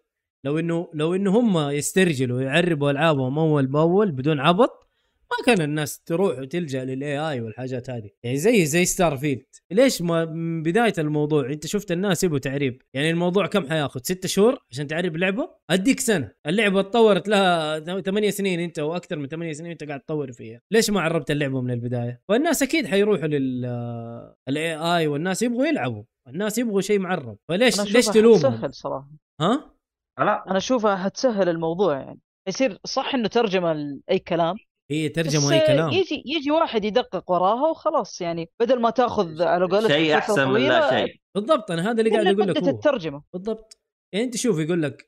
لو انه لو انه هم يسترجلوا ويعربوا العابهم اول باول بدون عبط ما كان الناس تروح وتلجا للاي اي والحاجات هذه يعني زي زي ستار فيلد ليش ما من بدايه الموضوع انت شفت الناس يبوا تعريب يعني الموضوع كم حياخذ ستة شهور عشان تعرب لعبه اديك سنه اللعبه اتطورت لها ثمانية سنين انت واكثر من ثمانية سنين انت قاعد تطور فيها ليش ما عربت اللعبه من البدايه فالناس اكيد حيروحوا لل الاي اي والناس يبغوا يلعبوا الناس يبغوا شيء معرب فليش
انا
ليش
أشوفها
تلومهم
حتسهل صراحه
ها
لا
انا اشوفها حتسهل الموضوع يعني يصير صح انه ترجمه لاي كلام
هي
بس
ترجمه اي كلام
يجي يجي واحد يدقق وراها وخلاص يعني بدل ما تاخذ على قولتك
شيء
فترة
احسن من
طويلة،
لا شيء
بالضبط انا هذا اللي
قلل
قاعد اقول لك
مدة
هو
الترجمه
بالضبط يعني انت شوف يقول لك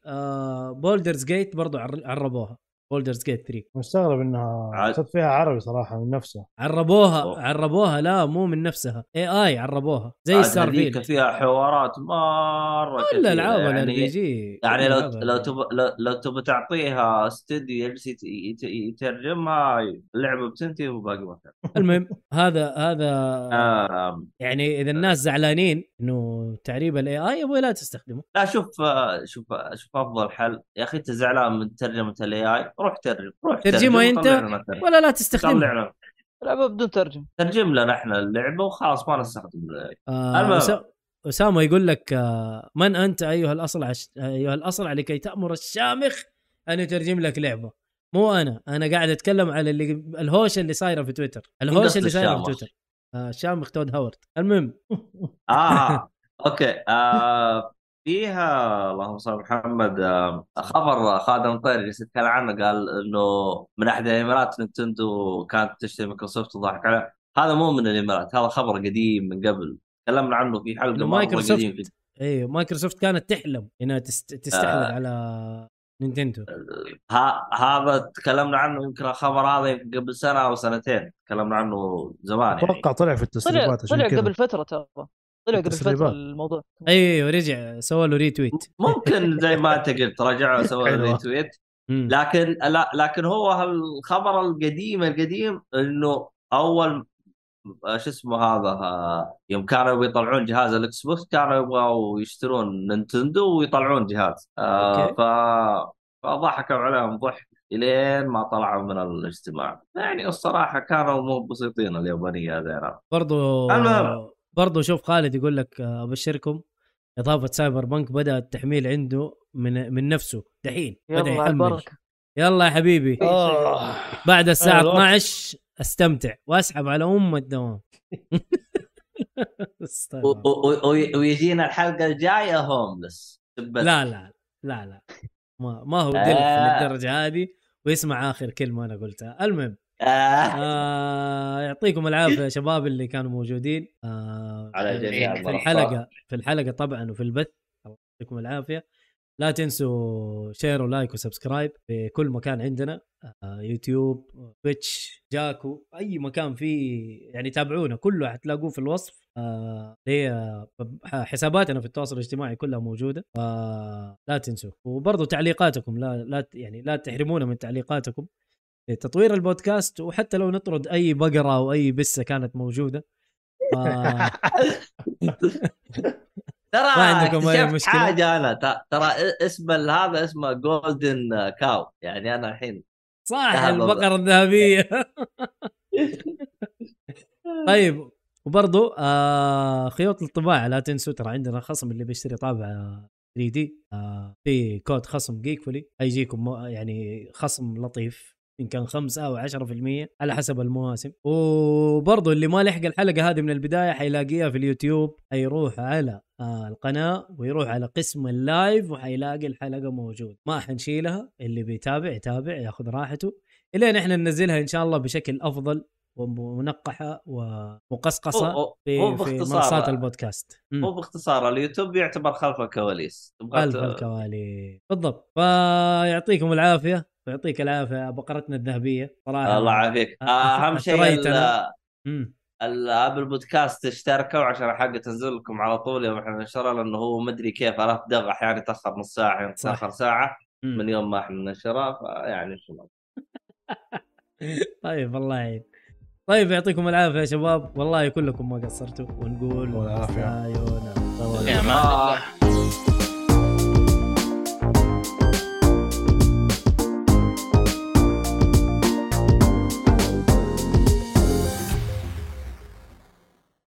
بولدرز جيت برضو عر- عربوها بولدرز جيت 3
مستغرب انها
عاد.
صار فيها عربي صراحه من نفسها
عربوها
أوه.
عربوها لا مو من نفسها اي اي عربوها زي
عاد
ستار
هذيك
فيلد
فيها حوارات مره
كل
كثيرة،
العاب
يعني-
الار بي جي
يعني لو لو تب... لو- لو تبى تعطيها استديو يجلس يت- يت- يترجمها اللعبه بتنتهي وباقي ما كان.
المهم هذا هذا
آم،
يعني اذا الناس زعلانين انه تعريب الاي اي يبغى لا تستخدمه
لا شوف آه، شوف آه، شوف افضل حل يا اخي انت زعلان من ترجمه الاي اي روح ترجم روح
ترجمها أنت؟
وطلع لنا ترجمة.
ولا لا تستخدمه
طلع لنا
العبها بدون ترجمه
ترجم لنا احنا اللعبه وخلاص ما نستخدم ال AI.
آه
المهم.
وس- اسامه يقول لك آه من انت ايها الاصلع ايها الاصلع لكي تامر الشامخ ان يترجم لك لعبه مو انا انا قاعد اتكلم على اللي الهوشه اللي صايره في تويتر الهوشه
قصد
اللي صايره في
الشامخ؟
تويتر آه الشامخ تود هاورد المهم
اه اوكي آه فيها اللهم صل على محمد آه خبر خادم الطير اللي كان عنه قال انه من احد الامارات نينتندو كانت تشتري مايكروسوفت وضحك عليها هذا مو من الامارات هذا خبر قديم من قبل تكلمنا عنه في حلقه
إنه
مره
مايكروسوفت.
قديم في
ايوه مايكروسوفت كانت تحلم انها تست... تستحوذ
آه.
على نينتندو
ها هذا تكلمنا عنه يمكن الخبر هذا يمكن قبل سنه او سنتين تكلمنا عنه زمان يعني
اتوقع طلع في
طلع
التسريبات عشان
طلع
كذا.
قبل فتره ترى طلع قبل فتره
تسريبات.
الموضوع
ايوه رجع سوى له ريتويت
ممكن زي ما انت قلت رجعوا سووا
حلوة.
ريتويت
مم.
لكن لا لكن هو الخبر القديم القديم انه اول آه، شو اسمه هذا آه، يوم كانوا بيطلعون جهاز الاكس بوكس كانوا يبغوا يشترون نينتندو ويطلعون جهاز آه،
أوكي.
ف فضحكوا عليهم ضحك الين ما طلعوا من الاجتماع يعني الصراحه كانوا مو بسيطين اليابانيه هذيلا
برضو
المهم.
برضو شوف خالد يقول لك آه، ابشركم اضافه سايبر بنك بدا التحميل عنده من من نفسه دحين بدا
يلا
يحمل
البركه
يلا يا حبيبي
آه.
بعد الساعه
أيوة.
الوقت.
12 استمتع واسحب على ام الدوام استغفر الله.
و- و- و- ويجينا الحلقه الجايه هوملس
لا لا لا لا ما ما هو
آه.
دلف للدرجه هذه ويسمع اخر كلمه انا قلتها المهم
آه.
آه يعطيكم العافيه يا شباب اللي كانوا موجودين آه
على
جميع
في
المنصات.
الحلقه في الحلقه طبعا وفي البث الله يعطيكم العافيه لا تنسوا شير ولايك وسبسكرايب في كل مكان عندنا آه يوتيوب تويتش جاكو اي مكان فيه يعني تابعونا كله حتلاقوه في الوصف آه هي حساباتنا في التواصل الاجتماعي كلها موجوده فلا تنسوا وبرضه تعليقاتكم لا لا ت- يعني لا تحرمونا من تعليقاتكم لتطوير البودكاست وحتى لو نطرد اي بقره او اي بسه كانت موجوده آه
ترى
ما عندكم أي
اكتشفت
مشكلة؟
حاجه انا ت- ترى اسم ال- هذا اسمه جولدن كاو يعني انا الحين
صح
لا، والله.
البقره الذهبيه طيب وبرضو آه خيوط الطباعه لا تنسوا ترى عندنا خصم اللي بيشتري طابعه 3 دي آه في كود خصم جيكولي هيجيكم مو- يعني خصم لطيف ان كان 5 او 10% على حسب المواسم وبرضو اللي ما لحق الحلقه هذه من البدايه حيلاقيها في اليوتيوب حيروح على آه القناه ويروح على قسم اللايف وحيلاقي الحلقه موجوده ما حنشيلها اللي بيتابع يتابع ياخذ راحته الين احنا ننزلها ان شاء الله بشكل افضل ومنقحه ومقصقصه
هو- هو- هو
في, في
باختصار.
منصات البودكاست مم.
هو باختصار اليوتيوب يعتبر خلف الكواليس تبغى
خلف
ت-
الكواليس بالضبط فيعطيكم العافيه ويعطيك العافيه يا بقرتنا الذهبيه صراحه
الله يعافيك
أ-
اهم شيء ال-
أثريتنا. مم.
ال- ابل بودكاست تشتركوا عشان الحلقه تنزل لكم على طول يوم احنا ننشرها لانه هو مدري كيف الاف دغ احيانا يتاخر نص ساعه احيانا
صح.
يتاخر ساعه
مم.
من يوم ما احنا ننشرها فيعني شو ما-
طيب الله يعين طيب يعطيكم العافيه يا شباب والله كلكم ما قصرتوا ونقول
والعافية.
سايونا
يا مان الله.
آه،